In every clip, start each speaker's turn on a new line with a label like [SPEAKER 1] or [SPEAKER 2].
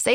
[SPEAKER 1] Say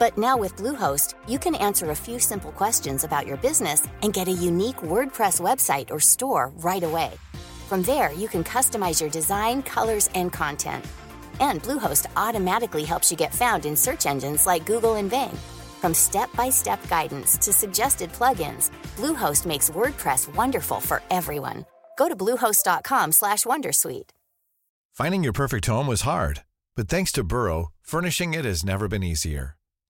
[SPEAKER 2] but now with Bluehost, you can answer a few simple questions about your business and get a unique WordPress website or store right away. From there, you can customize your design, colors, and content. And Bluehost automatically helps you get found in search engines like Google and Bing. From step-by-step guidance to suggested plugins, Bluehost makes WordPress wonderful for everyone. Go to bluehost.com/wondersuite. slash Wondersuite.
[SPEAKER 3] Finding your perfect home was hard, but thanks to Burrow, furnishing it has never been easier.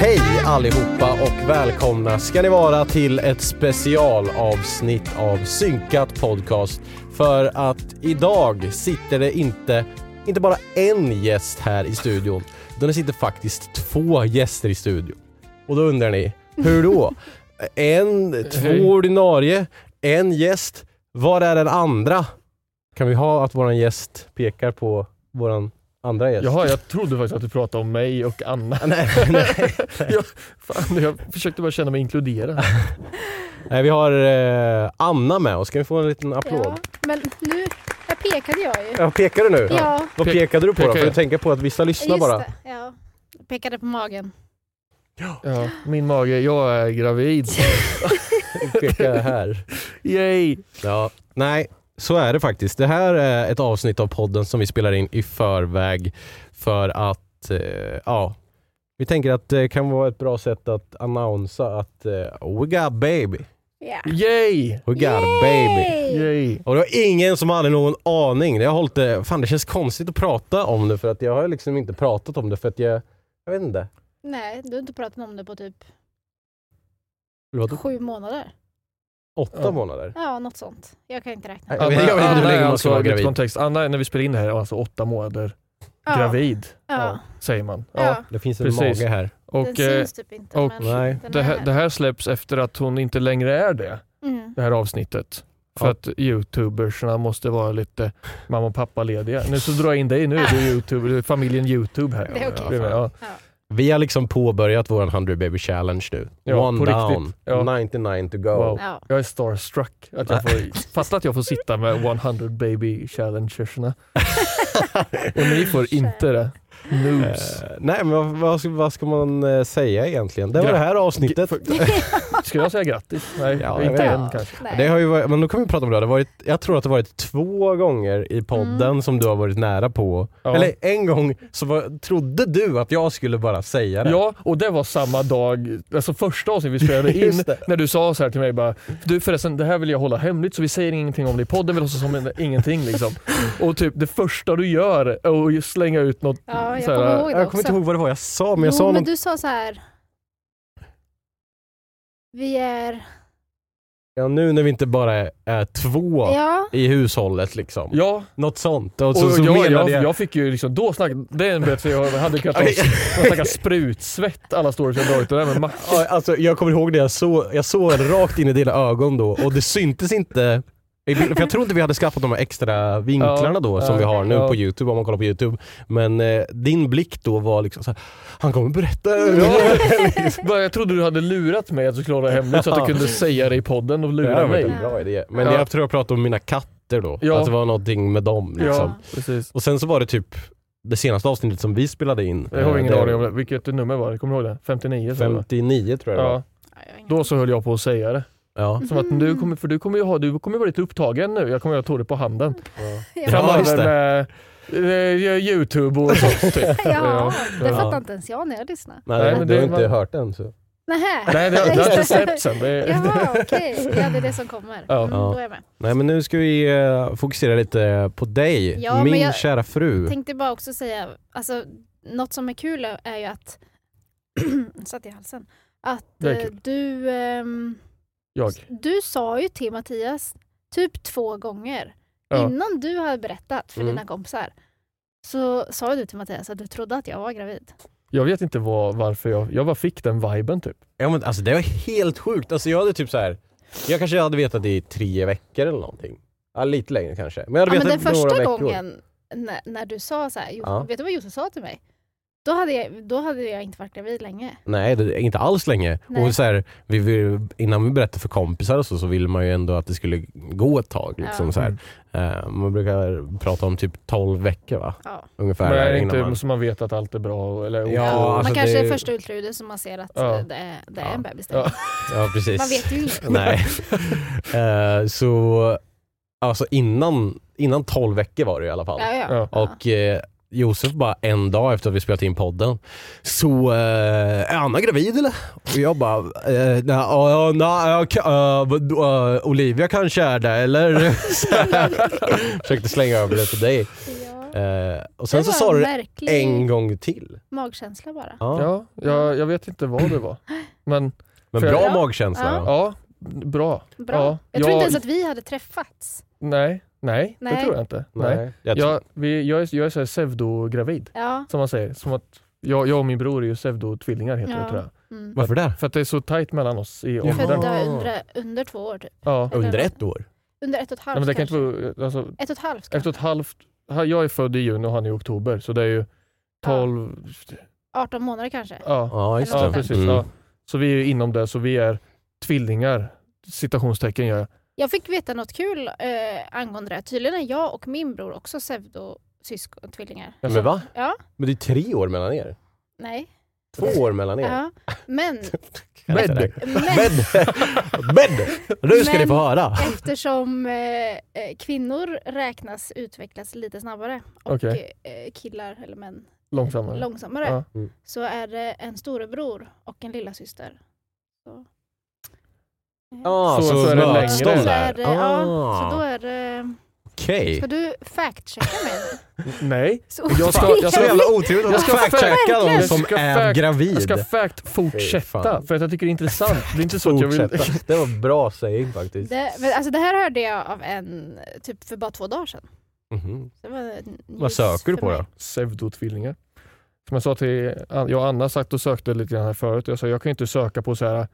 [SPEAKER 4] Hej allihopa och välkomna ska ni vara till ett specialavsnitt av Synkat Podcast. För att idag sitter det inte, inte bara en gäst här i studion, utan det sitter faktiskt två gäster i studion. Och då undrar ni, hur då? En, två ordinarie, en gäst. Var är den andra? Kan vi ha att våran gäst pekar på våran andra gäst?
[SPEAKER 5] Jaha, jag trodde faktiskt att du pratade om mig och Anna.
[SPEAKER 4] Nej, nej.
[SPEAKER 5] Jag, fan, jag försökte bara känna mig inkluderad.
[SPEAKER 4] Nej, vi har eh, Anna med oss. Kan vi få en liten applåd?
[SPEAKER 6] Ja, men nu, här pekade jag ju.
[SPEAKER 4] Ja. pekar du nu?
[SPEAKER 6] Ja,
[SPEAKER 4] Vad
[SPEAKER 5] Pe-
[SPEAKER 4] pekade du på då?
[SPEAKER 5] pekar
[SPEAKER 4] För
[SPEAKER 5] jag.
[SPEAKER 4] att tänka på att vissa lyssnar
[SPEAKER 6] just
[SPEAKER 4] bara.
[SPEAKER 6] det. Ja. Jag pekade på magen.
[SPEAKER 5] Ja, min mage, jag är gravid.
[SPEAKER 4] Pekar här.
[SPEAKER 5] Yay!
[SPEAKER 4] Ja. Nej, så är det faktiskt. Det här är ett avsnitt av podden som vi spelar in i förväg för att, eh, ja, vi tänker att det kan vara ett bra sätt att annonsa att eh, we got baby.
[SPEAKER 6] Ja.
[SPEAKER 5] Yay!
[SPEAKER 4] We got baby.
[SPEAKER 5] Yay!
[SPEAKER 4] Och det var ingen som hade någon aning. Jag har hållit det, fan det känns konstigt att prata om det för att jag har liksom inte pratat om det för att jag, jag vet inte.
[SPEAKER 6] Nej, du har inte pratat om det på typ
[SPEAKER 4] Det var
[SPEAKER 6] sju månader.
[SPEAKER 4] åtta
[SPEAKER 5] Ja.
[SPEAKER 4] månader.
[SPEAKER 6] Ja, något sånt. Jag kan inte räkna.
[SPEAKER 4] Nej,
[SPEAKER 5] Anna,
[SPEAKER 4] jag vet inte hur
[SPEAKER 5] Anna
[SPEAKER 4] länge
[SPEAKER 5] är
[SPEAKER 4] man ska
[SPEAKER 5] alltså,
[SPEAKER 4] vara
[SPEAKER 5] lite
[SPEAKER 4] gravid.
[SPEAKER 5] kontext. Anna är, när vi spelar in det här, är alltså åtta månader
[SPEAKER 6] Ja,
[SPEAKER 5] gravid,
[SPEAKER 6] Ja,
[SPEAKER 5] säger man.
[SPEAKER 6] ja.
[SPEAKER 5] Ja.
[SPEAKER 4] Det finns en
[SPEAKER 5] Precis.
[SPEAKER 4] mage här.
[SPEAKER 6] den
[SPEAKER 5] Och, eh,
[SPEAKER 6] syns typ inte.
[SPEAKER 5] och
[SPEAKER 6] men
[SPEAKER 4] Nej.
[SPEAKER 6] den
[SPEAKER 5] det,
[SPEAKER 6] är
[SPEAKER 5] här, det här släpps efter att hon inte längre är det,
[SPEAKER 6] Mm.
[SPEAKER 5] det här avsnittet. För
[SPEAKER 4] Ja.
[SPEAKER 5] att youtubersna måste vara lite mamma och pappa lediga. Nu så drar jag in dig, nu är du youtuber, du är familjen youtube här.
[SPEAKER 6] Det är okej.
[SPEAKER 5] Du är med, ja.
[SPEAKER 4] Vi har liksom påbörjat vår 100 baby challenge nu.
[SPEAKER 5] Ja,
[SPEAKER 4] One
[SPEAKER 5] på riktigt.
[SPEAKER 4] down,
[SPEAKER 5] Ja.
[SPEAKER 4] 99 to go.
[SPEAKER 5] Wow.
[SPEAKER 6] Ja.
[SPEAKER 5] Jag är starstruck. Att jag får, fast att jag får sitta med 100 baby challengerserna. Och ni får inte det. Noobs.
[SPEAKER 4] Eh, nej men vad, vad, ska, vad ska man eh, säga egentligen? Det var
[SPEAKER 5] Gra-
[SPEAKER 4] det här avsnittet.
[SPEAKER 5] Skulle jag säga grattis? Nej,
[SPEAKER 4] Eh. Ja, jag
[SPEAKER 5] inte
[SPEAKER 4] vet.
[SPEAKER 5] än kanske.
[SPEAKER 6] Nej.
[SPEAKER 4] Det har ju varit, men då kan vi prata om det. det har varit, jag tror att det har varit två gånger i podden
[SPEAKER 6] Mm.
[SPEAKER 4] som du har varit nära på.
[SPEAKER 5] Ja.
[SPEAKER 4] Eller en gång så var, trodde du att jag skulle bara säga det.
[SPEAKER 5] Ja, och det var samma dag, alltså första avsnittet vi spelade in,
[SPEAKER 4] Just det.
[SPEAKER 5] när du sa så här till mig bara Du förresten, det här vill jag hålla hemligt så vi säger ingenting om det i podden, vi låtsas som en- ingenting liksom. Och typ det första du gör är att slänga ut något
[SPEAKER 6] ja, jag
[SPEAKER 5] så här,
[SPEAKER 6] kommer ihåg det
[SPEAKER 4] Jag
[SPEAKER 6] också.
[SPEAKER 4] kommer inte ihåg vad det var jag sa, men jag
[SPEAKER 6] jo,
[SPEAKER 4] sa
[SPEAKER 6] men
[SPEAKER 4] något.
[SPEAKER 6] du sa så här. Vi är...
[SPEAKER 4] Ja, nu när vi inte bara är, är två
[SPEAKER 6] Ja.
[SPEAKER 4] i hushållet liksom.
[SPEAKER 5] Ja,
[SPEAKER 4] Något sånt. Och
[SPEAKER 5] och
[SPEAKER 4] så, så
[SPEAKER 5] jag,
[SPEAKER 4] menade
[SPEAKER 5] jag,
[SPEAKER 4] jag...
[SPEAKER 5] jag fick ju liksom, då snack, den vet jag, jag hade kunnat ta
[SPEAKER 4] Okej.
[SPEAKER 5] jag snackar sprutsvett alla stories jag drar ut, det där med mack.
[SPEAKER 4] Ja, Alltså, jag kommer ihåg det, jag såg, jag såg rakt in i dina ögon då och det syntes inte I bilden, För jag tror inte vi hade skaffat de här extra vinklarna
[SPEAKER 5] Ja,
[SPEAKER 4] då som vi har nu
[SPEAKER 5] ja.
[SPEAKER 4] på Youtube, om man kollar på Youtube. Men eh, din blick då var liksom såhär, han kommer berätta.
[SPEAKER 5] Bara, jag trodde du hade lurat mig att du skulle hålla det hemligt så att jag kunde säga det i podden och
[SPEAKER 4] Det
[SPEAKER 5] lura
[SPEAKER 4] här var
[SPEAKER 5] mig.
[SPEAKER 4] en bra idé. Men
[SPEAKER 5] Ja.
[SPEAKER 4] jag tror jag pratade om mina katter då,
[SPEAKER 5] Ja.
[SPEAKER 4] att det var någonting med dem. Liksom.
[SPEAKER 5] Ja, precis.
[SPEAKER 4] Och sen så var det typ det senaste avsnittet som vi spelade in.
[SPEAKER 5] Jag har
[SPEAKER 4] eh,
[SPEAKER 5] ingen
[SPEAKER 4] det-
[SPEAKER 5] aning om det. Vilket nummer var det? Kommer du ihåg det? 59? så var det.
[SPEAKER 4] 59 tror jag det var.
[SPEAKER 5] Ja,
[SPEAKER 6] Ja, jag har ingen
[SPEAKER 5] då
[SPEAKER 6] aning. Mm.
[SPEAKER 5] så höll jag på att säga det.
[SPEAKER 4] Ja.
[SPEAKER 5] Som att du kommer, för du kommer ju ha, du kommer vara lite upptagen nu. Jag kommer ju ha Tore på handen.
[SPEAKER 6] Ja.
[SPEAKER 4] Ja, just
[SPEAKER 5] Framöver med eh, Youtube och sånt typ.
[SPEAKER 6] Ja, det
[SPEAKER 5] Ja.
[SPEAKER 6] fattar inte ens jag när jag lyssnar.
[SPEAKER 4] Nej,
[SPEAKER 5] Nej,
[SPEAKER 4] du
[SPEAKER 5] men
[SPEAKER 4] har
[SPEAKER 5] det
[SPEAKER 4] inte
[SPEAKER 5] var-
[SPEAKER 4] hört den. Så.
[SPEAKER 6] Nähä.
[SPEAKER 5] Nej, det, det har inte släppts än. Det,
[SPEAKER 6] Jaha, okej. Ja, det är det som kommer.
[SPEAKER 5] Ja.
[SPEAKER 6] Mm, då är jag med.
[SPEAKER 4] Nej men nu ska vi eh, fokusera lite på dig,
[SPEAKER 6] Ja, men
[SPEAKER 4] min
[SPEAKER 6] jag-
[SPEAKER 4] kära fru.
[SPEAKER 6] Tänkte bara också säga, alltså, något som är kul är ju att, satt i halsen, att
[SPEAKER 5] Det är
[SPEAKER 6] eh,
[SPEAKER 5] kul.
[SPEAKER 6] du, ehm,
[SPEAKER 5] jag.
[SPEAKER 6] du sa ju till Mattias typ två gånger
[SPEAKER 5] Ja.
[SPEAKER 6] innan du hade berättat för
[SPEAKER 4] Mm.
[SPEAKER 6] dina kompisar. Så sa du till Mattias att du trodde att jag var gravid.
[SPEAKER 5] Jag vet inte vad, varför jag, jag bara fick den viben typ.
[SPEAKER 4] Ja men alltså det var helt sjukt. Alltså jag hade typ så här. jag kanske hade vetat det i tre veckor eller någonting. Ja, lite längre kanske. Men jag
[SPEAKER 6] Ja,
[SPEAKER 4] hade
[SPEAKER 6] men
[SPEAKER 4] vetat
[SPEAKER 6] den första
[SPEAKER 4] några veckor.
[SPEAKER 6] gången när, när du sa så här, Jo-
[SPEAKER 4] Ja.
[SPEAKER 6] vet du vad Josef sa till mig? Då hade, jag, då hade jag inte varit gravid länge.
[SPEAKER 4] Nej, det, är inte alls länge.
[SPEAKER 6] Nej.
[SPEAKER 4] Och så här, vi vill, innan vi berättade för kompisar och så, så ville man ju ändå att det skulle gå ett tag. Liksom,
[SPEAKER 6] Ja. Mm.
[SPEAKER 4] så
[SPEAKER 5] Mm.
[SPEAKER 4] här. Eh, man brukar prata om typ 12 veckor va?
[SPEAKER 6] Ja.
[SPEAKER 4] Ungefär.
[SPEAKER 5] Men
[SPEAKER 4] innan
[SPEAKER 5] inte
[SPEAKER 4] man...
[SPEAKER 5] så man vet att allt är bra. Eller,
[SPEAKER 4] Ja,
[SPEAKER 5] och-
[SPEAKER 4] alltså
[SPEAKER 6] man kanske
[SPEAKER 4] det-
[SPEAKER 6] är första ultraljudet som man ser att
[SPEAKER 5] Ja.
[SPEAKER 6] eh, det är, det är
[SPEAKER 4] Ja.
[SPEAKER 6] en bebis. där.
[SPEAKER 5] Ja.
[SPEAKER 4] Ja, precis.
[SPEAKER 6] Man vet ju inte.
[SPEAKER 4] Nej. Eh, så alltså innan, innan 12 veckor var det i alla fall.
[SPEAKER 6] Ja, ja.
[SPEAKER 5] Ja.
[SPEAKER 4] Och eh, Josef bara en dag efter att vi spelat in podden så eh, är Anna gravid eller? Och jag bara eh, nej, ja, nej, jag kan- eh, vad- eh, Olivia kanske är det eller? Så här. Försökte slänga över det till dig.
[SPEAKER 6] Ja.
[SPEAKER 4] Eh, och sen
[SPEAKER 6] Det
[SPEAKER 4] så
[SPEAKER 6] var
[SPEAKER 4] sa du det
[SPEAKER 6] märklig
[SPEAKER 4] en gång till.
[SPEAKER 6] magkänsla bara.
[SPEAKER 4] Ja.
[SPEAKER 5] Ja, jag, jag vet inte vad det var. Men
[SPEAKER 4] Men
[SPEAKER 5] För-
[SPEAKER 4] bra
[SPEAKER 6] Bra.
[SPEAKER 4] magkänsla.
[SPEAKER 6] Ja.
[SPEAKER 4] Ja.
[SPEAKER 5] ja, bra.
[SPEAKER 6] Bra.
[SPEAKER 5] Ja,
[SPEAKER 6] jag tror
[SPEAKER 5] jag-
[SPEAKER 6] inte ens att vi hade träffats.
[SPEAKER 5] Nej, nej, det
[SPEAKER 6] Nej.
[SPEAKER 5] tror jag inte. Nej.
[SPEAKER 4] Nej. Jag,
[SPEAKER 5] Jag, vi, jag är, jag är så här pseudogravid,
[SPEAKER 6] Ja.
[SPEAKER 5] som man säger. Som att jag, jag och min bror är ju pseudotvillingar heter det
[SPEAKER 6] Ja.
[SPEAKER 5] tror jag.
[SPEAKER 6] Mm.
[SPEAKER 4] varför det?
[SPEAKER 5] För att det är så tajt mellan oss i
[SPEAKER 4] Jaha.
[SPEAKER 5] åldern.
[SPEAKER 6] Födda under, under två år typ.
[SPEAKER 5] Ja.
[SPEAKER 6] Eller-
[SPEAKER 4] Under ett år?
[SPEAKER 6] Under ett och ett
[SPEAKER 5] Nej,
[SPEAKER 6] halvt
[SPEAKER 5] men det kan
[SPEAKER 6] kanske.
[SPEAKER 5] inte vara, alltså,
[SPEAKER 6] Ett och ett halvt
[SPEAKER 5] efter
[SPEAKER 6] kanske.
[SPEAKER 5] ett halvt... ha- Jag är född i juni och han är i oktober, så det är ju 12...
[SPEAKER 6] 18 månader kanske.
[SPEAKER 5] Ja,
[SPEAKER 4] Ja, just
[SPEAKER 5] ja,
[SPEAKER 4] det.
[SPEAKER 6] Eller
[SPEAKER 5] precis.
[SPEAKER 4] Mm.
[SPEAKER 5] Ja. Så vi är ju inom det, så vi är tvillingar. Citationstecken gör jag.
[SPEAKER 6] Jag fick veta något kul eh, angående det. här. Tydligen är jag och min bror också pseudosyskon-tvillingar.
[SPEAKER 4] Men va?
[SPEAKER 6] Ja.
[SPEAKER 4] Men det är tre år mellan er.
[SPEAKER 6] Nej.
[SPEAKER 4] Två år mellan er.
[SPEAKER 6] Ja. Men,
[SPEAKER 4] Alltså,
[SPEAKER 5] Med.
[SPEAKER 6] men
[SPEAKER 4] Bädd! Bädd! Nu ska
[SPEAKER 6] Men-
[SPEAKER 4] ni få höra.
[SPEAKER 6] eftersom eh, eh, kvinnor räknas utvecklas lite snabbare och
[SPEAKER 5] Okej.
[SPEAKER 6] eh, killar eller män
[SPEAKER 5] Långsammare.
[SPEAKER 6] långsammare
[SPEAKER 5] Ja.
[SPEAKER 4] Mm.
[SPEAKER 6] så är det en storebror och en lilla syster. Så. Eh.
[SPEAKER 4] Ja,
[SPEAKER 5] Så- så är det
[SPEAKER 4] möts
[SPEAKER 5] längre.
[SPEAKER 4] de
[SPEAKER 6] Så är
[SPEAKER 4] Ah, där.
[SPEAKER 6] det, ja,
[SPEAKER 4] Ah, Eh.
[SPEAKER 6] så då är det...
[SPEAKER 4] Okej.
[SPEAKER 6] Ska du fact-checka mig?
[SPEAKER 5] Nej.
[SPEAKER 6] Så,
[SPEAKER 5] Jag ska, jag
[SPEAKER 4] Så
[SPEAKER 5] ska
[SPEAKER 4] jävla otroligt
[SPEAKER 5] Jag
[SPEAKER 4] att
[SPEAKER 5] ska
[SPEAKER 4] fact-checka
[SPEAKER 5] verkligen-
[SPEAKER 4] någon som
[SPEAKER 5] Jag ska
[SPEAKER 4] är
[SPEAKER 5] fact- Jag
[SPEAKER 4] gravid.
[SPEAKER 5] ska fact
[SPEAKER 4] Fy
[SPEAKER 5] fortsätta
[SPEAKER 4] fan.
[SPEAKER 5] för att jag tycker det är intressant. Det är inte så att jag vill...
[SPEAKER 4] Fortsätta. Det var bra saying faktiskt.
[SPEAKER 6] det, men alltså det här hörde jag av en eh, typ för bara två dagar sedan.
[SPEAKER 4] Mhm.
[SPEAKER 6] Så Det var en
[SPEAKER 4] Vad
[SPEAKER 6] news
[SPEAKER 4] söker du
[SPEAKER 6] för
[SPEAKER 4] på
[SPEAKER 6] mig.
[SPEAKER 4] då?
[SPEAKER 5] Pseudotvillingar. Som jag sa till jag och Anna sagt och sökte lite grann här förut. Jag sa jag kan ju inte söka på så här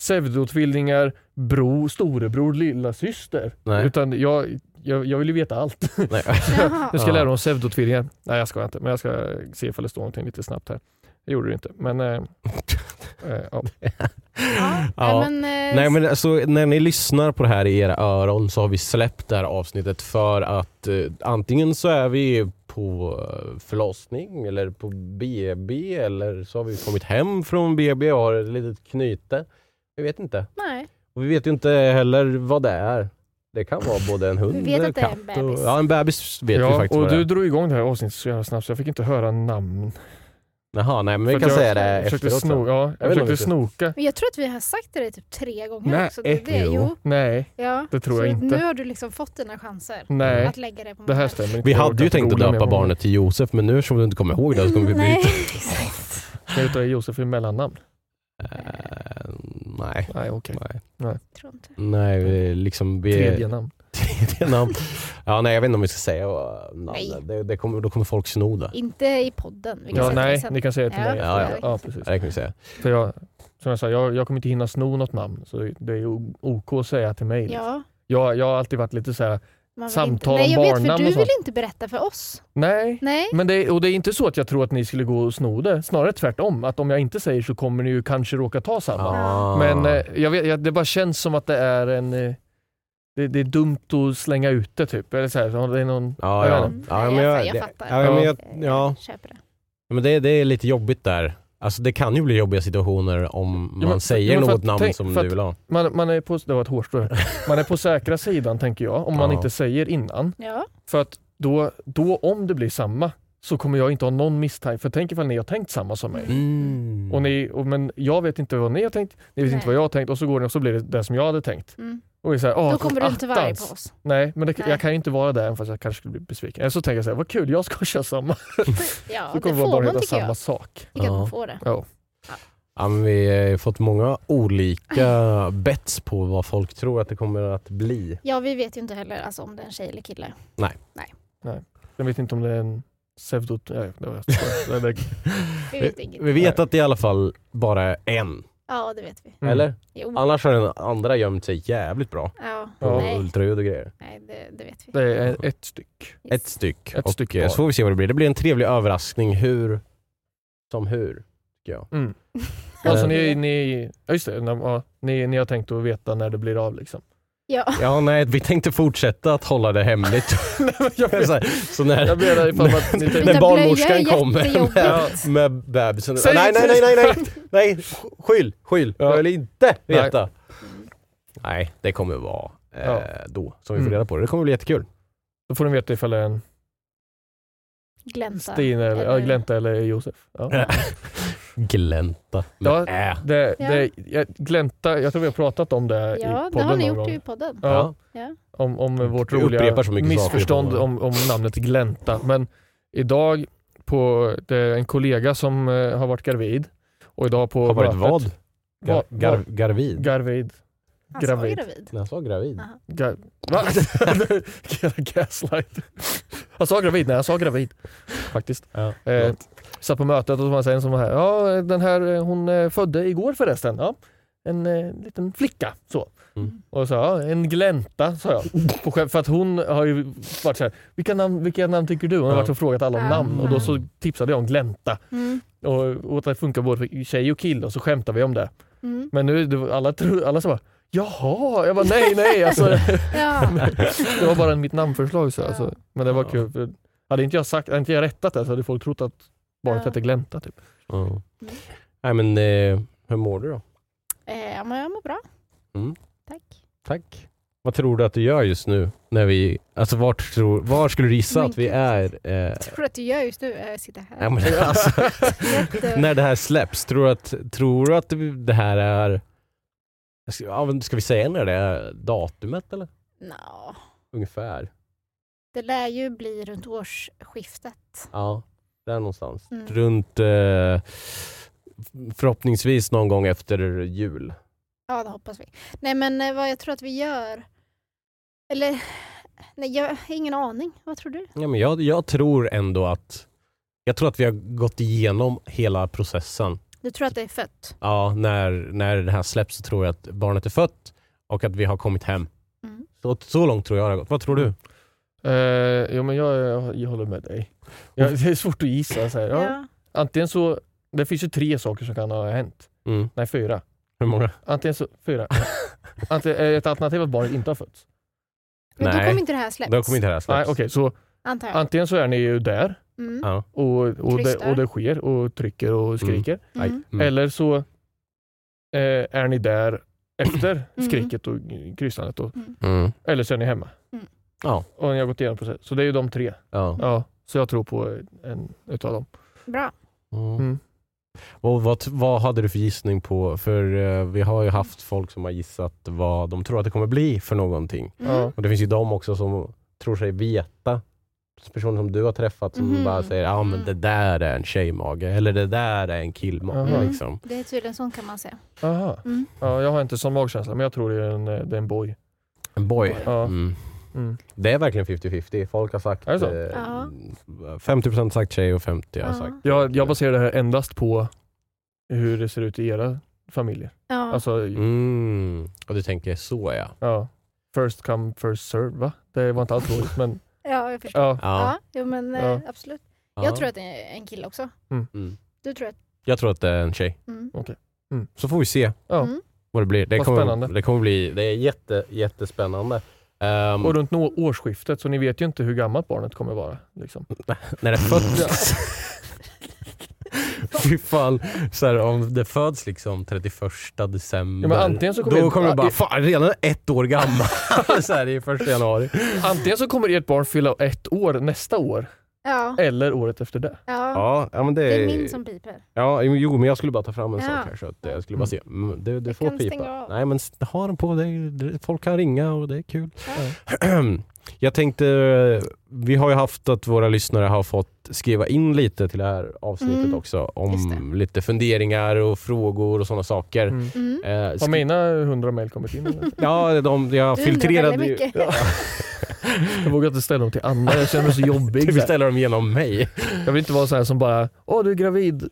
[SPEAKER 5] pseudotvillingar, bro, storebror, lilla syster.
[SPEAKER 4] Nej.
[SPEAKER 5] Utan jag, jag, jag vill ju veta allt.
[SPEAKER 4] Nej.
[SPEAKER 6] Jaha.
[SPEAKER 5] Jag ska
[SPEAKER 4] Ja.
[SPEAKER 5] lära mig om pseudotvillingar. Nej jag ska inte, men jag ska se ifall det står någonting lite snabbt här. Det gjorde det inte, men... Eh, eh, ja.
[SPEAKER 6] Ja.
[SPEAKER 4] Ja.
[SPEAKER 6] Nej, men, eh,
[SPEAKER 4] Nej men alltså, när ni lyssnar på det här i era öron så har vi släppt det här avsnittet för att eh, antingen så är vi på eh, förlossning eller på BB eller så har vi kommit hem från BB och har ett litet knyte. Vi vet inte.
[SPEAKER 6] nej.
[SPEAKER 4] Och vi vet ju inte heller vad det är. Det kan vara både en hund
[SPEAKER 6] Vi vet
[SPEAKER 4] eller
[SPEAKER 6] att det är en
[SPEAKER 4] katt och-
[SPEAKER 6] bebis.
[SPEAKER 4] Ja en bebis vet vi
[SPEAKER 5] ja,
[SPEAKER 4] faktiskt
[SPEAKER 5] och
[SPEAKER 4] vad det
[SPEAKER 5] du
[SPEAKER 4] är.
[SPEAKER 5] drog igång det här avsnittet så jävla snabbt så jag fick inte höra namn.
[SPEAKER 4] Jaha nej men
[SPEAKER 5] För
[SPEAKER 4] vi
[SPEAKER 5] att
[SPEAKER 4] kan
[SPEAKER 5] jag
[SPEAKER 4] säga det
[SPEAKER 5] försökte
[SPEAKER 4] efteråt.
[SPEAKER 5] sno-
[SPEAKER 4] sen.
[SPEAKER 5] ja,
[SPEAKER 4] Jag
[SPEAKER 5] Jag
[SPEAKER 4] vet inte
[SPEAKER 5] försökte snoka.
[SPEAKER 6] Men jag tror att vi har sagt det typ tre gånger
[SPEAKER 5] Nej,
[SPEAKER 6] också. Det, är det,
[SPEAKER 4] jo.
[SPEAKER 6] jo.
[SPEAKER 5] Nej,
[SPEAKER 6] Ja.
[SPEAKER 5] Det tror jag
[SPEAKER 6] så
[SPEAKER 5] inte.
[SPEAKER 6] Nu har du liksom fått dina chanser
[SPEAKER 5] nej.
[SPEAKER 6] att lägga det på
[SPEAKER 5] Det här
[SPEAKER 6] mig.
[SPEAKER 5] stämmer inte.
[SPEAKER 4] Mm. Vi
[SPEAKER 5] Jag
[SPEAKER 4] hade
[SPEAKER 5] orkar
[SPEAKER 4] ju
[SPEAKER 5] inte
[SPEAKER 4] tänkt att
[SPEAKER 5] googla mer
[SPEAKER 4] döpa
[SPEAKER 5] om honom.
[SPEAKER 4] barnet till Josef men nu eftersom du inte kommer ihåg det så kommer vi
[SPEAKER 6] Mm, Nej,
[SPEAKER 4] byta.
[SPEAKER 6] exakt.
[SPEAKER 5] Kan du ta Josef i mellannamn?
[SPEAKER 4] Eh, nej.
[SPEAKER 5] Nej, okej.
[SPEAKER 4] nej.
[SPEAKER 6] Tror inte.
[SPEAKER 4] Nej, vi- liksom Mm. vi...
[SPEAKER 5] Tredje namn.
[SPEAKER 4] Tredje namn. Ja, nej, jag vet inte om vi ska säga vad
[SPEAKER 6] Nej.
[SPEAKER 4] namnet. Det, det kommer, då kommer folk sno det.
[SPEAKER 6] Inte i podden. Vi kan
[SPEAKER 5] Ja,
[SPEAKER 6] säga det
[SPEAKER 5] nej,
[SPEAKER 6] sen.
[SPEAKER 5] ni kan säga det till
[SPEAKER 6] Ja,
[SPEAKER 5] mig.
[SPEAKER 4] ja,
[SPEAKER 5] efteråt.
[SPEAKER 6] ja.
[SPEAKER 5] ja, precis.
[SPEAKER 4] Ja, Det kan vi säga.
[SPEAKER 5] För jag, som jag sa, jag, jag kommer inte hinna sno något namn. Så det är ju OK att säga till mig. liksom.
[SPEAKER 6] Ja,
[SPEAKER 5] Jag, jag har alltid varit lite så här.
[SPEAKER 6] Man vill
[SPEAKER 5] Samtal om
[SPEAKER 6] inte. Nej, jag vet, för
[SPEAKER 5] barnnamn
[SPEAKER 6] du
[SPEAKER 5] och sånt.
[SPEAKER 6] vill inte berätta för oss.
[SPEAKER 5] nej.
[SPEAKER 6] Nej.
[SPEAKER 5] Men det, och det är inte så att jag tror att ni skulle gå och sno det. Snarare tvärtom. Att om jag inte säger så kommer ni ju kanske råka ta samma.
[SPEAKER 4] Ah.
[SPEAKER 5] Men eh, jag vet, jag, det bara känns som att det är en... eh, Det, det är dumt att slänga ut det typ. Eller så här, så det är någon,
[SPEAKER 4] Ja,
[SPEAKER 5] jag
[SPEAKER 4] ja.
[SPEAKER 5] vet inte.
[SPEAKER 4] ja, men
[SPEAKER 6] Nej,
[SPEAKER 4] jag,
[SPEAKER 6] jag- jag
[SPEAKER 4] det-
[SPEAKER 6] fattar.
[SPEAKER 4] Ja, men
[SPEAKER 5] Ja.
[SPEAKER 4] jag, ja.
[SPEAKER 6] Jag köper det.
[SPEAKER 4] Men det, det är lite jobbigt där. Alltså det kan ju bli jobbiga situationer om man
[SPEAKER 5] men för-
[SPEAKER 4] säger
[SPEAKER 5] men för
[SPEAKER 4] något
[SPEAKER 5] att
[SPEAKER 4] namn
[SPEAKER 5] tänk-
[SPEAKER 4] som
[SPEAKER 5] för
[SPEAKER 4] du
[SPEAKER 5] att-
[SPEAKER 4] vill ha.
[SPEAKER 5] man, man, är på, det var ett hårstrå. här. man är på säkra sidan tänker jag, om man
[SPEAKER 4] Ja.
[SPEAKER 5] inte säger innan.
[SPEAKER 6] Ja.
[SPEAKER 5] För att då, då om det blir samma så kommer jag inte ha någon misstanke. För tänk ifall ni har tänkt samma som mig.
[SPEAKER 4] Mm.
[SPEAKER 5] Och ni, och, men jag vet inte vad ni har tänkt, ni vet
[SPEAKER 6] Nej.
[SPEAKER 5] inte vad jag har tänkt och så går ni och så blir det det som jag hade tänkt.
[SPEAKER 6] Mm.
[SPEAKER 5] Och vi säger, åh,
[SPEAKER 6] Då kommer du inte vara arg
[SPEAKER 5] attans."
[SPEAKER 6] på oss.
[SPEAKER 5] Nej, men det,
[SPEAKER 6] Nej.
[SPEAKER 5] jag kan ju inte vara där även fast jag kanske skulle bli besviken. Eller så tänker jag så här, vad kul, jag ska köra samma. så
[SPEAKER 6] Ja, det
[SPEAKER 5] kommer våra
[SPEAKER 6] får
[SPEAKER 5] barn
[SPEAKER 6] man
[SPEAKER 5] heta
[SPEAKER 6] tycker
[SPEAKER 5] samma
[SPEAKER 6] jag.
[SPEAKER 5] sak.
[SPEAKER 6] Tycker att
[SPEAKER 4] Ja.
[SPEAKER 6] man får det.
[SPEAKER 5] Ja.
[SPEAKER 4] Ja, men vi har ju fått många olika bets på vad folk tror att det kommer att bli.
[SPEAKER 6] Ja, vi vet ju inte heller alltså, om det är en tjej eller kille.
[SPEAKER 5] Jag vet inte om det är en pseudo... Nej, det var, det var,
[SPEAKER 6] Vi vet inget.
[SPEAKER 4] Vi vet att det i alla fall bara är en,
[SPEAKER 6] Ja, det vet vi.
[SPEAKER 5] Mm.
[SPEAKER 4] eller?
[SPEAKER 6] Jo.
[SPEAKER 4] Annars har den andra gömt sig jävligt bra.
[SPEAKER 6] Ja,
[SPEAKER 5] Ja.
[SPEAKER 4] Ja.
[SPEAKER 6] nej,
[SPEAKER 4] Ultraljud och grejer.
[SPEAKER 6] nej det, det vet vi.
[SPEAKER 5] det är ett styck.
[SPEAKER 6] Yes.
[SPEAKER 4] Ett styck.
[SPEAKER 5] Ett
[SPEAKER 4] och
[SPEAKER 5] styck
[SPEAKER 4] eh,
[SPEAKER 5] var.
[SPEAKER 4] så får vi se vad det blir. Det blir en trevlig överraskning hur som hur.
[SPEAKER 5] Mm.
[SPEAKER 4] Ja.
[SPEAKER 5] Alltså ni, ni, ja, just det, när- ja, ni, ni har tänkt att veta när det blir av liksom.
[SPEAKER 6] Ja,
[SPEAKER 4] Ja, nej, vi tänkte fortsätta att hålla det hemligt.
[SPEAKER 5] jag,
[SPEAKER 4] så, här, så när,
[SPEAKER 5] jag blev där ifall att ni
[SPEAKER 6] Byta
[SPEAKER 5] tänkte...
[SPEAKER 4] när
[SPEAKER 6] blöja
[SPEAKER 4] barnmorskan
[SPEAKER 6] är
[SPEAKER 4] kommer med,
[SPEAKER 6] jättejobbigt.
[SPEAKER 4] med bebisen.
[SPEAKER 5] Säg
[SPEAKER 4] nej,
[SPEAKER 5] inte.
[SPEAKER 4] nej, nej, nej, nej, nej, skyll, skyll.
[SPEAKER 5] Ja.
[SPEAKER 4] Jag vill inte
[SPEAKER 5] Nej.
[SPEAKER 4] veta. Nej, det kommer vara eh,
[SPEAKER 5] Ja.
[SPEAKER 4] då som vi får
[SPEAKER 5] Mm.
[SPEAKER 4] reda på det. Det kommer bli jättekul.
[SPEAKER 5] Då får ni veta ifall det är en
[SPEAKER 6] glänta.
[SPEAKER 5] Stina eller, ja,
[SPEAKER 6] Eller-
[SPEAKER 5] Glänta eller Josef. Ja.
[SPEAKER 4] Glänta äh. med
[SPEAKER 5] Ja,
[SPEAKER 4] ä.
[SPEAKER 5] Det,
[SPEAKER 6] Ja.
[SPEAKER 5] det, jag, glänta, jag tror vi har pratat om det
[SPEAKER 6] Ja,
[SPEAKER 5] i
[SPEAKER 6] det
[SPEAKER 5] podden
[SPEAKER 6] har ni
[SPEAKER 5] någon
[SPEAKER 6] gjort
[SPEAKER 5] gång.
[SPEAKER 6] i podden.
[SPEAKER 5] Ja,
[SPEAKER 4] Ja.
[SPEAKER 5] om, om vårt
[SPEAKER 4] Vi Mm. upprepar
[SPEAKER 5] roliga
[SPEAKER 4] så mycket saker i
[SPEAKER 5] missförstånd
[SPEAKER 4] podden.
[SPEAKER 5] om, om namnet glänta. Men idag, på, det är en kollega som eh, har varit gravid. Och idag på
[SPEAKER 4] Har varit
[SPEAKER 5] mötet-
[SPEAKER 4] vad? Gar,
[SPEAKER 5] Va-
[SPEAKER 4] gar,
[SPEAKER 5] va-
[SPEAKER 4] garvid?
[SPEAKER 5] Garvid.
[SPEAKER 6] Han sa
[SPEAKER 5] Gravid.
[SPEAKER 6] Alltså, gravid.
[SPEAKER 4] När jag sa gravid?
[SPEAKER 6] Ja.
[SPEAKER 5] Ga- Va? Gaslight. Han sa gravid, nej han sa gravid. Faktiskt.
[SPEAKER 4] Ja.
[SPEAKER 5] Eh, satt på mötet och så var det en som var här. Ja, den här eh, hon eh, födde igår förresten. Ja. En eh, liten flicka. Så.
[SPEAKER 4] Mm.
[SPEAKER 5] Och så, ja, en glänta sa jag. På skämt, för att hon har ju varit så här, vilka namn, vilka namn tycker du? Hon har
[SPEAKER 4] Ja.
[SPEAKER 5] varit och frågat alla om
[SPEAKER 6] Ja.
[SPEAKER 5] namn och då så tipsade jag om glänta.
[SPEAKER 6] Mm.
[SPEAKER 5] Och, och att det funkar både för tjej och kille och så skämtade vi om det.
[SPEAKER 6] Mm.
[SPEAKER 5] Men nu, det var alla, tro- alla så bara, jaha? Jag bara, nej nej. Alltså,
[SPEAKER 6] Ja.
[SPEAKER 5] det var bara mitt namnförslag. Så, alltså. Men det var
[SPEAKER 4] Ja.
[SPEAKER 5] kul. För hade inte jag, sagt, hade inte jag rättat det så hade folk trott att barnet
[SPEAKER 6] Ja.
[SPEAKER 5] hette Glänta. Typ.
[SPEAKER 4] Ja. Nej men eh, hur mår du då?
[SPEAKER 6] Eh, ja, men jag mår bra.
[SPEAKER 4] Mm.
[SPEAKER 6] Tack.
[SPEAKER 4] Tack. Vad tror du att du gör just nu? När vi, alltså vart tror, var skulle du gissa
[SPEAKER 6] Men
[SPEAKER 4] att vi
[SPEAKER 6] gud.
[SPEAKER 4] är? Eh,
[SPEAKER 6] Jag tror att du gör just nu är att sitta här.
[SPEAKER 4] ja, men, alltså,
[SPEAKER 6] Jätte-
[SPEAKER 4] när det här släpps, tror du att, tror du att det här är... Ska, ja, men ska vi säga när det är datumet eller?
[SPEAKER 6] Nå,
[SPEAKER 4] Ungefär.
[SPEAKER 6] Det lär ju bli runt årsskiftet.
[SPEAKER 4] Ja, där någonstans.
[SPEAKER 6] Mm.
[SPEAKER 4] Runt eh, förhoppningsvis någon gång efter jul.
[SPEAKER 6] Ja, det hoppas vi. Nej, men eh, vad jag tror att vi gör... Eller... Nej, jag har ingen aning. Vad tror du?
[SPEAKER 4] Ja, men jag, jag tror ändå att jag tror att vi har gått igenom hela processen.
[SPEAKER 6] Du tror att det är fött?
[SPEAKER 4] Ja, när, när det här släpps så tror jag att barnet är fött och att vi har kommit hem.
[SPEAKER 6] Mm.
[SPEAKER 4] Så, så långt tror jag det har gått. Vad tror du?
[SPEAKER 5] Eh, jo, men jag, jag, jag håller med dig. Ja, det är svårt att gissa. Så här. Ja.
[SPEAKER 6] Ja.
[SPEAKER 5] Antingen så, det finns ju tre saker som kan ha hänt.
[SPEAKER 4] Mm.
[SPEAKER 5] Nej, fyra.
[SPEAKER 4] Hur många?
[SPEAKER 5] Antingen så, fyra. Antingen, eh, ett alternativ är att barnet inte har fötts.
[SPEAKER 6] Men då
[SPEAKER 4] Nej.
[SPEAKER 6] kommer inte det här släppas.
[SPEAKER 4] Då kommer inte det här
[SPEAKER 5] Nej,
[SPEAKER 4] släppas.
[SPEAKER 5] okej, så
[SPEAKER 6] Antar jag.
[SPEAKER 5] antingen så är ni ju där
[SPEAKER 6] Mm.
[SPEAKER 4] Ja.
[SPEAKER 5] och, och, det,
[SPEAKER 6] Krystar.
[SPEAKER 5] och det sker och trycker och skriker.
[SPEAKER 4] Aj.
[SPEAKER 6] Mm.
[SPEAKER 4] Mm.
[SPEAKER 5] Eller så eh, är ni där efter
[SPEAKER 6] Mm.
[SPEAKER 5] skriket och kryssandet. Och,
[SPEAKER 4] Mm.
[SPEAKER 5] eller så är ni hemma.
[SPEAKER 6] Mm.
[SPEAKER 4] Ja.
[SPEAKER 5] Och ni har gått igenom processen. Så det är ju de tre.
[SPEAKER 4] Ja.
[SPEAKER 5] Ja, så jag tror på en utav dem.
[SPEAKER 6] Bra.
[SPEAKER 4] Mm.
[SPEAKER 5] Mm.
[SPEAKER 4] Och vad, vad hade du för gissning på? För eh, vi har ju haft folk som har gissat vad de tror att det kommer bli för någonting.
[SPEAKER 6] Mm.
[SPEAKER 5] Ja.
[SPEAKER 4] Och det finns ju de också som tror sig veta, personer som du har träffat som
[SPEAKER 6] Mhm.
[SPEAKER 4] bara säger ah, men
[SPEAKER 6] Mm.
[SPEAKER 4] det där är en tjejmage eller det där är en killmage.
[SPEAKER 5] Jaha.
[SPEAKER 4] Liksom.
[SPEAKER 6] Det är tydligen sånt kan man säga.
[SPEAKER 5] Aha.
[SPEAKER 6] Mm.
[SPEAKER 5] Ja, jag har inte sån magkänsla, men jag tror det är en, eh, det är en boy.
[SPEAKER 4] En boy.
[SPEAKER 5] Ja.
[SPEAKER 4] Mm.
[SPEAKER 5] Mm.
[SPEAKER 4] Det är verkligen 50-50. Folk har sagt...
[SPEAKER 5] Är det så?
[SPEAKER 6] Ja.
[SPEAKER 4] 50% har sagt tjej och 50% har
[SPEAKER 6] Ja.
[SPEAKER 4] sagt...
[SPEAKER 5] Jag, jag baserar det här endast på hur det ser ut i era familjer.
[SPEAKER 6] Ja.
[SPEAKER 5] Alltså,
[SPEAKER 4] Mm. Och du tänker så ja.
[SPEAKER 5] ja. First come, first serve va? Det var inte alls roligt men
[SPEAKER 6] Ja, jag förstår.
[SPEAKER 4] Mm.
[SPEAKER 5] ja.
[SPEAKER 6] Ja, jo, men eh,
[SPEAKER 5] Ja.
[SPEAKER 6] absolut.
[SPEAKER 4] Ja.
[SPEAKER 6] Jag tror att det är en kille också.
[SPEAKER 4] Mm.
[SPEAKER 6] Du tror att...
[SPEAKER 4] Jag tror att det är en tjej.
[SPEAKER 6] Mm.
[SPEAKER 4] Så får vi se
[SPEAKER 5] Ja.
[SPEAKER 6] Mm.
[SPEAKER 4] vad det blir. Det
[SPEAKER 5] Vad
[SPEAKER 4] kommer,
[SPEAKER 5] spännande.
[SPEAKER 4] det kommer bli det är jätte, jättespännande. Ehm,
[SPEAKER 5] Och runt nå- årsskiftet så ni vet ju inte hur gammalt barnet kommer vara. Liksom.
[SPEAKER 4] när det föds. Fy fan, så här, om det föds liksom 31 december,
[SPEAKER 5] Ja, men antingen så kommer
[SPEAKER 4] då
[SPEAKER 5] det-
[SPEAKER 4] kommer det bara
[SPEAKER 5] i-
[SPEAKER 4] fan redan ett år gammal. så här, i första januari.
[SPEAKER 5] Antingen så kommer ert barn fylla ett år nästa år
[SPEAKER 6] Ja,
[SPEAKER 5] eller året efter det.
[SPEAKER 6] ja.
[SPEAKER 4] Ja, ja, men det,
[SPEAKER 6] Det är min som piper.
[SPEAKER 4] Ja, jo, jo, men jag skulle bara ta fram en
[SPEAKER 6] Ja.
[SPEAKER 4] sak här så att eh, jag skulle bara se. Mm, du du
[SPEAKER 6] Jag
[SPEAKER 4] får
[SPEAKER 6] kan stänga
[SPEAKER 4] pipa.
[SPEAKER 6] av.
[SPEAKER 4] Nej men s- ha den på dig. Det- Folk kan ringa och det är kul.
[SPEAKER 6] Ja.
[SPEAKER 4] jag tänkte, eh, vi har ju haft att våra lyssnare har fått skriva in lite till det här avsnittet
[SPEAKER 6] Mm,
[SPEAKER 4] också.
[SPEAKER 6] just
[SPEAKER 4] Om
[SPEAKER 6] det.
[SPEAKER 4] lite funderingar och frågor och sådana saker.
[SPEAKER 5] Mm.
[SPEAKER 6] Mm.
[SPEAKER 4] Eh,
[SPEAKER 5] Har
[SPEAKER 4] skri-
[SPEAKER 5] mina hundra mejl kommit in? Eller?
[SPEAKER 4] Ja, de, jag
[SPEAKER 6] Du undrar
[SPEAKER 4] filtrerade
[SPEAKER 6] väldigt
[SPEAKER 4] ju.
[SPEAKER 6] mycket.
[SPEAKER 5] Jag vågar inte ställa dem till Anna, jag känner mig så
[SPEAKER 4] Du
[SPEAKER 6] Typ
[SPEAKER 5] jobbig. Så här.
[SPEAKER 4] beställer dem genom mig.
[SPEAKER 5] Jag vill inte vara så här som bara, åh du är gravid,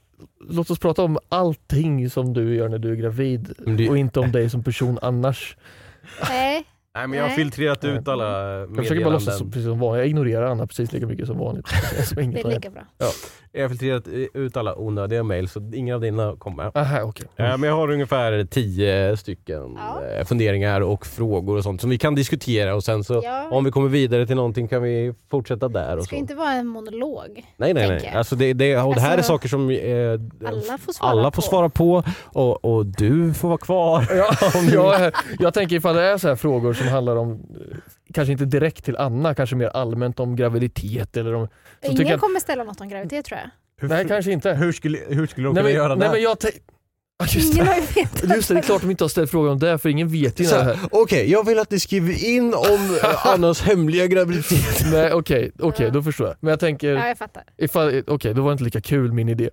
[SPEAKER 5] låt oss prata om allting som du gör när du är gravid
[SPEAKER 4] Men det-
[SPEAKER 5] och inte om dig som person annars.
[SPEAKER 6] Nej,
[SPEAKER 4] Nej men
[SPEAKER 6] jag har Nej.
[SPEAKER 4] filtrerat
[SPEAKER 5] ut
[SPEAKER 4] alla
[SPEAKER 5] Jag försöker bara låtsas som- precis som vanligt, jag ignorerar Anna precis lika mycket som vanligt. Det är som
[SPEAKER 6] det
[SPEAKER 5] inget
[SPEAKER 6] är lika bra.
[SPEAKER 4] Jag har filtrerat ut alla onödiga mejl så inga av dina kommer.
[SPEAKER 5] Aha, okej.
[SPEAKER 4] Ja, men jag har ungefär tio stycken
[SPEAKER 6] Ja.
[SPEAKER 4] eh, funderingar och frågor och sånt som vi kan diskutera och sen så
[SPEAKER 6] Ja.
[SPEAKER 4] om vi kommer vidare till någonting kan vi fortsätta där.
[SPEAKER 6] Det
[SPEAKER 4] Och
[SPEAKER 6] ska
[SPEAKER 4] så.
[SPEAKER 6] inte vara en monolog.
[SPEAKER 4] nej, nej, nej.
[SPEAKER 6] tänker jag.
[SPEAKER 4] Alltså det, det, och det här är
[SPEAKER 6] Alltså,
[SPEAKER 4] saker som eh,
[SPEAKER 6] Alla får svara
[SPEAKER 4] alla
[SPEAKER 6] på.
[SPEAKER 4] får svara på och, och du får vara kvar.
[SPEAKER 5] Ja, jag, jag tänker ifall det är så här frågor som handlar om, eh, kanske inte direkt till Anna, kanske mer allmänt om graviditet eller om... Så tycker
[SPEAKER 6] Ingen
[SPEAKER 5] jag-
[SPEAKER 6] kommer ställa något om graviditet tror jag.
[SPEAKER 5] Nej, kanske inte.
[SPEAKER 4] Hur skulle, hur skulle de
[SPEAKER 5] Nej,
[SPEAKER 4] kunna
[SPEAKER 5] men,
[SPEAKER 4] göra
[SPEAKER 5] nej,
[SPEAKER 4] det?
[SPEAKER 5] men jag tänk- Ja, Just
[SPEAKER 6] Ingen
[SPEAKER 5] det.
[SPEAKER 6] har ju vetat.
[SPEAKER 5] Just det, det är klart de inte har ställt frågan om det, för ingen vet ju
[SPEAKER 4] Så
[SPEAKER 5] när det
[SPEAKER 4] här,
[SPEAKER 5] här.
[SPEAKER 4] Okej, jag vill att ni skriver in om eh, Annas hemliga graviditet.
[SPEAKER 5] Nej okej, okej
[SPEAKER 6] Ja.
[SPEAKER 5] då förstår jag. Men jag
[SPEAKER 6] Ja,
[SPEAKER 5] tänker,
[SPEAKER 6] jag fattar.
[SPEAKER 5] ifall, eh, okej då var det inte lika kul min idé.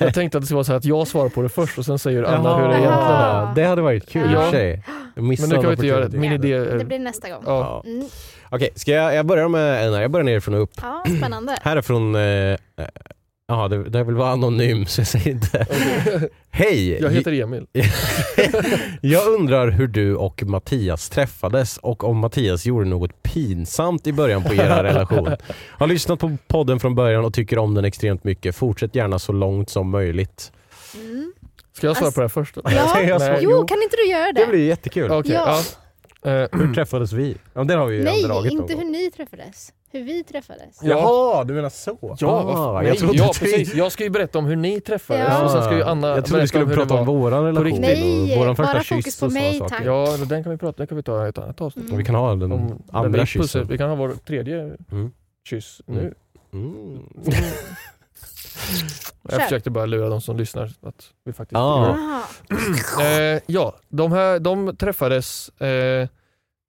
[SPEAKER 5] jag tänkte att det skulle vara så här att jag svarar på det först och sen säger Anna hur det
[SPEAKER 6] Jaha.
[SPEAKER 5] egentligen är.
[SPEAKER 6] Jaha.
[SPEAKER 4] Det hade varit kul i och
[SPEAKER 5] Ja.
[SPEAKER 4] för sig. Jag missade
[SPEAKER 5] Men nu kan vi inte göra det,
[SPEAKER 4] opportunity.
[SPEAKER 5] min idé
[SPEAKER 6] Det
[SPEAKER 5] är...
[SPEAKER 6] blir nästa gång.
[SPEAKER 5] Eh. Ja.
[SPEAKER 4] Ja.
[SPEAKER 6] Mm.
[SPEAKER 4] Okej, ska jag, jag börjar med en här. Jag börjar nerifrån och upp.
[SPEAKER 6] Ja, spännande.
[SPEAKER 4] Här är från... eh, eh, Ja, det, det här vill vara anonym så jag säger inte. Hej!
[SPEAKER 5] Jag heter Emil.
[SPEAKER 4] jag undrar hur du och Mattias träffades och om Mattias gjorde något pinsamt i början på er relation. Har lyssnat på podden från början och tycker om den extremt mycket. Fortsätt gärna så långt som möjligt.
[SPEAKER 6] Mm.
[SPEAKER 5] Ska jag svara
[SPEAKER 6] Alltså-
[SPEAKER 5] på det här först? då?
[SPEAKER 6] Ja.
[SPEAKER 4] Jag
[SPEAKER 5] Nej,
[SPEAKER 4] svarar-
[SPEAKER 6] Jo, kan inte du göra
[SPEAKER 4] Det
[SPEAKER 6] det?
[SPEAKER 4] blir jättekul.
[SPEAKER 5] Okej,
[SPEAKER 6] Ja.
[SPEAKER 5] ja. Eh,
[SPEAKER 4] Hur träffades vi? Ja, den har vi ju redan
[SPEAKER 6] Nej,
[SPEAKER 4] dragit
[SPEAKER 6] inte
[SPEAKER 4] någon
[SPEAKER 6] hur
[SPEAKER 4] gång.
[SPEAKER 6] ni träffades. Hur vi träffades.
[SPEAKER 4] Jaha, du menar så?
[SPEAKER 5] Ja,
[SPEAKER 4] ah,
[SPEAKER 5] varför-
[SPEAKER 4] jag
[SPEAKER 5] nej,
[SPEAKER 4] trodde
[SPEAKER 5] ja
[SPEAKER 4] att vi-
[SPEAKER 5] precis. Jag ska ju berätta om hur ni träffades
[SPEAKER 6] Ja.
[SPEAKER 5] och sen ska ju Anna
[SPEAKER 4] jag trodde
[SPEAKER 5] berätta
[SPEAKER 4] vi skulle
[SPEAKER 5] om hur
[SPEAKER 4] prata
[SPEAKER 5] det
[SPEAKER 4] om
[SPEAKER 5] var.
[SPEAKER 4] vår relation.
[SPEAKER 5] riktigt.
[SPEAKER 6] Nej,
[SPEAKER 4] och vår första
[SPEAKER 6] bara
[SPEAKER 4] kyss
[SPEAKER 6] fokus på
[SPEAKER 4] och såna
[SPEAKER 6] mig,
[SPEAKER 4] saker.
[SPEAKER 6] tack.
[SPEAKER 5] Ja, men den kan vi prata den kan vi ta i ett annat avsnitt.
[SPEAKER 6] Mm.
[SPEAKER 4] Vi kan ha den
[SPEAKER 5] Om när
[SPEAKER 4] andra
[SPEAKER 5] vi, pussar,
[SPEAKER 4] kyssen.
[SPEAKER 5] vi kan ha vår tredje
[SPEAKER 4] Mm.
[SPEAKER 5] kyss nu.
[SPEAKER 4] Mm. Mm.
[SPEAKER 5] Jag försökte bara lura de som lyssnar att vi faktiskt
[SPEAKER 4] Ja.
[SPEAKER 6] Jaha.
[SPEAKER 5] Eh, ja, de, här, de träffades, eh,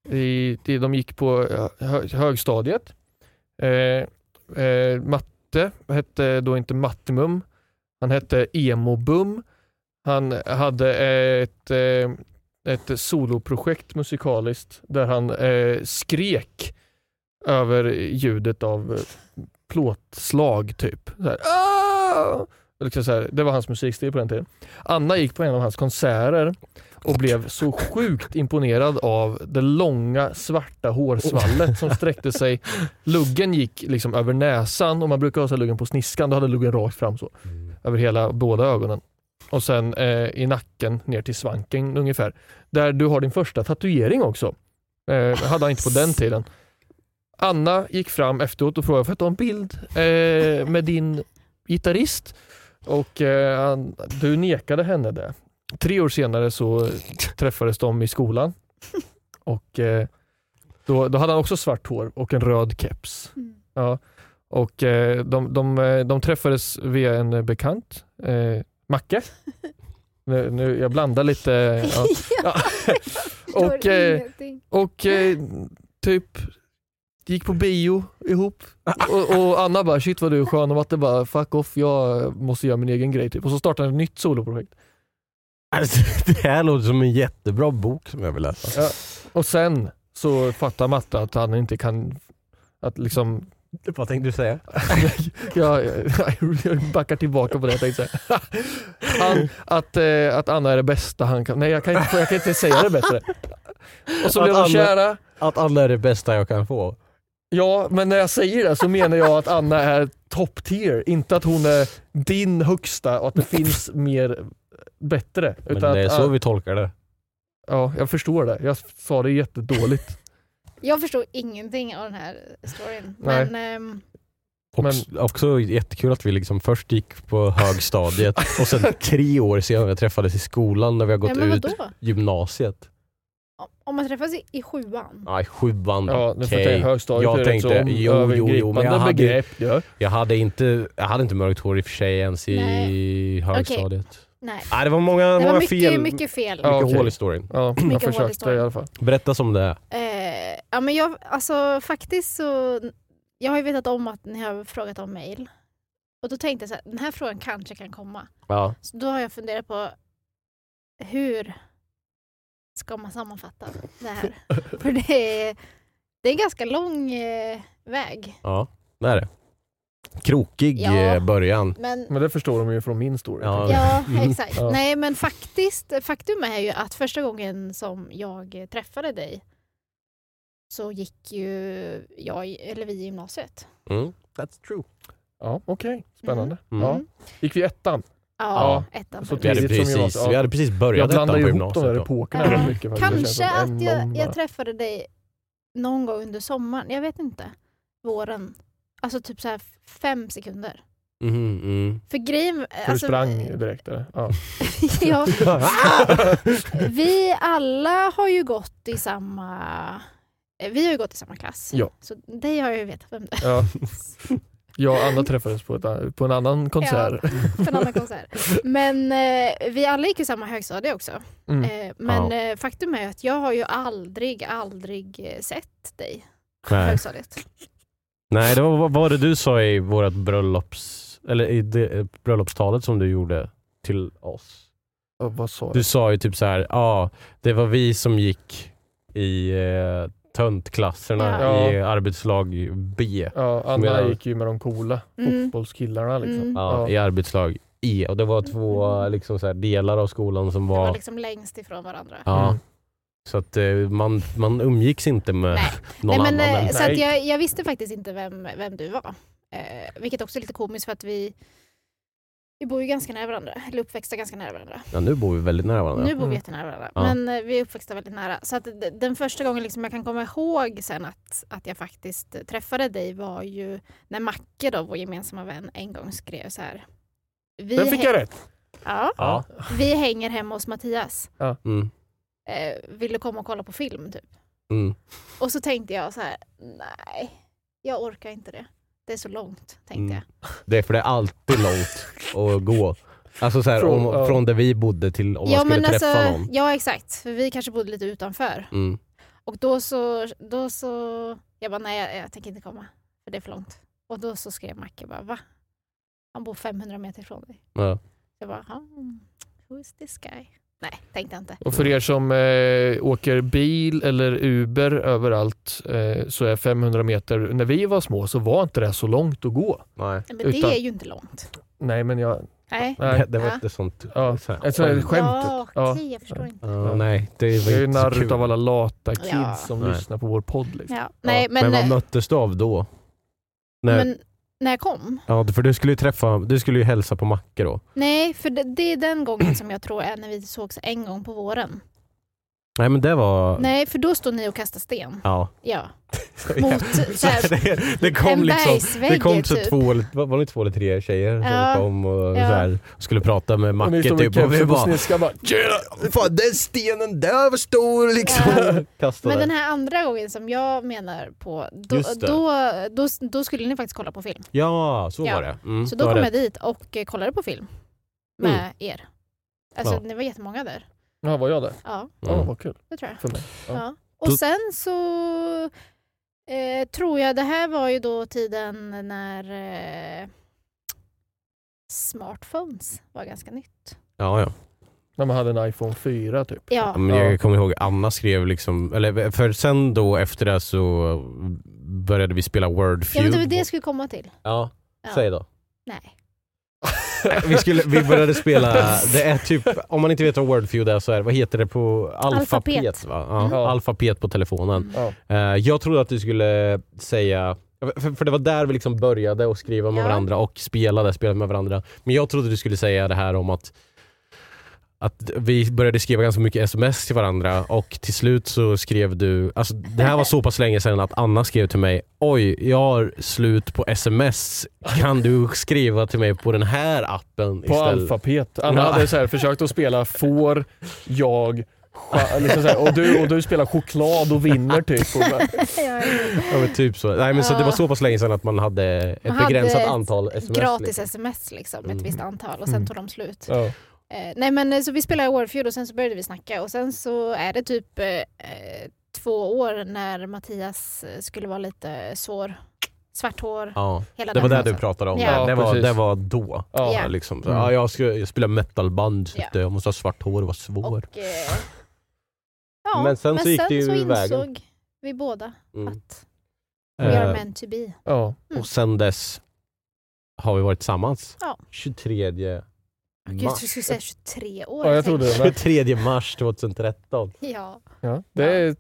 [SPEAKER 5] i, i- de gick på eh, hö, högstadiet. Eh, eh, matte hette då inte Mattimum, han hette Emobum. Han hade ett, eh, ett soloprojekt musikaliskt där han eh, skrek över ljudet av eh, plåtslag typ. Så här, "Ah!" liksom så här, det var hans musikstil på den tiden. Anna gick på en av hans konserter och blev så sjukt imponerad av det långa svarta hårsvallet som sträckte sig. Luggen gick liksom över näsan och man brukar ha så här luggen på sniskan, då hade luggen rakt fram så. Över hela båda ögonen. Och sen eh, i nacken ner till svanken ungefär. Där du har din första tatuering också. Eh, hade han inte på den tiden. Anna gick fram efteråt och frågade, får jag ta en bild eh, med din gitarrist? Och eh, han, du nekade henne det. Tre år senare så träffades de i skolan. Och eh, då, då hade han också svart hår och en röd keps.
[SPEAKER 6] Mm.
[SPEAKER 5] Ja. Och eh, de, de, eh, de träffades via en bekant, eh, Macke. Nu, nu, jag blandar lite. eh, Ja. Ja.
[SPEAKER 6] Förstår
[SPEAKER 5] Och, eh,
[SPEAKER 6] ingenting.
[SPEAKER 5] Och eh, typ gick på bio ihop och, och Anna bara shit vad du är skön och Matte bara fuck off jag måste göra min egen grej typ. Och så startade ett nytt soloprojekt.
[SPEAKER 4] Alltså, det här låter som en jättebra bok som jag vill läsa.
[SPEAKER 5] Ja. Och sen så fattar Matte att han inte kan att liksom,
[SPEAKER 4] Vad tänkte du säga?
[SPEAKER 5] jag, jag backar tillbaka på det jag tänkte säga. Han, att, eh, att Anna är det bästa han kan, nej jag kan inte, jag kan inte säga det bättre. Och så
[SPEAKER 4] Att
[SPEAKER 5] blev de
[SPEAKER 4] alla-
[SPEAKER 5] kära.
[SPEAKER 4] Att alla är det bästa jag kan få.
[SPEAKER 5] Ja, men när jag säger det så menar jag att Anna är top tier, inte att hon är din högsta och att det finns mer bättre.
[SPEAKER 4] Men
[SPEAKER 5] Utan
[SPEAKER 4] det är
[SPEAKER 5] att,
[SPEAKER 4] så vi tolkar det.
[SPEAKER 5] Ja, jag förstår det. Jag sa det jättedåligt.
[SPEAKER 6] Jag förstod ingenting av den här storyn.
[SPEAKER 5] Nej.
[SPEAKER 6] Men ehm,
[SPEAKER 4] Och,
[SPEAKER 5] Men-
[SPEAKER 4] Också jättekul att vi liksom först gick på högstadiet och sen tre år senare träffades i skolan när vi har gått
[SPEAKER 6] nej, men
[SPEAKER 4] ut
[SPEAKER 6] vadå?
[SPEAKER 4] gymnasiet.
[SPEAKER 6] Om- Om man träffas i, i sjuan?
[SPEAKER 4] Nej, sjuan.
[SPEAKER 5] Ja, nu får
[SPEAKER 4] okej.
[SPEAKER 5] jag tänka högstadiet
[SPEAKER 4] Jag
[SPEAKER 5] är
[SPEAKER 4] tänkte,
[SPEAKER 5] rätt så
[SPEAKER 4] jo, jo, jo, men jag
[SPEAKER 5] övergripande
[SPEAKER 4] hade-
[SPEAKER 5] begrepp. Ja.
[SPEAKER 4] Jag hade inte, jag hade inte mörkt hår i och för sig ens i högstadiet.
[SPEAKER 6] Nej.
[SPEAKER 4] Nej, det var många,
[SPEAKER 6] Det
[SPEAKER 4] många
[SPEAKER 6] var mycket
[SPEAKER 4] fel.
[SPEAKER 6] mycket fel.
[SPEAKER 5] Ja,
[SPEAKER 4] mycket
[SPEAKER 5] okej.
[SPEAKER 4] hål i storyn.
[SPEAKER 5] Ja, jag
[SPEAKER 6] Mycket hål i
[SPEAKER 5] försökte i
[SPEAKER 6] storyn.
[SPEAKER 5] alla fall.
[SPEAKER 4] Berätta som det är.
[SPEAKER 6] Eh, ja, men jag, alltså faktiskt så... Jag har ju vetat om att ni har frågat om mail. Och då tänkte jag så här, den här frågan kanske kan komma.
[SPEAKER 4] Ja.
[SPEAKER 6] Så då har jag funderat på hur ska man sammanfatta det här? För det är, det är en ganska lång eh, väg.
[SPEAKER 4] ja, det är det. Krokig
[SPEAKER 6] Ja.
[SPEAKER 4] eh, början.
[SPEAKER 6] Men
[SPEAKER 5] Men det förstår de ju från min story.
[SPEAKER 4] Ja.
[SPEAKER 6] Ja,
[SPEAKER 4] Mm.
[SPEAKER 6] exakt.
[SPEAKER 5] Ja.
[SPEAKER 6] Nej, men faktiskt, faktum är ju att första gången som jag träffade dig så gick ju jag, i- eller vi i gymnasiet.
[SPEAKER 4] Mm. That's true.
[SPEAKER 5] Ja, Okej, spännande.
[SPEAKER 4] Mm.
[SPEAKER 5] Ja. Gick vi i ettan?
[SPEAKER 6] Ja, ettan.
[SPEAKER 5] Så
[SPEAKER 6] på
[SPEAKER 4] Vi hade,
[SPEAKER 5] Tidigt som
[SPEAKER 4] precis,
[SPEAKER 5] gymnasiet, ja.
[SPEAKER 4] vi hade precis
[SPEAKER 5] Jag
[SPEAKER 4] börjat
[SPEAKER 5] blandar
[SPEAKER 4] ettan
[SPEAKER 5] ju
[SPEAKER 4] på
[SPEAKER 5] ihop
[SPEAKER 4] gymnasiet
[SPEAKER 5] de där
[SPEAKER 4] då.
[SPEAKER 5] epokerna
[SPEAKER 6] Ja.
[SPEAKER 5] väldigt mycket. faktiskt. Det känns
[SPEAKER 6] Kanske
[SPEAKER 5] som en
[SPEAKER 6] att jag,
[SPEAKER 5] lång
[SPEAKER 6] jag
[SPEAKER 5] bara.
[SPEAKER 6] träffade dig någon gång under sommaren, jag vet inte. Våren. Alltså typ så här fem sekunder.
[SPEAKER 4] Mhm, mm.
[SPEAKER 6] För grejen...
[SPEAKER 5] För du
[SPEAKER 6] alltså,
[SPEAKER 5] sprang direkt eller? Ja.
[SPEAKER 6] ja, vi alla har ju gått i samma... eh, Vi har ju gått i samma klass.
[SPEAKER 5] Ja.
[SPEAKER 6] Så dig har jag ju vetat vem det är.
[SPEAKER 5] Ja. Jag och Anna träffades på, ett, på en annan konsert.
[SPEAKER 6] för en annan konsert. Men eh, vi alla gick i samma högstadie också.
[SPEAKER 5] Mm.
[SPEAKER 6] Eh, men
[SPEAKER 4] Ja.
[SPEAKER 6] eh, faktum är att jag har ju aldrig, aldrig eh, sett dig på
[SPEAKER 4] Nej.
[SPEAKER 6] högstadiet.
[SPEAKER 4] Nej, det var vad var det du sa i vårt bröllops... Eller i det, eh, bröllopstalet som du gjorde till oss.
[SPEAKER 5] Ja, vad sa
[SPEAKER 4] Du
[SPEAKER 5] jag?
[SPEAKER 4] sa ju typ så här, ja, det var vi som gick i eh, töntklasserna
[SPEAKER 5] Ja.
[SPEAKER 4] i arbetslag B.
[SPEAKER 5] Ja, Anna
[SPEAKER 4] Medan-
[SPEAKER 5] gick ju med de coola
[SPEAKER 6] Mm.
[SPEAKER 5] fotbollskillarna. Liksom.
[SPEAKER 6] Mm.
[SPEAKER 4] Ja,
[SPEAKER 5] Ja.
[SPEAKER 4] I arbetslag E. Och det var två
[SPEAKER 6] Mm.
[SPEAKER 4] liksom, så här, delar av skolan som
[SPEAKER 6] Vi var
[SPEAKER 4] var...
[SPEAKER 6] liksom längst ifrån varandra.
[SPEAKER 4] Ja,
[SPEAKER 5] Mm.
[SPEAKER 4] Så att eh, man, man umgicks inte med
[SPEAKER 6] Nej.
[SPEAKER 4] någon
[SPEAKER 6] Nej, men,
[SPEAKER 4] annan.
[SPEAKER 6] eh,
[SPEAKER 4] eller?
[SPEAKER 6] så att
[SPEAKER 5] Nej.
[SPEAKER 6] jag, jag visste faktiskt inte vem, vem du var. Eh, vilket också är lite komiskt för att vi, vi bor ju ganska nära varandra, eller uppväxta ganska nära varandra.
[SPEAKER 4] Ja, nu bor vi väldigt nära varandra.
[SPEAKER 6] Nu bor
[SPEAKER 5] Mm.
[SPEAKER 6] vi jättenära varandra,
[SPEAKER 4] Ja.
[SPEAKER 6] men eh, vi är uppväxta väldigt nära. Så att d- den första gången liksom jag kan komma ihåg sen att, att jag faktiskt eh, träffade dig var ju när Macke, då, vår gemensamma vän, en gång skrev så här. Vi,
[SPEAKER 5] Den fick
[SPEAKER 6] häng-
[SPEAKER 5] jag rätt!
[SPEAKER 6] ja,
[SPEAKER 4] Ja.
[SPEAKER 6] vi hänger hemma hos Mattias.
[SPEAKER 4] Mm.
[SPEAKER 6] Eh, vill du komma och kolla på film? Typ.
[SPEAKER 4] Mm.
[SPEAKER 6] Och så tänkte jag så här, nej, jag orkar inte det. Det är så långt, tänkte
[SPEAKER 4] Mm.
[SPEAKER 6] jag.
[SPEAKER 4] Det är för det är alltid långt att gå. Alltså så här,
[SPEAKER 5] Från-
[SPEAKER 4] från,
[SPEAKER 5] ja.
[SPEAKER 4] om, från där vi bodde till om man skulle träffa någon.
[SPEAKER 6] alltså, Ja, exakt. För vi kanske bodde lite utanför.
[SPEAKER 4] Mm.
[SPEAKER 6] Och då så, då så jag bara, nej, jag, jag tänker inte komma. För det är för långt. Och då så skrev Macke bara, va? Han bor 500 meter ifrån dig.
[SPEAKER 4] Ja.
[SPEAKER 6] Jag bara, "Ha, mm, who's this guy? Nej, tänkte jag inte.
[SPEAKER 5] Och för er som eh, åker bil eller Uber överallt eh, så är 500 meter, när vi var små så var inte det så långt att gå.
[SPEAKER 4] Nej.
[SPEAKER 6] Men det
[SPEAKER 5] Utan-
[SPEAKER 6] är ju inte långt.
[SPEAKER 5] Nej men jag...
[SPEAKER 6] Nej.
[SPEAKER 5] Nej.
[SPEAKER 4] Det var
[SPEAKER 6] Ja.
[SPEAKER 4] inte sånt...
[SPEAKER 5] Ja.
[SPEAKER 4] Så här,
[SPEAKER 5] Ett sånt här
[SPEAKER 4] skämt.
[SPEAKER 5] skämt.
[SPEAKER 6] Ja,
[SPEAKER 5] Ja.
[SPEAKER 6] okej, jag förstår inte.
[SPEAKER 4] Ja, nej, det var
[SPEAKER 5] Jag är ju
[SPEAKER 4] inte så
[SPEAKER 5] narr
[SPEAKER 4] kul.
[SPEAKER 5] utav alla lata kids
[SPEAKER 6] Ja.
[SPEAKER 5] som
[SPEAKER 4] Nej.
[SPEAKER 5] lyssnar på vår podd. Liksom.
[SPEAKER 6] Ja. Nej,
[SPEAKER 4] Men,
[SPEAKER 6] men,
[SPEAKER 4] vad
[SPEAKER 6] eh,
[SPEAKER 4] möttes du av då? När,
[SPEAKER 6] men när jag kom,
[SPEAKER 4] ja, för du skulle ju träffa, du skulle ju hälsa på Macke då.
[SPEAKER 6] Nej, för det, det är den gången som jag tror är när vi sågs en gång på våren.
[SPEAKER 4] Nej men det var...
[SPEAKER 6] Nej, för då stod ni och kastade sten.
[SPEAKER 4] Ja.
[SPEAKER 6] Ja. Mot så här,
[SPEAKER 4] det, det
[SPEAKER 6] en
[SPEAKER 4] kom liksom...
[SPEAKER 6] bergsvägg
[SPEAKER 4] Det kom så
[SPEAKER 6] typ.
[SPEAKER 4] två, eller- var var det två eller tre tjejer
[SPEAKER 6] Ja.
[SPEAKER 4] som kom och
[SPEAKER 6] Ja.
[SPEAKER 4] så här, skulle prata med
[SPEAKER 5] Och ni
[SPEAKER 4] Macke
[SPEAKER 5] står med
[SPEAKER 4] typ och vi
[SPEAKER 5] kepsen på
[SPEAKER 4] bara
[SPEAKER 5] sniskan bara
[SPEAKER 4] Tjena! Fan den stenen där var stor liksom.
[SPEAKER 6] Ja.
[SPEAKER 4] Kastade.
[SPEAKER 6] Men den här andra gången som jag menar på, då,
[SPEAKER 4] Just det.
[SPEAKER 6] då, då, då skulle ni faktiskt kolla på film.
[SPEAKER 4] Ja, så
[SPEAKER 6] Ja.
[SPEAKER 4] var det. Mm,
[SPEAKER 6] Så
[SPEAKER 4] det
[SPEAKER 6] då
[SPEAKER 4] var
[SPEAKER 6] kom
[SPEAKER 4] det. Mm.
[SPEAKER 6] jag dit och eh, kollade på film med er. Alltså
[SPEAKER 4] Ja.
[SPEAKER 6] ni var jättemånga där.
[SPEAKER 5] Ja, var jag där?
[SPEAKER 6] Ja,
[SPEAKER 5] Ja,
[SPEAKER 4] Mm.
[SPEAKER 5] vad kul
[SPEAKER 6] det tror jag.
[SPEAKER 5] för mig. Ja.
[SPEAKER 6] Ja. Och
[SPEAKER 4] Då-
[SPEAKER 6] sen så eh, tror jag, det här var ju då tiden när eh, smartphones var ganska nytt.
[SPEAKER 4] Ja, ja.
[SPEAKER 5] När man hade en iPhone 4 typ.
[SPEAKER 4] Ja,
[SPEAKER 6] Ja,
[SPEAKER 4] Men
[SPEAKER 5] Ja.
[SPEAKER 4] jag kommer ihåg Anna skrev liksom, eller för sen då efter det så började vi spela Word
[SPEAKER 6] ja
[SPEAKER 4] Feud.
[SPEAKER 6] men det var det jag skulle komma till.
[SPEAKER 4] Ja,
[SPEAKER 6] Ja.
[SPEAKER 4] säg då.
[SPEAKER 6] Nej.
[SPEAKER 4] Vi, skulle, vi började spela, det är typ, om man inte vet vad Wordfeud är så är det, vad heter det på alfabet?
[SPEAKER 6] Alfabet.
[SPEAKER 4] Va? Ja,
[SPEAKER 5] Ja.
[SPEAKER 4] Alfabet på telefonen.
[SPEAKER 6] Mm.
[SPEAKER 5] Ja.
[SPEAKER 4] Eh, jag trodde att du skulle säga, för, för det var där vi liksom började och skriva med
[SPEAKER 6] Ja.
[SPEAKER 4] varandra och spelade, spelade med varandra. Men jag trodde du skulle säga det här om att att vi började skriva ganska mycket sms till varandra och till slut så skrev du, alltså det här var så pass länge sedan att Anna skrev till mig Oj, jag har slut på sms. Kan du skriva till mig på den här appen
[SPEAKER 5] På
[SPEAKER 4] istället?
[SPEAKER 5] alfabet. Alla
[SPEAKER 4] Ja.
[SPEAKER 5] hade så här försökt att spela får, jag, cha- liksom så här, och, du, och du spelar choklad och vinner typ. Och bara,
[SPEAKER 6] Jag är-
[SPEAKER 4] Ja, men typ så. Nej, men så det var så pass länge sedan att man hade ett
[SPEAKER 6] Man hade
[SPEAKER 4] begränsat
[SPEAKER 6] ett
[SPEAKER 4] antal sms.
[SPEAKER 6] Gratis
[SPEAKER 4] liksom.
[SPEAKER 6] sms liksom, ett
[SPEAKER 4] Mm.
[SPEAKER 6] visst antal och sen tog de slut.
[SPEAKER 5] ja.
[SPEAKER 6] Eh, nej men eh, så vi spelade Warfeud och sen så började vi snacka och sen så är det typ eh, eh, två år när Mattias eh, skulle vara lite svår. Svart hår,
[SPEAKER 4] Ja,
[SPEAKER 6] hela
[SPEAKER 4] det var
[SPEAKER 6] den
[SPEAKER 4] det du
[SPEAKER 6] fasen.
[SPEAKER 4] pratade om.
[SPEAKER 6] Ja.
[SPEAKER 4] där. Det, var,
[SPEAKER 5] precis.
[SPEAKER 4] det var då.
[SPEAKER 5] Ja.
[SPEAKER 6] Ja.
[SPEAKER 4] Liksom. Så,
[SPEAKER 5] Mm.
[SPEAKER 4] ja, jag ska jag spelar metalband, så
[SPEAKER 6] Ja.
[SPEAKER 4] att jag måste ha svart hår och vara svår.
[SPEAKER 6] Och, eh, ja,
[SPEAKER 4] Men sen så gick det ju
[SPEAKER 6] så
[SPEAKER 4] vägen.
[SPEAKER 6] insåg vi båda
[SPEAKER 4] Mm.
[SPEAKER 6] att we are
[SPEAKER 4] Eh,
[SPEAKER 6] meant to be.
[SPEAKER 5] Ja.
[SPEAKER 6] Mm.
[SPEAKER 4] Och sen dess har vi varit tillsammans.
[SPEAKER 6] Ja.
[SPEAKER 4] 23
[SPEAKER 6] Gud,
[SPEAKER 4] mars.
[SPEAKER 6] du skulle säga 23 år.
[SPEAKER 5] Ja, jag trodde
[SPEAKER 6] tänkte-
[SPEAKER 5] det med.
[SPEAKER 4] 23 mars 2013.
[SPEAKER 6] Ja,
[SPEAKER 5] Ja. Det, är,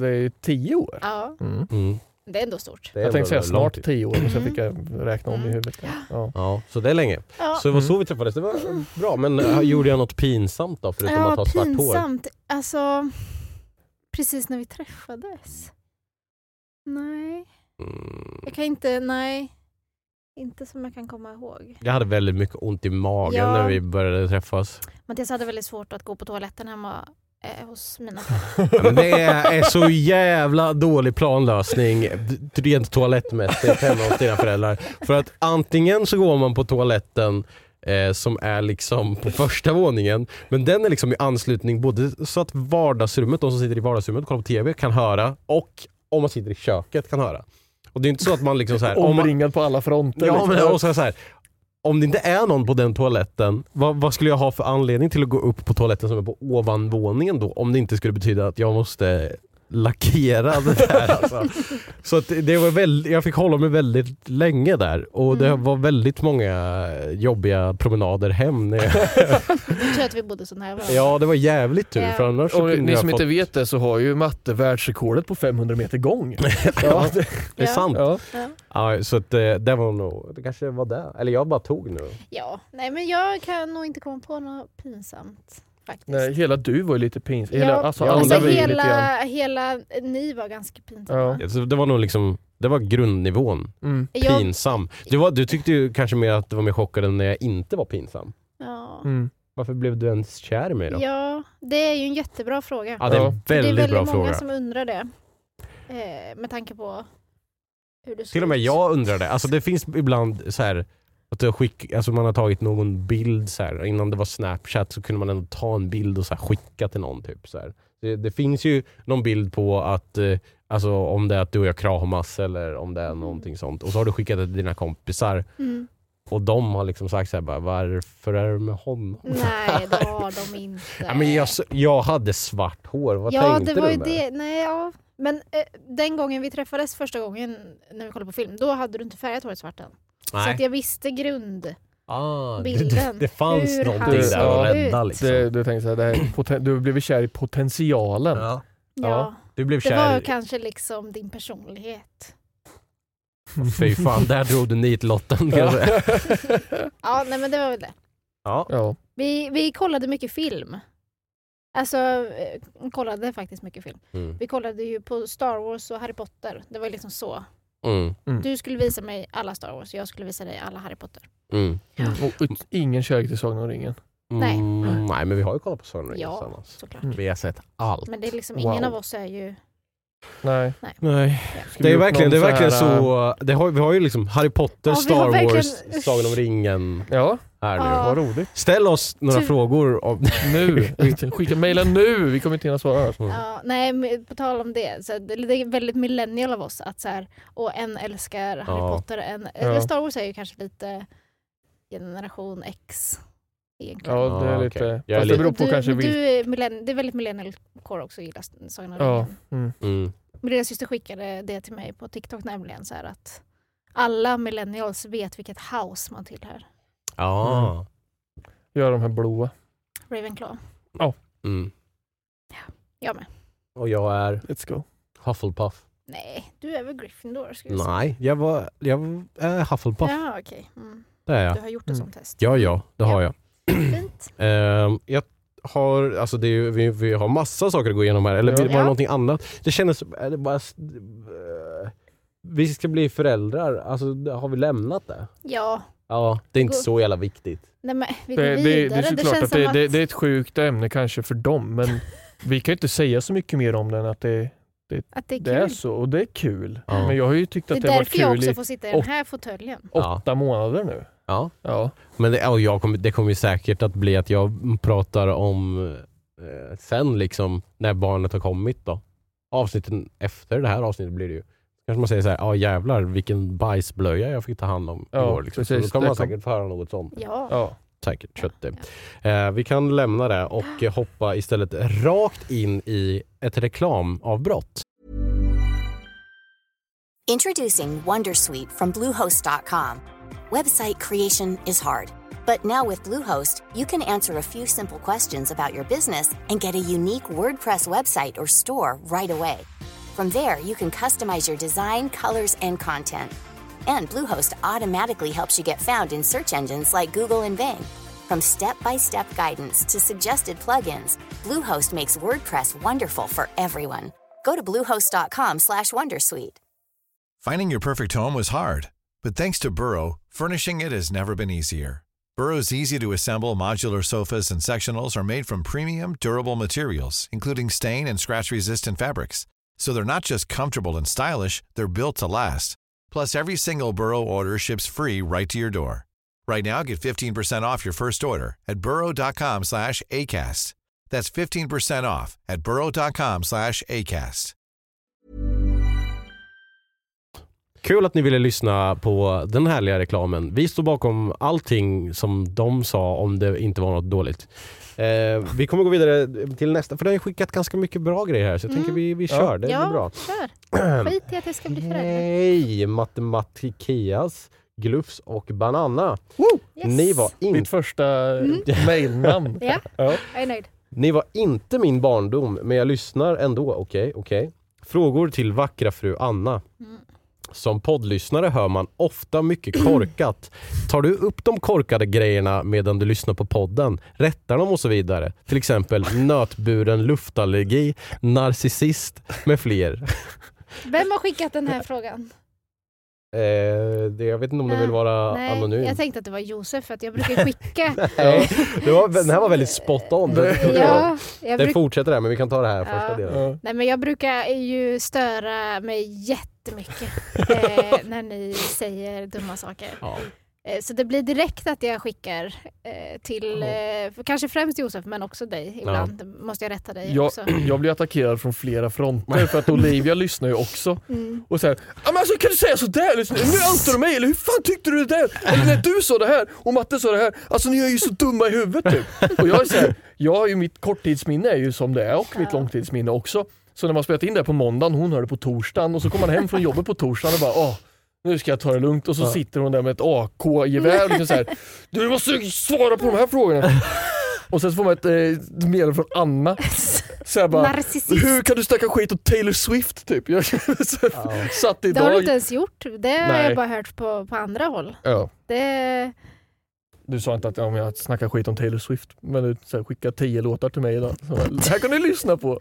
[SPEAKER 5] det är tio år.
[SPEAKER 6] ja,
[SPEAKER 5] Mm.
[SPEAKER 4] Mm.
[SPEAKER 6] det är ändå stort.
[SPEAKER 4] Det är
[SPEAKER 5] Jag tänkte säga
[SPEAKER 4] ändå lång
[SPEAKER 5] snart
[SPEAKER 4] tid.
[SPEAKER 5] tio år, men sen
[SPEAKER 6] Mm.
[SPEAKER 5] fick jag räkna om i
[SPEAKER 6] Mm.
[SPEAKER 5] huvudet. Ja.
[SPEAKER 4] Ja, så det är länge.
[SPEAKER 6] Ja,
[SPEAKER 4] Så det var så
[SPEAKER 5] Mm.
[SPEAKER 4] vi träffades. Det var bra. Men äh, gjorde jag något pinsamt då förutom att
[SPEAKER 6] ja
[SPEAKER 4] ha svart hår?
[SPEAKER 6] pinsamt. Alltså, precis när vi träffades. Nej,
[SPEAKER 4] Mm.
[SPEAKER 6] jag kan inte, nej. Inte som jag kan komma ihåg.
[SPEAKER 4] Jag hade väldigt mycket ont i magen
[SPEAKER 6] Ja.
[SPEAKER 4] när vi började träffas.
[SPEAKER 6] Mattias hade väldigt svårt att gå på toaletten hemma eh, hos mina föräldrar.
[SPEAKER 4] Ja, men det är så jävla dålig planlösning d- rent toalettmässigt hemma hos dina föräldrar. För att antingen så går man på toaletten eh, som är liksom på första våningen, men den är liksom i anslutning både så att vardagsrummet, de som sitter i vardagsrummet och kollar på TV kan höra och om man sitter i köket kan höra. Och det är inte så att man liksom så här, om man,
[SPEAKER 5] Omringad på alla fronter.
[SPEAKER 4] Ja,
[SPEAKER 5] liksom.
[SPEAKER 4] men och så så här, om det inte är någon på den toaletten, vad, vad skulle jag ha för anledning till att gå upp på toaletten som är på ovanvåningen då? Om det inte skulle betyda att jag måste lackera det där. Alltså. Så att det var väldigt, jag fick hålla mig väldigt länge där och det
[SPEAKER 6] Mm.
[SPEAKER 4] var väldigt många jobbiga promenader hem. När jag,
[SPEAKER 6] Tur att vi bodde så nära varandra.
[SPEAKER 4] ja, det var jävligt tur. För
[SPEAKER 6] Ja.
[SPEAKER 4] annars så
[SPEAKER 5] Och
[SPEAKER 4] kunde
[SPEAKER 5] ni
[SPEAKER 4] jag
[SPEAKER 5] som inte
[SPEAKER 4] fått-
[SPEAKER 5] vet det så har ju matte världsrekordet på 500 meter gång.
[SPEAKER 4] Ja, det är
[SPEAKER 6] Ja.
[SPEAKER 4] sant.
[SPEAKER 5] Ja.
[SPEAKER 6] Ja.
[SPEAKER 4] Ja, så att, eh, det var nog, det kanske var det. Eller jag bara tog nu.
[SPEAKER 6] Ja, nej men jag kan nog inte komma på något pinsamt faktiskt.
[SPEAKER 5] Nej, hela du var ju lite pinsam. Hela,
[SPEAKER 6] Ja,
[SPEAKER 5] alltså,
[SPEAKER 4] ja,
[SPEAKER 5] alla
[SPEAKER 6] alltså
[SPEAKER 5] var ju lite grann.
[SPEAKER 6] hela, hela ni var ganska pinsamma.
[SPEAKER 5] Ja.
[SPEAKER 4] Så Det var nog liksom, det var grundnivån.
[SPEAKER 5] Mm.
[SPEAKER 6] Jag,
[SPEAKER 4] Pinsam. Du, var, du tyckte ju kanske mer att det var mer chockad än när jag inte var pinsam.
[SPEAKER 6] ja,
[SPEAKER 5] Mm.
[SPEAKER 4] Varför blev du ens kär i mig då? Ja,
[SPEAKER 6] ja, det är ju en jättebra fråga.
[SPEAKER 4] det är
[SPEAKER 5] Ja.
[SPEAKER 4] en
[SPEAKER 6] det är
[SPEAKER 4] väldigt,
[SPEAKER 6] väldigt
[SPEAKER 4] bra
[SPEAKER 6] många
[SPEAKER 4] fråga.
[SPEAKER 6] som undrar det. Eh, med tanke på hur du såg
[SPEAKER 4] Till och med
[SPEAKER 6] ut.
[SPEAKER 4] jag undrar det. Alltså det finns ibland så här att du har skick, alltså man har tagit någon bild så här. innan det var snapchat så kunde man ändå ta en bild och så här skicka till någon typ så här. Det, det finns ju någon bild på att, eh, alltså om det är att du och jag kramas eller om det är
[SPEAKER 6] Mm.
[SPEAKER 4] någonting sånt och så har du skickat det till dina kompisar
[SPEAKER 6] Mm.
[SPEAKER 4] och de har liksom sagt så här bara, varför är du med honom?
[SPEAKER 6] Nej, det har de inte.
[SPEAKER 4] Ja, men jag, s- jag hade svart hår, vad
[SPEAKER 6] ja,
[SPEAKER 4] tänkte
[SPEAKER 6] det var
[SPEAKER 4] du
[SPEAKER 6] ju
[SPEAKER 4] med?
[SPEAKER 6] det. Nej, ja. Men eh, den gången vi träffades första gången när vi kollade på film, då hade du inte färgat håret svart än. Så
[SPEAKER 4] Nej.
[SPEAKER 6] att jag visste grund.
[SPEAKER 4] ah, det, det,
[SPEAKER 6] bilden.
[SPEAKER 4] det fanns
[SPEAKER 6] Hur
[SPEAKER 4] någonting
[SPEAKER 5] han
[SPEAKER 4] där att
[SPEAKER 5] såg
[SPEAKER 4] rädda
[SPEAKER 6] ut.
[SPEAKER 4] liksom.
[SPEAKER 5] Det, du tänkte såhär, det här, är poten- du blev kär i potentialen.
[SPEAKER 4] ja.
[SPEAKER 6] Ja.
[SPEAKER 5] Ja.
[SPEAKER 4] Du blev
[SPEAKER 6] Det var
[SPEAKER 4] kär.
[SPEAKER 6] kanske liksom din personlighet.
[SPEAKER 4] Fy fan, där drog du nitlotten. kan jag säga.
[SPEAKER 5] Ja.
[SPEAKER 6] Ja, nej men det var väl det.
[SPEAKER 4] ja.
[SPEAKER 5] ja.
[SPEAKER 6] Vi, vi kollade mycket film. Alltså, eh, kollade faktiskt mycket film.
[SPEAKER 4] Mm.
[SPEAKER 6] Vi kollade ju på Star Wars och Harry Potter. Det var liksom så.
[SPEAKER 4] Mm.
[SPEAKER 6] Du skulle visa mig alla Star Wars, jag skulle visa dig alla Harry Potter.
[SPEAKER 4] Mm.
[SPEAKER 5] Och ut- ingen kärlek till Sagan om ringen.
[SPEAKER 6] Nej.
[SPEAKER 4] Mm. Nej, men vi har ju kollat på Sagan om ringen
[SPEAKER 6] Ja.
[SPEAKER 4] tillsammans.
[SPEAKER 6] Såklart.
[SPEAKER 5] Mm.
[SPEAKER 4] Vi har sett allt.
[SPEAKER 6] Men det är liksom, ingen
[SPEAKER 4] Wow.
[SPEAKER 6] av oss är ju...
[SPEAKER 5] Nej.
[SPEAKER 4] Nej.
[SPEAKER 5] Ska
[SPEAKER 4] Det
[SPEAKER 5] vi
[SPEAKER 4] är
[SPEAKER 5] upp
[SPEAKER 4] verkligen, det är
[SPEAKER 5] någon
[SPEAKER 4] verkligen
[SPEAKER 5] så här, äh,
[SPEAKER 4] så. Det har, vi har ju liksom Harry Potter,
[SPEAKER 6] Ja, vi
[SPEAKER 4] Star
[SPEAKER 6] har verkligen-
[SPEAKER 4] Wars, Sagan om ringen
[SPEAKER 5] Ja,
[SPEAKER 4] här nu.
[SPEAKER 6] Ja.
[SPEAKER 5] vad roligt.
[SPEAKER 4] Ställ oss några
[SPEAKER 6] Ty-
[SPEAKER 4] frågor. Om...
[SPEAKER 5] Nu! Skicka mejla nu! Vi kommer inte hinna svara.
[SPEAKER 6] Ja, nej, men på tal om det. Så det det är väldigt millennial av oss att så här, och en älskar Harry
[SPEAKER 4] Ja.
[SPEAKER 6] Potter, en,
[SPEAKER 5] Ja.
[SPEAKER 6] Star Wars är ju kanske lite generation X egentligen.
[SPEAKER 5] Ja, det
[SPEAKER 4] Ja,
[SPEAKER 5] är
[SPEAKER 4] okej.
[SPEAKER 5] lite...
[SPEAKER 4] Jag är
[SPEAKER 5] Fast
[SPEAKER 4] lite-
[SPEAKER 5] det beror på
[SPEAKER 6] du,
[SPEAKER 5] kanske
[SPEAKER 6] men
[SPEAKER 5] vilken...
[SPEAKER 6] du är millenn- Det är väldigt millennial core också att gilla Sagan om
[SPEAKER 5] Ja.
[SPEAKER 6] ringen.
[SPEAKER 5] Mm.
[SPEAKER 4] Mm.
[SPEAKER 6] Min lilla syster skickade det till mig på TikTok nämligen så här att alla millennials vet vilket house man tillhör.
[SPEAKER 4] Ja.
[SPEAKER 5] Göra de här blåa.
[SPEAKER 6] Ravenclaw.
[SPEAKER 4] Mm.
[SPEAKER 6] Jag med.
[SPEAKER 4] Och jag är
[SPEAKER 5] Let's go.
[SPEAKER 4] Hufflepuff.
[SPEAKER 6] Nej, du är väl Gryffindor? Ska jag säga.
[SPEAKER 4] Nej, jag, var, jag är Hufflepuff.
[SPEAKER 6] Ja, okej. Mm.
[SPEAKER 4] Det är
[SPEAKER 6] Du
[SPEAKER 4] jag.
[SPEAKER 6] har gjort det som
[SPEAKER 5] Mm.
[SPEAKER 6] test.
[SPEAKER 4] Ja, ja, det har jag.
[SPEAKER 6] Fint.
[SPEAKER 4] Ehm, jag har, alltså det är, ju- vi, vi har massa saker att gå igenom här, eller
[SPEAKER 5] Ja.
[SPEAKER 4] var det
[SPEAKER 6] Ja.
[SPEAKER 4] någonting annat? Det kändes, är det bara, s- eh, vi ska bli föräldrar, alltså det- har vi lämnat det?
[SPEAKER 6] Ja.
[SPEAKER 4] Ja, det är inte så jävla viktigt.
[SPEAKER 6] Nej men vi går
[SPEAKER 5] Det, det, det,
[SPEAKER 6] vidare.
[SPEAKER 5] är
[SPEAKER 6] Det,
[SPEAKER 5] såklart
[SPEAKER 6] känns
[SPEAKER 5] att
[SPEAKER 6] som
[SPEAKER 5] det,
[SPEAKER 6] att...
[SPEAKER 5] det, det är ett sjukt ämne kanske för dem, men vi kan ju inte säga så mycket mer om det än att det,
[SPEAKER 6] Att det är kul.
[SPEAKER 5] det är så och det är kul.
[SPEAKER 4] Ja.
[SPEAKER 5] Men jag har ju tyckt
[SPEAKER 6] Det är
[SPEAKER 5] att det, har varit
[SPEAKER 6] därför jag
[SPEAKER 5] kul
[SPEAKER 6] också
[SPEAKER 5] i
[SPEAKER 6] får sitta i den här fåtöljen.
[SPEAKER 4] Ja.
[SPEAKER 5] åtta månader nu.
[SPEAKER 4] Ja.
[SPEAKER 5] Ja.
[SPEAKER 4] Men det, och jag kommer, det kommer ju säkert att bli att jag pratar om eh, sen liksom, när barnet har kommit då. Avsnitten efter det här avsnittet blir det ju. Kanske man säger så här, ja jävlar vilken bajsblöja jag fick ta hand om
[SPEAKER 5] Ja,
[SPEAKER 4] igår. Liksom. Så
[SPEAKER 5] precis.
[SPEAKER 4] då kommer
[SPEAKER 5] Det
[SPEAKER 4] man
[SPEAKER 5] kom-
[SPEAKER 4] säkert få höra något sånt.
[SPEAKER 6] Ja.
[SPEAKER 5] Ja.
[SPEAKER 4] Säkert kött det. Eh, vi kan lämna det och eh, hoppa istället rakt in i ett reklamavbrott.
[SPEAKER 2] Introducing Wondersuite from Bluehost.com. Website creation is hard, but now with Bluehost, you can answer a few simple questions about your business and get a unique WordPress website or store right away. From there, you can customize your design, colors, and content. And Bluehost automatically helps you get found in search engines like Google and Bing. From step-by-step guidance to suggested plugins, Bluehost makes WordPress wonderful for everyone. Go to bluehost.com/wondersuite. slash Wondersuite.
[SPEAKER 3] Finding your perfect home was hard, but thanks to Burrow, furnishing it has never been easier. Burrow's easy to assemble modular sofas and sectionals are made from premium, durable materials, including stain and scratch resistant fabrics. So they're not just comfortable and stylish, they're built to last. Plus, every single Burrow order ships free right to your door. Right now, get 15% off your first order at burrow.com slash ACAST. That's 15% off at burrow.com slash ACAST.
[SPEAKER 4] Kul att ni ville lyssna på den härliga reklamen. Vi står bakom allting som de sa om det inte var något dåligt. Eh, vi kommer gå vidare till nästa, för det har ju skickat ganska mycket bra grejer här så jag
[SPEAKER 6] Mm.
[SPEAKER 4] tänker vi, vi
[SPEAKER 5] Ja.
[SPEAKER 4] kör, det blir
[SPEAKER 6] ja,
[SPEAKER 4] bra.
[SPEAKER 6] kör. Skit i att det ska bli förälder.
[SPEAKER 4] Hej Matematikias, Glufs och Banana.
[SPEAKER 6] Yes.
[SPEAKER 4] Ni var inte
[SPEAKER 5] Mitt första
[SPEAKER 6] Mm.
[SPEAKER 5] mejlnamn.
[SPEAKER 6] Ja,
[SPEAKER 5] Ja.
[SPEAKER 6] jag är nöjd.
[SPEAKER 4] Ni var inte min barndom, men jag lyssnar ändå. Okej, okej. Frågor till vackra fru Anna.
[SPEAKER 6] Mm.
[SPEAKER 4] Som poddlyssnare hör man ofta mycket korkat. Tar du upp de korkade grejerna medan du lyssnar på podden? Rättar dem och så vidare? Till exempel nötburen luftallergi, narcissist med fler.
[SPEAKER 6] Vem har skickat den här frågan?
[SPEAKER 4] Eh, det, jag vet inte om det
[SPEAKER 6] Nej,
[SPEAKER 4] vill vara
[SPEAKER 6] Nej,
[SPEAKER 4] anonym.
[SPEAKER 6] jag tänkte att det var Josef för att jag brukar skicka.
[SPEAKER 4] Nej, det var, den här var väldigt spot on.
[SPEAKER 6] ja, jag
[SPEAKER 4] Det
[SPEAKER 6] bruk...
[SPEAKER 4] fortsätter där, men vi kan ta det här
[SPEAKER 6] Ja.
[SPEAKER 4] första delen.
[SPEAKER 5] Ja.
[SPEAKER 6] Nej men jag brukar ju störa mig jättemycket eh, när ni säger dumma saker.
[SPEAKER 4] Ja.
[SPEAKER 6] Eh, Så det blir direkt att jag skickar eh, till, eh, för kanske främst Josef men också dig ibland. Måste jag rätta dig
[SPEAKER 5] Jag,
[SPEAKER 6] också.
[SPEAKER 5] jag blir attackerad från flera fronter för att Olivia lyssnar ju också.
[SPEAKER 6] Mm.
[SPEAKER 5] Och säger men alltså kan du säga sådär? Liksom? Nu antar du mig, eller hur fan tyckte du det där? Eller när du sa det här och Matte sa det här. Alltså ni är ju så dumma i huvudet typ. Och jag är så här, jag har ju mitt korttidsminne är ju som det är och mitt långtidsminne också. Så när man spelat in det här på måndagen, hon hör det på torsdagen och så kommer man hem från jobbet på torsdagen och bara åh, nu ska jag ta det lugnt och så sitter hon där med ett AK-gevär och liksom så här, du måste svara på de här frågorna. Och sen så får man ett eh, meddelande från Anna. Så jag bara,
[SPEAKER 6] Narcissist.
[SPEAKER 5] hur kan du snacka skit om Taylor Swift typ? Jag så här, satt
[SPEAKER 6] Det har du
[SPEAKER 5] idag...
[SPEAKER 6] inte ens gjort. Det har
[SPEAKER 5] Nej.
[SPEAKER 6] jag bara hört på, på andra håll.
[SPEAKER 5] Ja.
[SPEAKER 6] Det,
[SPEAKER 5] Du sa inte att om jag snackar skit om Taylor Swift, men du så här, skickade tio låtar till mig idag. Så, det här kan ni lyssna på.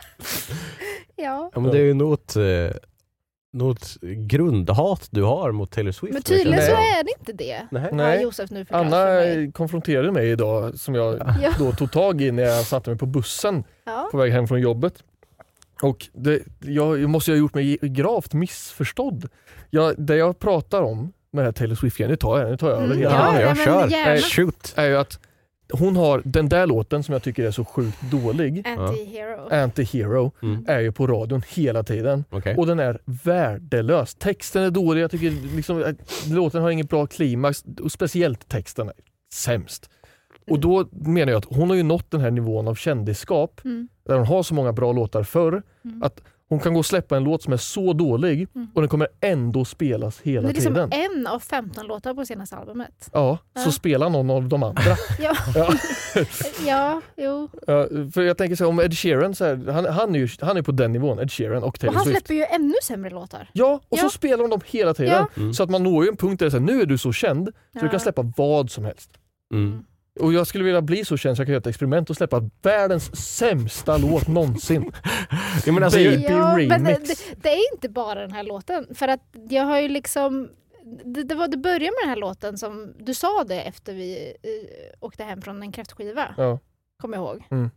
[SPEAKER 6] ja.
[SPEAKER 4] Ja, men det är ju något, eh, något grundhat du har mot Taylor Swift.
[SPEAKER 6] Men tydligen
[SPEAKER 5] Nej.
[SPEAKER 6] så är det inte det.
[SPEAKER 4] Nej.
[SPEAKER 6] Har
[SPEAKER 5] Nej.
[SPEAKER 6] Josef nu förklarat
[SPEAKER 5] Anna eh,
[SPEAKER 6] för mig.
[SPEAKER 5] konfronterade mig idag, som jag
[SPEAKER 6] Ja.
[SPEAKER 5] då tog tag i när jag satte mig på bussen
[SPEAKER 6] Ja.
[SPEAKER 5] på väg hem från jobbet. Och det, jag jag måste ju ha gjort mig gravt missförstådd. Jag, det jag pratar om med det här Taylor Swift-grejen, nu tar jag den, nu tar jag över
[SPEAKER 6] Mm,
[SPEAKER 5] hela.
[SPEAKER 4] Ja,
[SPEAKER 6] Ja,
[SPEAKER 4] jag
[SPEAKER 6] nej, men
[SPEAKER 4] kör.
[SPEAKER 6] gärna.
[SPEAKER 4] Shoot.
[SPEAKER 5] är ju att hon har den där låten som jag tycker är så sjukt dålig,
[SPEAKER 6] Anti-hero.
[SPEAKER 5] Anti-Hero,
[SPEAKER 4] Mm.
[SPEAKER 5] är ju på radion hela tiden.
[SPEAKER 4] Okej.
[SPEAKER 5] Och den är värdelös. Texten är dålig, jag tycker liksom, att låten har ingen bra klimax och speciellt texten är sämst. Och då menar jag att hon har ju nått den här nivån av kändisskap
[SPEAKER 6] Mm.
[SPEAKER 5] där hon har så många bra låtar förr att Hon kan gå och släppa en låt som är så dålig
[SPEAKER 6] Mm.
[SPEAKER 5] och den kommer ändå spelas
[SPEAKER 6] Det
[SPEAKER 5] hela
[SPEAKER 6] är liksom
[SPEAKER 5] tiden.
[SPEAKER 6] en av 15 låtar på senaste albumet.
[SPEAKER 5] Ja,
[SPEAKER 6] Ja.
[SPEAKER 5] så spelar någon av de andra.
[SPEAKER 6] Ja,
[SPEAKER 5] ja.
[SPEAKER 6] ja jo.
[SPEAKER 5] Ja, för jag tänker så här, om Ed Sheeran, så här, han, han är ju han är på den nivån, Ed Sheeran och
[SPEAKER 6] Och
[SPEAKER 5] Taylor
[SPEAKER 6] han
[SPEAKER 5] Swift.
[SPEAKER 6] släpper ju ännu sämre låtar.
[SPEAKER 5] Ja, och
[SPEAKER 6] Ja.
[SPEAKER 5] så spelar de dem hela tiden.
[SPEAKER 6] Ja.
[SPEAKER 4] Mm.
[SPEAKER 5] Så att man når ju en punkt där det är så här, nu är du så känd så du
[SPEAKER 6] Ja.
[SPEAKER 5] kan släppa vad som helst.
[SPEAKER 4] Mm.
[SPEAKER 5] Och jag skulle vilja bli så känd så jag kan göra ett experiment och släppa världens sämsta låt någonsin.
[SPEAKER 4] Ja, men alltså,
[SPEAKER 5] Baby
[SPEAKER 6] Ja, men det,
[SPEAKER 5] remix.
[SPEAKER 6] det- det är inte bara den här låten. För att jag har ju liksom... Det, det, var, det började med den här låten som... Du sa det efter vi eh, åkte hem från en kräftskiva.
[SPEAKER 5] Ja.
[SPEAKER 6] Kommer jag ihåg.
[SPEAKER 5] Mm.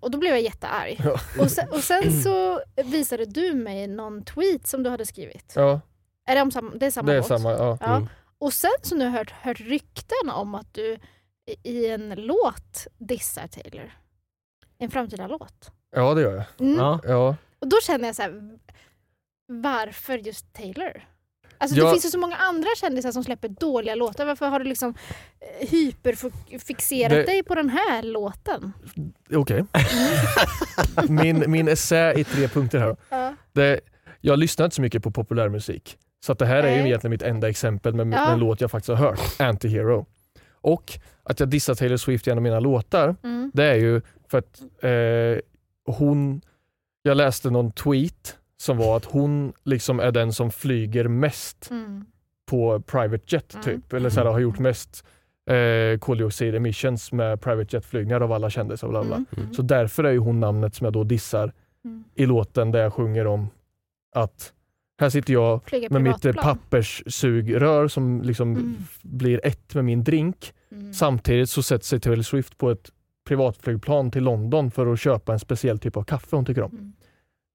[SPEAKER 6] Och då blev jag jättearg.
[SPEAKER 5] Ja.
[SPEAKER 6] Och, sen, och sen så visade du mig någon tweet som du hade skrivit.
[SPEAKER 5] Ja,
[SPEAKER 6] Är det, om samma, det är samma
[SPEAKER 5] det är
[SPEAKER 6] låt?
[SPEAKER 5] samma. Ja.
[SPEAKER 6] Ja.
[SPEAKER 4] Mm.
[SPEAKER 6] Och sen så nu har jag hört, hört rykten om att du i- i en låt dissar Taylor. En framtida låt.
[SPEAKER 5] ja, det gör jag.
[SPEAKER 6] Mm.
[SPEAKER 4] Ja.
[SPEAKER 5] Ja.
[SPEAKER 6] Och då känner jag så här, varför just Taylor? Alltså det
[SPEAKER 5] Ja.
[SPEAKER 6] finns ju så många andra kändisar som släpper dåliga låtar. Varför har du liksom eh, hyperfixerat
[SPEAKER 5] Det-
[SPEAKER 6] dig på den här låten?
[SPEAKER 5] Okej. min, min essä i tre punkter här då.
[SPEAKER 6] Ja.
[SPEAKER 5] Det, jag lyssnar inte så mycket på populärmusik. Så att det här är ju
[SPEAKER 6] Nej.
[SPEAKER 5] egentligen mitt enda exempel med, med
[SPEAKER 6] Ja.
[SPEAKER 5] en låt jag faktiskt har hört, Antihero. Och att jag dissar Taylor Swift i en av mina låtar,
[SPEAKER 6] Mm.
[SPEAKER 5] det är ju för att eh, hon... Jag läste någon tweet som var att hon liksom är den som flyger mest
[SPEAKER 6] Mm.
[SPEAKER 5] på private jet
[SPEAKER 6] Mm.
[SPEAKER 5] typ. Eller så här, har gjort mest eh, koldioxid emissions med private jetflygningar av alla kändisar. Bla bla. bla.
[SPEAKER 6] Mm.
[SPEAKER 4] Mm.
[SPEAKER 5] Så därför är ju hon namnet som jag då dissar
[SPEAKER 6] Mm.
[SPEAKER 5] i låten där jag sjunger om att här sitter jag
[SPEAKER 6] Flyga
[SPEAKER 5] med mitt eh,
[SPEAKER 6] privatplan.
[SPEAKER 5] papperssugrör som liksom
[SPEAKER 6] Mm.
[SPEAKER 5] f- blir ett med min drink.
[SPEAKER 6] Mm.
[SPEAKER 5] Samtidigt så sätter sig Taylor Swift på ett privatflygplan till London för att köpa en speciell typ av kaffe hon tycker om.
[SPEAKER 6] Mm.